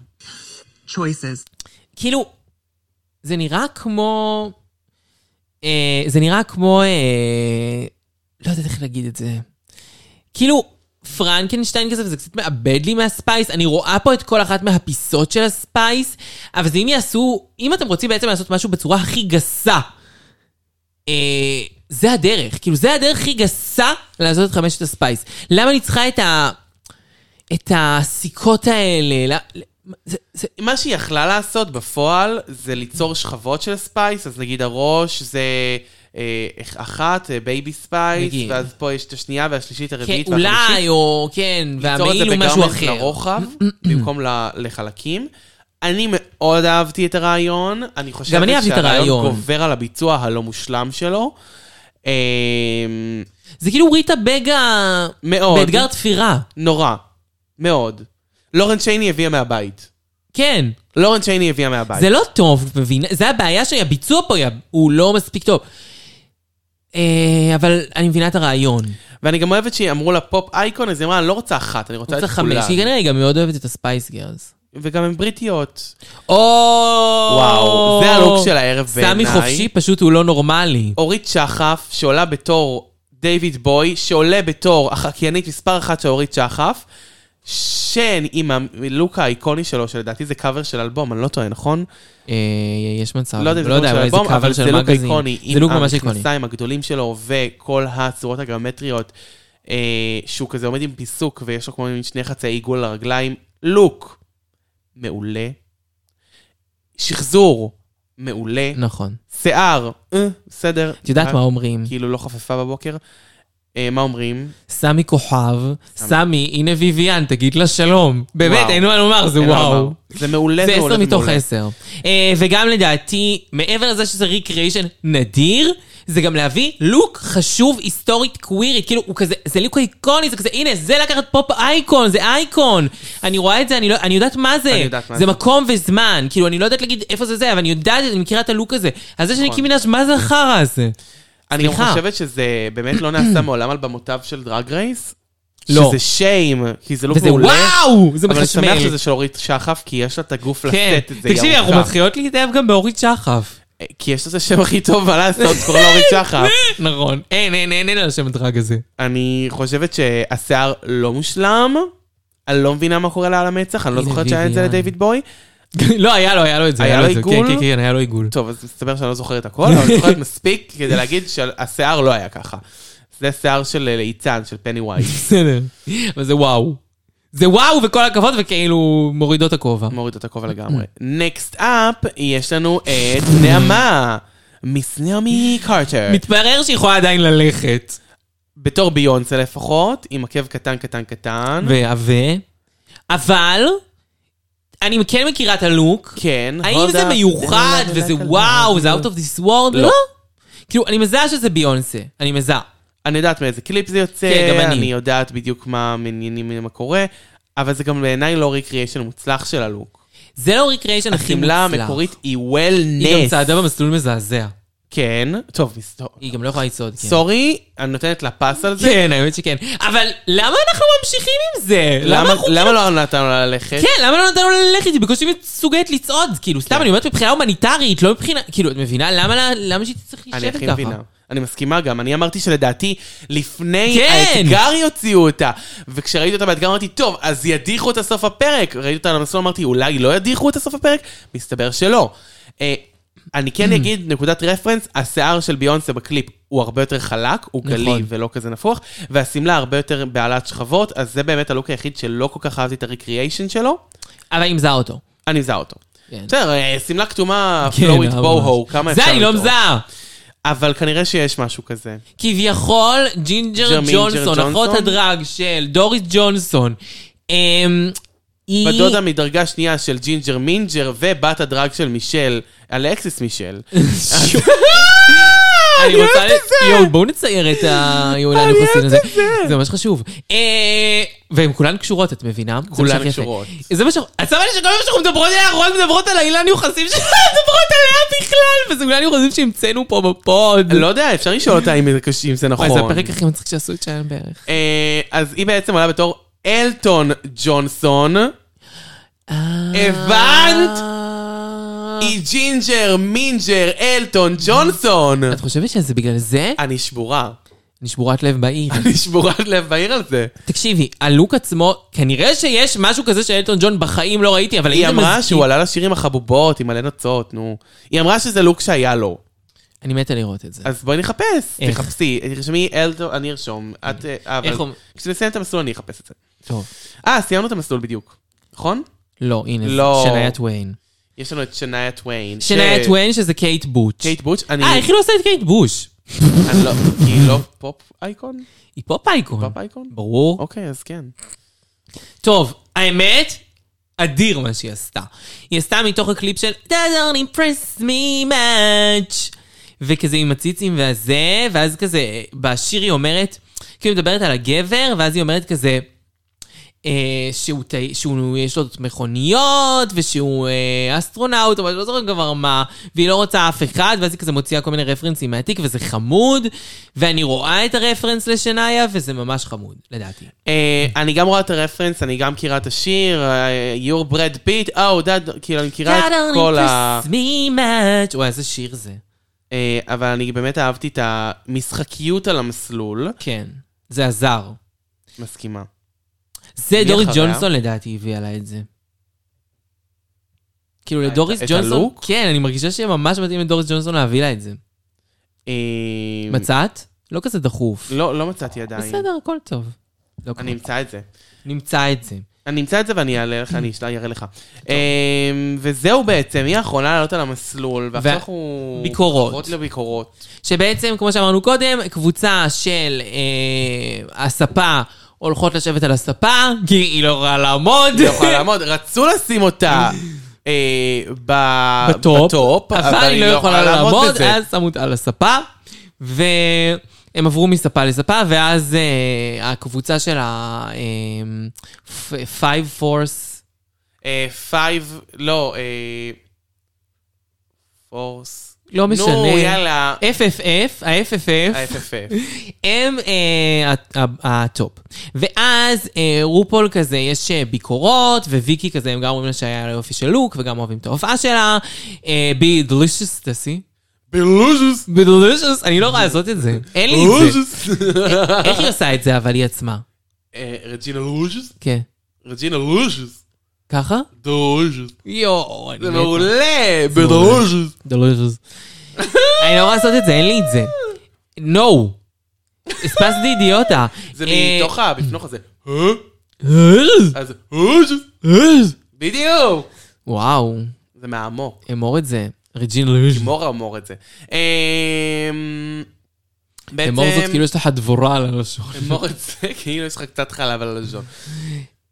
Speaker 4: choices,
Speaker 1: כאילו, זה נראה כמו... אה, זה נראה כמו... אה, לא יודעת איך להגיד את זה. כאילו, פרנקנשטיין כזה, וזה קצת מאבד לי מהספייס. אני רואה פה את כל אחת מהפיסות של הספייס, אבל זה אם יעשו... אם אתם רוצים בעצם לעשות משהו בצורה הכי גסה, אה, זה הדרך. כאילו, זה הדרך הכי גסה לעשות את חמשת הספייס. למה אני צריכה את ה... את הסיכות האלה? למה- זה, זה,
Speaker 3: מה שהיא יכלה לעשות בפועל זה ליצור שכבות של ספייס, אז נגיד הראש זה אה, אחת, אה, בייבי ספייס,
Speaker 1: נגיד.
Speaker 3: ואז פה יש את השנייה והשלישית,
Speaker 1: כן,
Speaker 3: הרביעית
Speaker 1: אולי, או כן, והמעיל הוא משהו אחר. Mm,
Speaker 3: לרוחב, במקום ל- לחלקים. אני מאוד אהבתי את הרעיון, אני חושבת
Speaker 1: אני אהבתי את הרעיון.
Speaker 3: גובר על הביצוע הלא מושלם שלו. אה,
Speaker 1: זה כאילו ריטה בגה
Speaker 3: מאוד.
Speaker 1: באתגר תפירה.
Speaker 3: נורא. מאוד. לורן צ'ייני הביאה מהבית.
Speaker 1: כן,
Speaker 3: לורן צ'ייני הביאה מהבית.
Speaker 1: זה לא טוב, מבין? זה הבעיה שהביצוע פה היה- הוא לא מספיק טוב. אה, אבל אני מבינה את הרעיון.
Speaker 3: ואני גם אוהבת שאמרו לה פופ אייקון, אז היא אמרה, אני לא רוצה אחת, אני רוצה את
Speaker 1: רוצה חמש,
Speaker 3: כולן.
Speaker 1: היא כנראה גם מאוד אוהבת את הספייס גרס.
Speaker 3: וגם הן בריטיות.
Speaker 1: או!
Speaker 3: וואו, זה הלוק של הערב
Speaker 1: סמי
Speaker 3: בעיניי.
Speaker 1: חופשי פשוט הוא לא נורמלי.
Speaker 3: אורית שחף, שעולה בתור דיוויד בוי, שעולה בתור החקיינית מספר אחת של אורית שחף, שן עם הלוק האיקוני שלו, שלדעתי זה קאבר של אלבום, אני לא טועה, נכון?
Speaker 1: אה, יש מצב.
Speaker 3: לא יודע, זה
Speaker 1: אבל
Speaker 3: דמות של אלבום, אבל
Speaker 1: cover
Speaker 3: זה לוק
Speaker 1: מגזין.
Speaker 3: איקוני.
Speaker 1: זה לוק
Speaker 3: עם
Speaker 1: ממש איקוני.
Speaker 3: המכנסיים הגדולים שלו וכל הצורות הגיאומטריות, אה, שהוא כזה עומד עם פיסוק ויש לו כמו מין שני חצי עיגול לרגליים. לוק, מעולה. שחזור, מעולה.
Speaker 1: נכון.
Speaker 3: שיער, אה, בסדר.
Speaker 1: את יודעת מה אומרים?
Speaker 3: כאילו לא חפפה בבוקר. אה, מה אומרים?
Speaker 1: סמי כוכב, סמי, הנה ויויאן, תגיד לה שלום. באמת,
Speaker 3: וואו.
Speaker 1: אין מה לומר, אה, זה
Speaker 3: אין מה
Speaker 1: וואו.
Speaker 3: לומר. זה מעולה,
Speaker 1: זה
Speaker 3: מעולה,
Speaker 1: עשר מתוך
Speaker 3: מעולה.
Speaker 1: עשר. אה, וגם לדעתי, מעבר לזה שזה ריקריאיישן נדיר, זה גם להביא לוק חשוב, היסטורית, קווירית. כאילו, הוא כזה, זה לוק איקוני, זה כזה, הנה, זה לקחת פופ אייקון, זה אייקון. אני רואה את זה, אני, לא, אני יודעת מה זה.
Speaker 3: אני יודעת מה
Speaker 1: זה
Speaker 3: זה.
Speaker 1: מקום וזמן. כאילו, אני לא יודעת להגיד איפה זה זה, אבל אני יודעת, אני מכירה את הלוק הזה. אז זה של
Speaker 3: נכון.
Speaker 1: ניקי מנאז', מה זה החרא הזה?
Speaker 3: אני גם
Speaker 1: סליחה.
Speaker 3: חושבת שזה באמת לא נעשה מעולם על במותיו של דרג רייס.
Speaker 1: לא.
Speaker 3: שזה שיים, כי זה לוק
Speaker 1: וזה
Speaker 3: מעולה.
Speaker 1: וואו! זה
Speaker 3: אבל אני שמח
Speaker 1: מחשמל.
Speaker 3: שזה של אורית שחף, כי יש לה את הגוף
Speaker 1: כן,
Speaker 3: לשאת את זה. היא
Speaker 1: תקשיבי, אנחנו
Speaker 3: ארוכה.
Speaker 1: מתחילות להתאהב גם באורית שחף.
Speaker 3: כי יש לזה שם הכי טוב, מה לעשות, קוראים לה אורית שחף.
Speaker 1: נכון. אין, אין, אין, אין על השם הדרג הזה.
Speaker 3: אני חושבת שהשיער לא מושלם. אני לא מבינה מה קורה לה על המצח, אני לא
Speaker 1: הנה
Speaker 3: זוכרת שהיה את זה
Speaker 1: ויויאן.
Speaker 3: לדיוויד בוי.
Speaker 1: לא, היה לו, היה לו את זה.
Speaker 3: היה לו
Speaker 1: את זה.
Speaker 3: עיגול?
Speaker 1: כן, כן, כן, היה לו עיגול.
Speaker 3: טוב, אז מסתבר שאני לא זוכר את הכל, אבל אני זוכרת מספיק כדי להגיד שהשיער לא היה ככה. זה שיער של אה, ליצן, של פני ווייס.
Speaker 1: בסדר. אבל זה וואו. זה וואו וכל הכבוד, וכאילו מורידו את הכובע.
Speaker 3: מוריד את הכובע לגמרי. נקסט אפ, יש לנו את נעמה. מיס נעמי קרטר.
Speaker 1: מתברר שהיא יכולה עדיין ללכת.
Speaker 3: בתור ביונסה לפחות, עם עקב קטן קטן קטן.
Speaker 1: ועבה. אבל, אני כן לא, מכירה את הלוק.
Speaker 3: כן.
Speaker 1: האם
Speaker 3: הודה,
Speaker 1: זה מיוחד
Speaker 3: הודה,
Speaker 1: וזה
Speaker 3: הודה,
Speaker 1: וואו,
Speaker 3: הודה.
Speaker 1: זה out of this world?
Speaker 3: לא.
Speaker 1: לא. כאילו, אני מזהה שזה ביונסה. אני מזהה.
Speaker 3: אני יודעת מאיזה קליפ זה יוצא,
Speaker 1: כן, גם אני.
Speaker 3: אני יודעת בדיוק מה מעניינים, מה קורה, אבל זה גם בעיניי לא ריקריאשן מוצלח של הלוק.
Speaker 1: זה לא ריקריישן הכי מוצלח.
Speaker 3: החמלה המקורית
Speaker 1: היא
Speaker 3: היא
Speaker 1: גם
Speaker 3: וולנס.
Speaker 1: צעדה במסלול מזעזע.
Speaker 3: כן, טוב, מסתור.
Speaker 1: היא גם לא יכולה לצעוד, כן.
Speaker 3: סורי, אני נותנת לה פס על זה.
Speaker 1: כן, האמת שכן. אבל למה אנחנו ממשיכים עם זה?
Speaker 3: למה-
Speaker 1: למה אנחנו...
Speaker 3: למה לא נתנו לה ללכת?
Speaker 1: כן, למה לא נתנו לה ללכת? היא בקושי מסוגלת לצעוד. כאילו,
Speaker 3: כן.
Speaker 1: סתם, אני אומרת מבחינה הומניטרית, לא מבחינה... כאילו, את מבינה? למה לה- למה שהיא תצטרך
Speaker 3: אני
Speaker 1: לשבת
Speaker 3: הכי
Speaker 1: ככה?
Speaker 3: מבינה. אני מסכימה גם, אני אמרתי שלדעתי, לפני
Speaker 1: כן.
Speaker 3: האתגר יוציאו אותה. וכשראיתי אותה באתגר אמרתי, טוב, אז ידיחו אותה סוף הפרק. ראיתי אותה על המסלול, אמרתי, אולי לא ידיחו אותה סוף הפרק? מסתבר שלא. אה, אני
Speaker 1: Mm.
Speaker 3: כן אגיד, נקודת רפרנס, השיער של ביונסה בקליפ הוא הרבה יותר חלק, הוא
Speaker 1: נכון.
Speaker 3: גלי ולא כזה נפוח, והשמלה הרבה יותר בעלת שכבות, אז זה באמת הלוק היחיד שלא כל כך אהבתי את הריקריאיישן שלו.
Speaker 1: אבל היא מזהה אותו.
Speaker 3: אני מזהה אותו.
Speaker 1: כן.
Speaker 3: בסדר, אה, שמלה כתומה,
Speaker 1: כן,
Speaker 3: פלואית
Speaker 1: ממש.
Speaker 3: בו-הו, כמה אפשר
Speaker 1: זה אני לא
Speaker 3: לטעות?
Speaker 1: מזהה.
Speaker 3: אבל כנראה שיש משהו כזה.
Speaker 1: כביכול, ג'ינג'ר
Speaker 3: ג'רמינג'ר
Speaker 1: ג'ונסון,
Speaker 3: ג'ונסון?
Speaker 1: אחות הדרג של דוריס ג'ונסון. אמ, היא...
Speaker 3: בדודה מדרגה שנייה של ג'ינג'ר מינג'ר ובת הדרג של מישל, אלכסיס מישל.
Speaker 1: אני רוצה... ל- יואו, בואו נצייר את היולן יוחסין הזה. זה ממש חשוב. אה, והן כולן קשורות, את מבינה? זה
Speaker 3: כולן
Speaker 1: מה שהכי יפה.
Speaker 3: קשורות.
Speaker 1: זה מה ש... את שמה לי שכל פעם שאנחנו מדברות עליה, אנחנו רק מדברות על האילן יוחסין שלא מדברות עליה בכלל, וזה אילן יוחסין שהמצאנו פה בפוד.
Speaker 3: אני לא יודע, אפשר לשאול אותה אם זה קש- אם זה
Speaker 1: וואי,
Speaker 3: נכון.
Speaker 1: זה הפרק הכי מצחיק שעשו את שלהם בערך.
Speaker 3: אה, אז היא בעצם עולה בתור אלטון ג'ונסון. הבנת?
Speaker 1: אה.
Speaker 3: היא ג'ינג'ר מינג'ר אלטון ג'ונסון.
Speaker 1: את חושבת שזה בגלל זה?
Speaker 3: אני שבורה.
Speaker 1: אני שבורת לב בעיר.
Speaker 3: אני שבורת לב בעיר על זה.
Speaker 1: תקשיבי, הלוק עצמו, כנראה שיש משהו כזה של אלטון ג'ון בחיים לא ראיתי, אבל
Speaker 3: היא
Speaker 1: אם זה
Speaker 3: אמרה
Speaker 1: מזכיר-
Speaker 3: שהוא עלה לשיר עם החבובות, עם מלא נוצות, נו. היא אמרה שזה לוק שהיה לו.
Speaker 1: אני מתה לראות את זה.
Speaker 3: אז בואי נחפש.
Speaker 1: איך?
Speaker 3: תחפשי, תרשמי אלטון, אני ארשום. את... אה, אבל...
Speaker 1: איך אומ-
Speaker 3: כשנסיים את המסלול אני אחפש את זה.
Speaker 1: טוב.
Speaker 3: אה, סיימנו את המסלול בדיוק, נכון?
Speaker 1: לא, הנה,
Speaker 3: לא.
Speaker 1: זה שניה טוויין.
Speaker 3: יש לנו את שניה טוויין.
Speaker 1: שניה טוויין שזה קייט בוץ'.
Speaker 3: קייט בוטש, אני...
Speaker 1: אה, איך היא לא עושה את קייט בוש?
Speaker 3: אני לא... היא לא פופ אייקון?
Speaker 1: היא פופ אייקון.
Speaker 3: פופ אייקון?
Speaker 1: ברור.
Speaker 3: אוקיי, אז כן.
Speaker 1: טוב, האמת, אדיר מה שהיא עשתה. היא עשתה מתוך הקליפ של That don't impress me much. וכזה עם הציצים והזה, ואז כזה, בשיר היא אומרת, כאילו היא מדברת על הגבר, ואז היא אומרת כזה, אה, שהוא, טי- שהוא יש לו מכוניות, ושהוא אה, אסטרונאוט, אבל לא זוכר כבר מה, והיא לא רוצה אף אחד, ואז היא כזה מוציאה כל מיני רפרנסים מהתיק, וזה חמוד, ואני רואה את הרפרנס לשניה, וזה ממש חמוד, לדעתי.
Speaker 3: אה, אני גם רואה את הרפרנס, אני גם מכירה את השיר, אה, You're ברד פיט, אה, הוא כאילו, אני מכירה את כל ה...
Speaker 1: That don't impress me much. וואי, איזה שיר זה.
Speaker 3: אה, אבל אני באמת אהבתי את המשחקיות על המסלול.
Speaker 1: כן, זה עזר.
Speaker 3: מסכימה.
Speaker 1: זה
Speaker 3: מי
Speaker 1: דוריס
Speaker 3: אחריה?
Speaker 1: ג'ונסון לדעתי הביאה לה את זה. כאילו
Speaker 3: את-
Speaker 1: לדוריס
Speaker 3: אה, את
Speaker 1: ג'ונסון,
Speaker 3: הלוק?
Speaker 1: כן, אני מרגישה שממש מתאים לדוריס ג'ונסון להביא לה את זה.
Speaker 3: אה,
Speaker 1: מצאת? לא כזה דחוף.
Speaker 3: לא, לא מצאתי עדיין.
Speaker 1: בסדר, הכל טוב. לא
Speaker 3: אני
Speaker 1: קורה.
Speaker 3: אמצא את זה.
Speaker 1: נמצא את זה.
Speaker 3: אני אמצא את זה ואני אעלה לך, אני אשלח- אראה לך. אמ, וזהו בעצם, היא האחרונה לעלות על המסלול, ועכשיו
Speaker 1: וה-
Speaker 3: אנחנו...
Speaker 1: ביקורות.
Speaker 3: חוזרות לביקורות.
Speaker 1: שבעצם, כמו שאמרנו קודם, קבוצה של אה, הספה הולכות לשבת על הספה, כי היא לא יכולה לעמוד.
Speaker 3: לא יכולה לעמוד, רצו לשים אותה אה, ב-
Speaker 1: בטופ,
Speaker 3: בטופ,
Speaker 1: אבל היא לא יכולה לעמוד,
Speaker 3: בזה.
Speaker 1: אז שמו אותה על הספה, והם עברו מספה לספה, ואז אה, הקבוצה של ה... אה, פייב פורס,
Speaker 3: אה, פייב, לא, אה, פורס.
Speaker 1: לא משנה.
Speaker 3: נו, יאללה. אה,
Speaker 1: FFF, ה-FFF,
Speaker 3: ה-FFF.
Speaker 1: הם אה, ה- ה- הטופ. ואז אה, רופול כזה, יש אה, ביקורות, וויקי כזה, הם גם אומרים לה שהיה לה יופי של לוק, וגם אוהבים את ההופעה שלה. אה, be delicious, תעשי.
Speaker 3: בלוז'וס.
Speaker 1: be delicious, אני לא יכולה לעשות את זה. אין לי את זה. איך היא עושה את זה, אבל היא עצמה?
Speaker 3: רג'ינה לוז'וס.
Speaker 1: כן.
Speaker 3: רג'ינה לוז'וס.
Speaker 1: ככה?
Speaker 3: דרוז'וס.
Speaker 1: יואו, אני
Speaker 3: זה
Speaker 1: מתה.
Speaker 3: מעולה. בדרוז'וס.
Speaker 1: דלוז'וס. אני לא יכולה לעשות את זה, אין לי את זה. נו. הספסתי אידיוטה.
Speaker 3: זה
Speaker 1: אה,
Speaker 3: מתוך הבפנוך הזה. "אה?"
Speaker 1: אה,
Speaker 3: אז "אה?"
Speaker 1: אה.
Speaker 3: בדיוק.
Speaker 1: וואו,
Speaker 3: זה מהעמו.
Speaker 1: אמור את זה. רג'ין לוז'.
Speaker 3: מור אמור את זה. אמ, בעצם...
Speaker 1: אמור זאת כאילו יש לך דבורה על הלשון.
Speaker 3: אמור את זה כאילו יש לך קצת חלב על הלשון.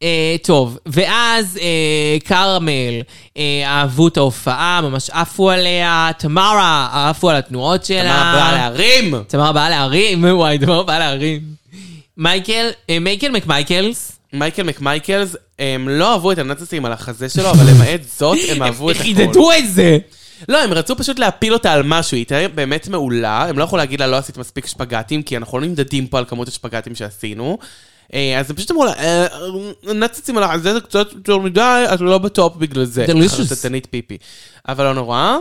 Speaker 1: אה, טוב, ואז אה, כרמל אה, אהבו את ההופעה, ממש עפו עליה, תמרה עפו על התנועות שלה.
Speaker 3: תמר באה להרים.
Speaker 1: תמר באה להרים, וואי, תמר באה להרים. מייקל, אה, מייקל מקמייקלס.
Speaker 3: מייקל מקמייקלס, הם לא אהבו את הנאצסים על החזה שלו, אבל למעט זאת, הם אהבו את
Speaker 1: הם
Speaker 3: הכל.
Speaker 1: חידדו את זה!
Speaker 3: לא, הם רצו פשוט להפיל אותה על משהו, היא הייתה באמת מעולה, הם לא יכולו להגיד לה לא עשית מספיק שפגטים, כי אנחנו לא נמדדים פה על כמות השפגטים שעשינו. אה, אז הם פשוט אמרו לה, "אה, נאצצים עליך, זה קצת יותר מדי, את לא בטופ בגלל זה.
Speaker 1: Delicious.
Speaker 3: חרטטנית פיפי. אבל לא נורא.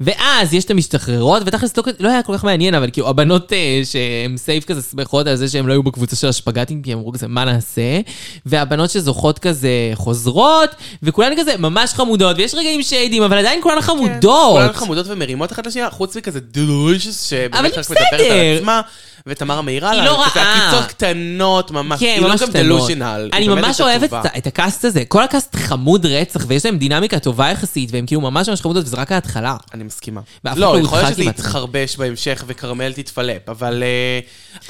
Speaker 1: ואז יש את המשתחררות, ותכלס לא, לא היה כל כך מעניין, אבל כאילו הבנות אה, שהן סייף כזה שמחות על זה שהן לא היו בקבוצה של השפגטים, כי הם אמרו כזה, מה נעשה? והבנות שזוכות כזה חוזרות, וכולן כזה ממש חמודות, ויש רגעים שיידים, אבל עדיין כולן חמודות.
Speaker 3: כולן חמודות ומרימות אחת לשנייה, חוץ מכזה דלוש,
Speaker 1: אבל
Speaker 3: שבאמת
Speaker 1: היא
Speaker 3: רק מדברת על
Speaker 1: בסדר.
Speaker 3: עצמה, ותמרה מעירה
Speaker 1: היא
Speaker 3: לה,
Speaker 1: לא
Speaker 3: כזה
Speaker 1: רעה.
Speaker 3: עקיצות קטנות ממש,
Speaker 1: כן,
Speaker 3: היא לא
Speaker 1: ממש
Speaker 3: גם
Speaker 1: קטנות.
Speaker 3: דלושינל.
Speaker 1: אני ממש אוהבת את, את הקאסט הזה. כל הקאסט חמוד רצח, ויש להם דינמיקה טובה יחסית, והם כאילו ממש ממש חמודות, וזה רק ההתחלה.
Speaker 3: אני מסכימה.
Speaker 1: ואף אחד
Speaker 3: לא,
Speaker 1: לא
Speaker 3: יכול להיות
Speaker 1: הודחק
Speaker 3: שזה
Speaker 1: עם עצמו.
Speaker 3: יתחרבש בהמשך וכרמל תתפלפ, אבל אה,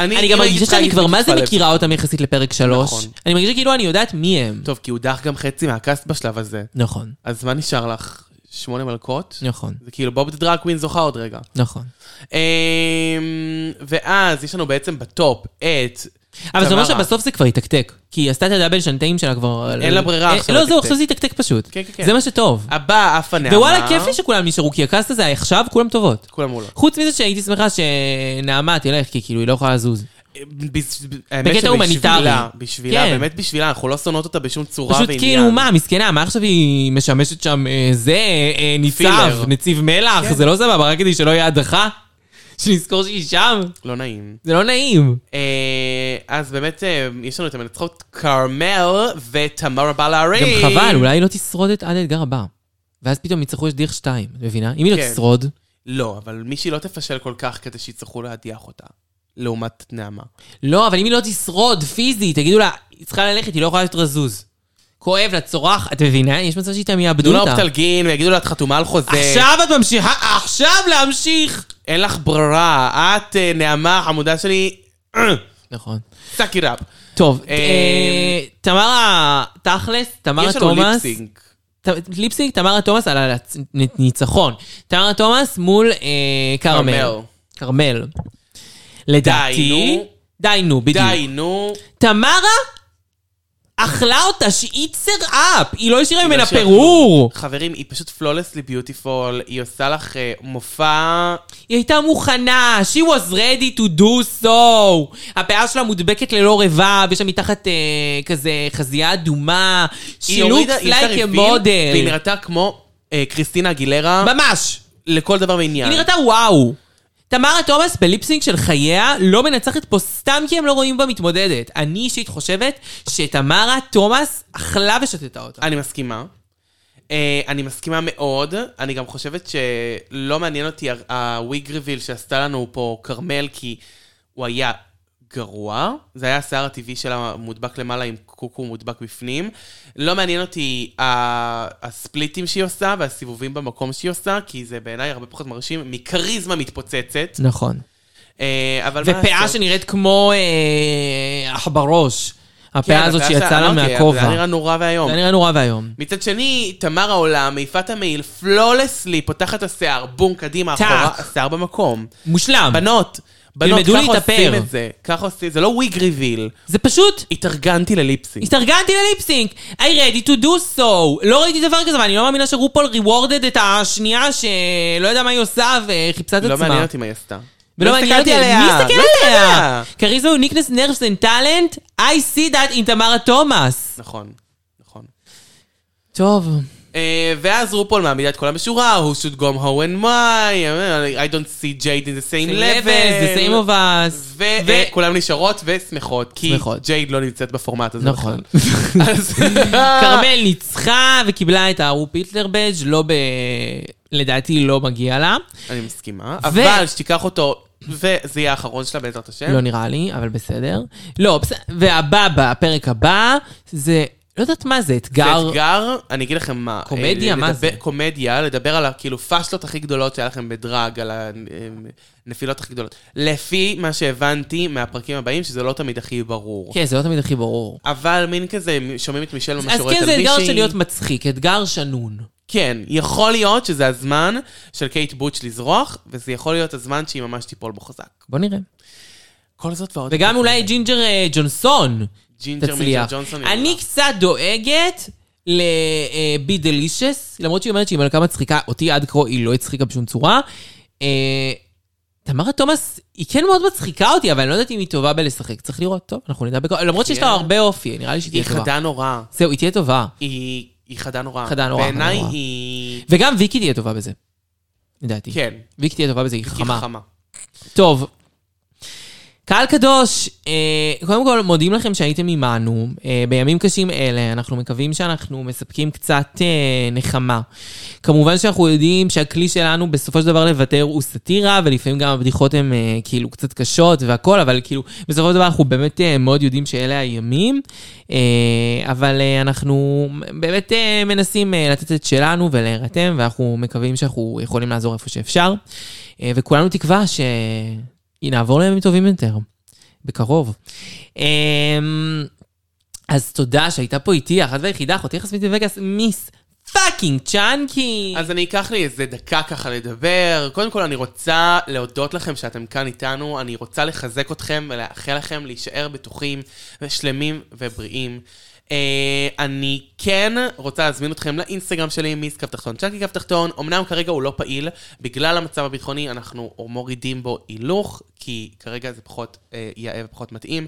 Speaker 3: אני...
Speaker 1: אני
Speaker 3: אם
Speaker 1: גם מרגישה שאני
Speaker 3: הייתי צריכה,
Speaker 1: כבר
Speaker 3: הייתי
Speaker 1: מה זה
Speaker 3: מתפלפ.
Speaker 1: מכירה אותם יחסית לפרק
Speaker 3: נכון.
Speaker 1: שלוש. אני מרגישה כאילו אני יודעת מי הם.
Speaker 3: טוב, כי הודח גם חצי מהקאסט בשלב הזה.
Speaker 1: נכון,
Speaker 3: אז מה נשאר לך? שמונה מלכות?
Speaker 1: נכון,
Speaker 3: זה כאילו בוב דה דרג קווין זוכה עוד רגע.
Speaker 1: נכון.
Speaker 3: אמ, ואז יש לנו בעצם בטופ את...
Speaker 1: אבל זה אומר
Speaker 3: תמרה.
Speaker 1: שבסוף זה כבר יתקתק. כי היא עשתה את הדאבל שנטיים שלה כבר...
Speaker 3: אין לה ברירה
Speaker 1: אה,
Speaker 3: עכשיו
Speaker 1: לא,
Speaker 3: לתקתק.
Speaker 1: זהו, עכשיו זה יתקתק פשוט.
Speaker 3: כן, כן, כן.
Speaker 1: זה מה שטוב.
Speaker 3: הבא, עפה נעמה.
Speaker 1: ווואלה, כיפי שכולם נשארו, כי הקאסט הזה עכשיו כולם טובות.
Speaker 3: כולם מולו.
Speaker 1: חוץ מזה שהייתי שמחה שנעמה תלך, כי כאילו היא לא יכולה לזוז.
Speaker 3: בז- האמת
Speaker 1: בקטע
Speaker 3: שבשבילה,
Speaker 1: הומניטרי.
Speaker 3: בשבילה,
Speaker 1: כן.
Speaker 3: באמת בשבילה, אנחנו לא שונאות אותה בשום צורה
Speaker 1: פשוט
Speaker 3: ועניין.
Speaker 1: כאילו, מה, מסכנה, מה עכשיו היא משמשת שם אה, זה, אה, ניצב,
Speaker 3: פילר.
Speaker 1: נציב
Speaker 3: כן.
Speaker 1: מלח, זה לא סבבה, רק כדי שלא יהיה הדחה? שנזכור שהיא שם?
Speaker 3: לא נעים.
Speaker 1: זה לא נעים.
Speaker 3: אה, אז באמת, אה, יש לנו את המנצחות כרמל ותמרה בלארי.
Speaker 1: גם חבל, אולי היא לא תשרוד את עד האתגר הבא. ואז פתאום יצטרכו יש דרך שתיים, את מבינה? אם היא לא
Speaker 3: כן.
Speaker 1: תשרוד...
Speaker 3: לא, אבל מישהי לא תפשל כל כך כדי שיצטרכו להדיח אותה. לעומת נעמה.
Speaker 1: לא, אבל אם היא לא תשרוד פיזית, תגידו לה, היא צריכה ללכת, היא לא יכולה יותר לזוזוז. כואב לה, צורח, את מבינה? יש מצב שאיתם
Speaker 3: תנו
Speaker 1: יאבדו
Speaker 3: לה
Speaker 1: אותה.
Speaker 3: אופטלגין ויגידו לה, את חתומה על חוזה.
Speaker 1: עכשיו את ממשיכה, עכשיו להמשיך!
Speaker 3: אין לך ברירה. את, אה, נעמה, החמודה שלי,
Speaker 1: נכון.
Speaker 3: סאק איט אפ.
Speaker 1: טוב,
Speaker 3: אה,
Speaker 1: אה, תמרה תכלס, תמרה
Speaker 3: יש לנו
Speaker 1: תומאס,
Speaker 3: ליפסינק.
Speaker 1: ת- ליפסינג, תמרה תומאס על הניצחון. תמרה תומאס מול אה,
Speaker 3: כרמל.
Speaker 1: כרמל. כרמל. לדעתי,
Speaker 3: נו.
Speaker 1: די נו, בדיוק.
Speaker 3: די, נו.
Speaker 1: תמרה אכלה אותה, שאיצר אפ, היא לא השאירה ממנה
Speaker 3: לא שיהיה
Speaker 1: פירור.
Speaker 3: כלום. חברים, היא פשוט פלולסלי ביוטיפול, היא עושה לך אה, מופע...
Speaker 1: היא הייתה מוכנה, she was ready to do so. הפאה שלה מודבקת ללא רבב, יש שם מתחת אה, כזה חזייה אדומה. She
Speaker 3: היא הורידה-
Speaker 1: looks
Speaker 3: היא עשתה
Speaker 1: like a
Speaker 3: reveal, והיא
Speaker 1: model.
Speaker 3: נראתה כמו אה, קריסטינה אגילרה.
Speaker 1: ממש.
Speaker 3: לכל דבר ועניין.
Speaker 1: היא נראתה וואו. תמרה תומאס בליפסינג של חייה לא מנצחת פה סתם כי הם לא רואים בה מתמודדת. אני אישית חושבת שתמרה תומאס אכלה ושתתה אותה.
Speaker 3: אני מסכימה. אה, אני מסכימה מאוד. אני גם חושבת שלא מעניין אותי ה- הוויג ריביל שעשתה לנו פה כרמל, כי הוא היה גרוע. זה היה השיער הטבעי שלה מודבק למעלה עם קוקו מודבק בפנים. לא מעניין אותי ה- הספליטים שהיא עושה והסיבובים במקום שהיא עושה, כי זה בעיניי הרבה פחות מרשים מכריזמה מתפוצצת.
Speaker 1: נכון.
Speaker 3: אה, אבל מה
Speaker 1: ופאה
Speaker 3: לעשות?
Speaker 1: שנראית כמו אה, אח בראש. הפאה
Speaker 3: כן,
Speaker 1: הזאת
Speaker 3: הפאה
Speaker 1: שיצאה
Speaker 3: שלה-
Speaker 1: לה
Speaker 3: אוקיי, זה היה
Speaker 1: מהכובע.
Speaker 3: נראה נורא ואיום.
Speaker 1: זה נראה נורא ואיום.
Speaker 3: מצד שני, תמר העולם, מעיפת המעיל, פלולסלי, פותחת השיער, בום, קדימה,
Speaker 1: טאק.
Speaker 3: אחורה, השיער במקום.
Speaker 1: מושלם.
Speaker 3: בנות, בנות,
Speaker 1: אמ. תלמדו
Speaker 3: כך עושים
Speaker 1: להתאפר.
Speaker 3: את זה. כך עושים, זה לא וויג ריביל.
Speaker 1: זה פשוט
Speaker 3: התארגנתי לליפסינג.
Speaker 1: התארגנתי לליפסינק, I ready to do so. לא ראיתי דבר כזה, ואני לא מאמינה שרופול ריוורדד את השנייה שלא יודע מה היא עושה וחיפשה את
Speaker 3: לא
Speaker 1: עצמה.
Speaker 3: מעניין אותי מה היא עשתה.
Speaker 1: ולא
Speaker 3: לא
Speaker 1: מעניין אותי,
Speaker 3: הסתכלתי
Speaker 1: מי
Speaker 3: עליה?
Speaker 1: הסתכל
Speaker 3: לא
Speaker 1: עליה? כריזמה, יוניקנס, נרפס אנד טאלנט, I see that in תמרה תומאס.
Speaker 3: נכון, נכון.
Speaker 1: טוב.
Speaker 3: אה, ואז רופול מעמידה את כולם בשורה, who should go home and why, I don't see Jade in the same level.
Speaker 1: זה same of us. ו-
Speaker 3: וכולם נשארות ושמחות, כי
Speaker 1: שמחות.
Speaker 3: ג'ייד לא נמצאת בפורמט הזה.
Speaker 1: נכון.
Speaker 3: בכלל. אז...
Speaker 1: כרמל ניצחה וקיבלה את הארו פיטלר בג' לא ב... לדעתי לא מגיע לה.
Speaker 3: אני מסכימה,
Speaker 1: ו-
Speaker 3: אבל שתיקח אותו, וזה יהיה האחרון שלה בעזרת השם.
Speaker 1: לא נראה לי, אבל בסדר. לא, בסדר. והבא, הפרק הבא, זה... לא יודעת מה זה,
Speaker 3: זה
Speaker 1: אתגר...
Speaker 3: אתגר, אני אגיד לכם מה.
Speaker 1: קומדיה?
Speaker 3: אה,
Speaker 1: מה
Speaker 3: לדבר-
Speaker 1: זה?
Speaker 3: קומדיה, לדבר על הכאילו פאשלות הכי גדולות שהיה לכם בדרג, על הנפילות הכי גדולות. לפי מה שהבנתי מהפרקים הבאים, שזה לא תמיד הכי ברור.
Speaker 1: כן, זה לא תמיד הכי ברור.
Speaker 3: אבל מין כזה, שומעים את מישל ממש
Speaker 1: אז
Speaker 3: יורדת
Speaker 1: כן,
Speaker 3: על
Speaker 1: זה
Speaker 3: מישהי.
Speaker 1: אתגר של להיות מצחיק, אתגר שנון.
Speaker 3: כן, יכול להיות שזה הזמן של קייט בוטש לזרוח, וזה יכול להיות הזמן שהיא ממש תיפול בו חזק.
Speaker 1: בוא נראה.
Speaker 3: כל זאת ועוד.
Speaker 1: וגם אולי ג'ינג'ר אה, ג'ונסון
Speaker 3: ג'ינג'ר מייג'ר
Speaker 1: תצליח.
Speaker 3: ג'ונסון. היא
Speaker 1: אני
Speaker 3: עולה.
Speaker 1: קצת דואגת לבי דלישס, למרות שהיא אומרת שהיא מלכה מצחיקה, אותי עד כה היא לא הצחיקה בשום צורה. אה, תמרה תומאס, היא כן מאוד מצחיקה אותי, אבל אני לא יודעת אם היא טובה בלשחק. צריך לראות, טוב, אנחנו נדע בכל... למרות שיש לה
Speaker 3: כן.
Speaker 1: הרבה אופי, נראה לי שהיא
Speaker 3: היא
Speaker 1: תהיה טובה.
Speaker 3: חדה נורא.
Speaker 1: זהו, היא תהיה טובה.
Speaker 3: היא היא חדה נורא.
Speaker 1: חדה נורא, חדה
Speaker 3: בעיניי
Speaker 1: נורא.
Speaker 3: היא...
Speaker 1: וגם ויקי תהיה טובה בזה, לדעתי.
Speaker 3: כן.
Speaker 1: ויקי תהיה טובה בזה, היא
Speaker 3: היא
Speaker 1: חכמה.
Speaker 3: חכמה.
Speaker 1: טוב. קהל קדוש, אה, קודם כל מודים לכם שהייתם עימנו. אה, בימים קשים אלה, אנחנו מקווים שאנחנו מספקים קצת אה, נחמה. כמובן שאנחנו יודעים שהכלי שלנו בסופו של דבר לוותר הוא סאטירה, ולפעמים גם הבדיחות הן אה, כאילו קצת קשות והכל, אבל כאילו, בסופו של דבר אנחנו באמת אה, מאוד יודעים שאלה הימים, אה, אבל אה, אנחנו באמת אה, מנסים אה, לתת את שלנו ולהירתם, ואנחנו מקווים שאנחנו יכולים לעזור איפה שאפשר, אה, וכולנו תקווה ש... נעבור לימים טובים יותר, בקרוב. אמ, אז תודה שהייתה פה איתי, האחת והיחידה, אחותי חסמית בווגאס, מיס פאקינג צ'אנקי.
Speaker 3: אז אני אקח לי איזה דקה ככה לדבר. קודם כל, אני רוצה להודות לכם שאתם כאן איתנו. אני רוצה לחזק אתכם ולאחל לכם להישאר בטוחים ושלמים ובריאים. אה, אני כן רוצה להזמין אתכם לאינסטגרם שלי, מיס קו תחתון, צ'אנקי קו תחתון. אמנם כרגע הוא לא פעיל, בגלל המצב הביטחוני אנחנו מורידים בו הילוך, כי כרגע זה פחות אה, יאה ופחות מתאים.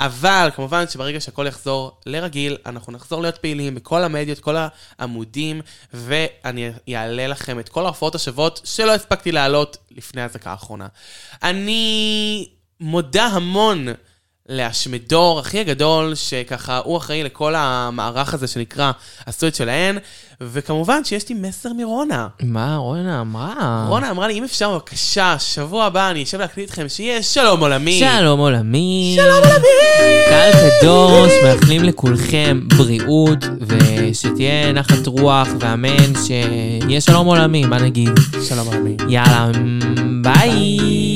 Speaker 3: אבל כמובן שברגע שהכל יחזור לרגיל, אנחנו נחזור להיות פעילים בכל המדיות, כל העמודים, ואני אעלה לכם את כל ההופעות השוות שלא הספקתי להעלות לפני האזעקה האחרונה. אני מודה המון לאשמדור הכי הגדול, שככה הוא אחראי לכל המערך הזה שנקרא עשו את שלהן, וכמובן שיש לי מסר מרונה.
Speaker 1: מה רונה אמרה?
Speaker 3: רונה אמרה לי, אם אפשר, בבקשה, שבוע הבא אני אשב להקליט איתכם, שיהיה שלום עולמי.
Speaker 1: שלום עולמי. שלום עולמי. קהל קדוש, מאחלים לכולכם בריאות, ושתהיה נחת רוח, ואמן שיהיה שלום עולמי, מה נגיד?
Speaker 3: שלום עולמי.
Speaker 1: יאללה, ביי.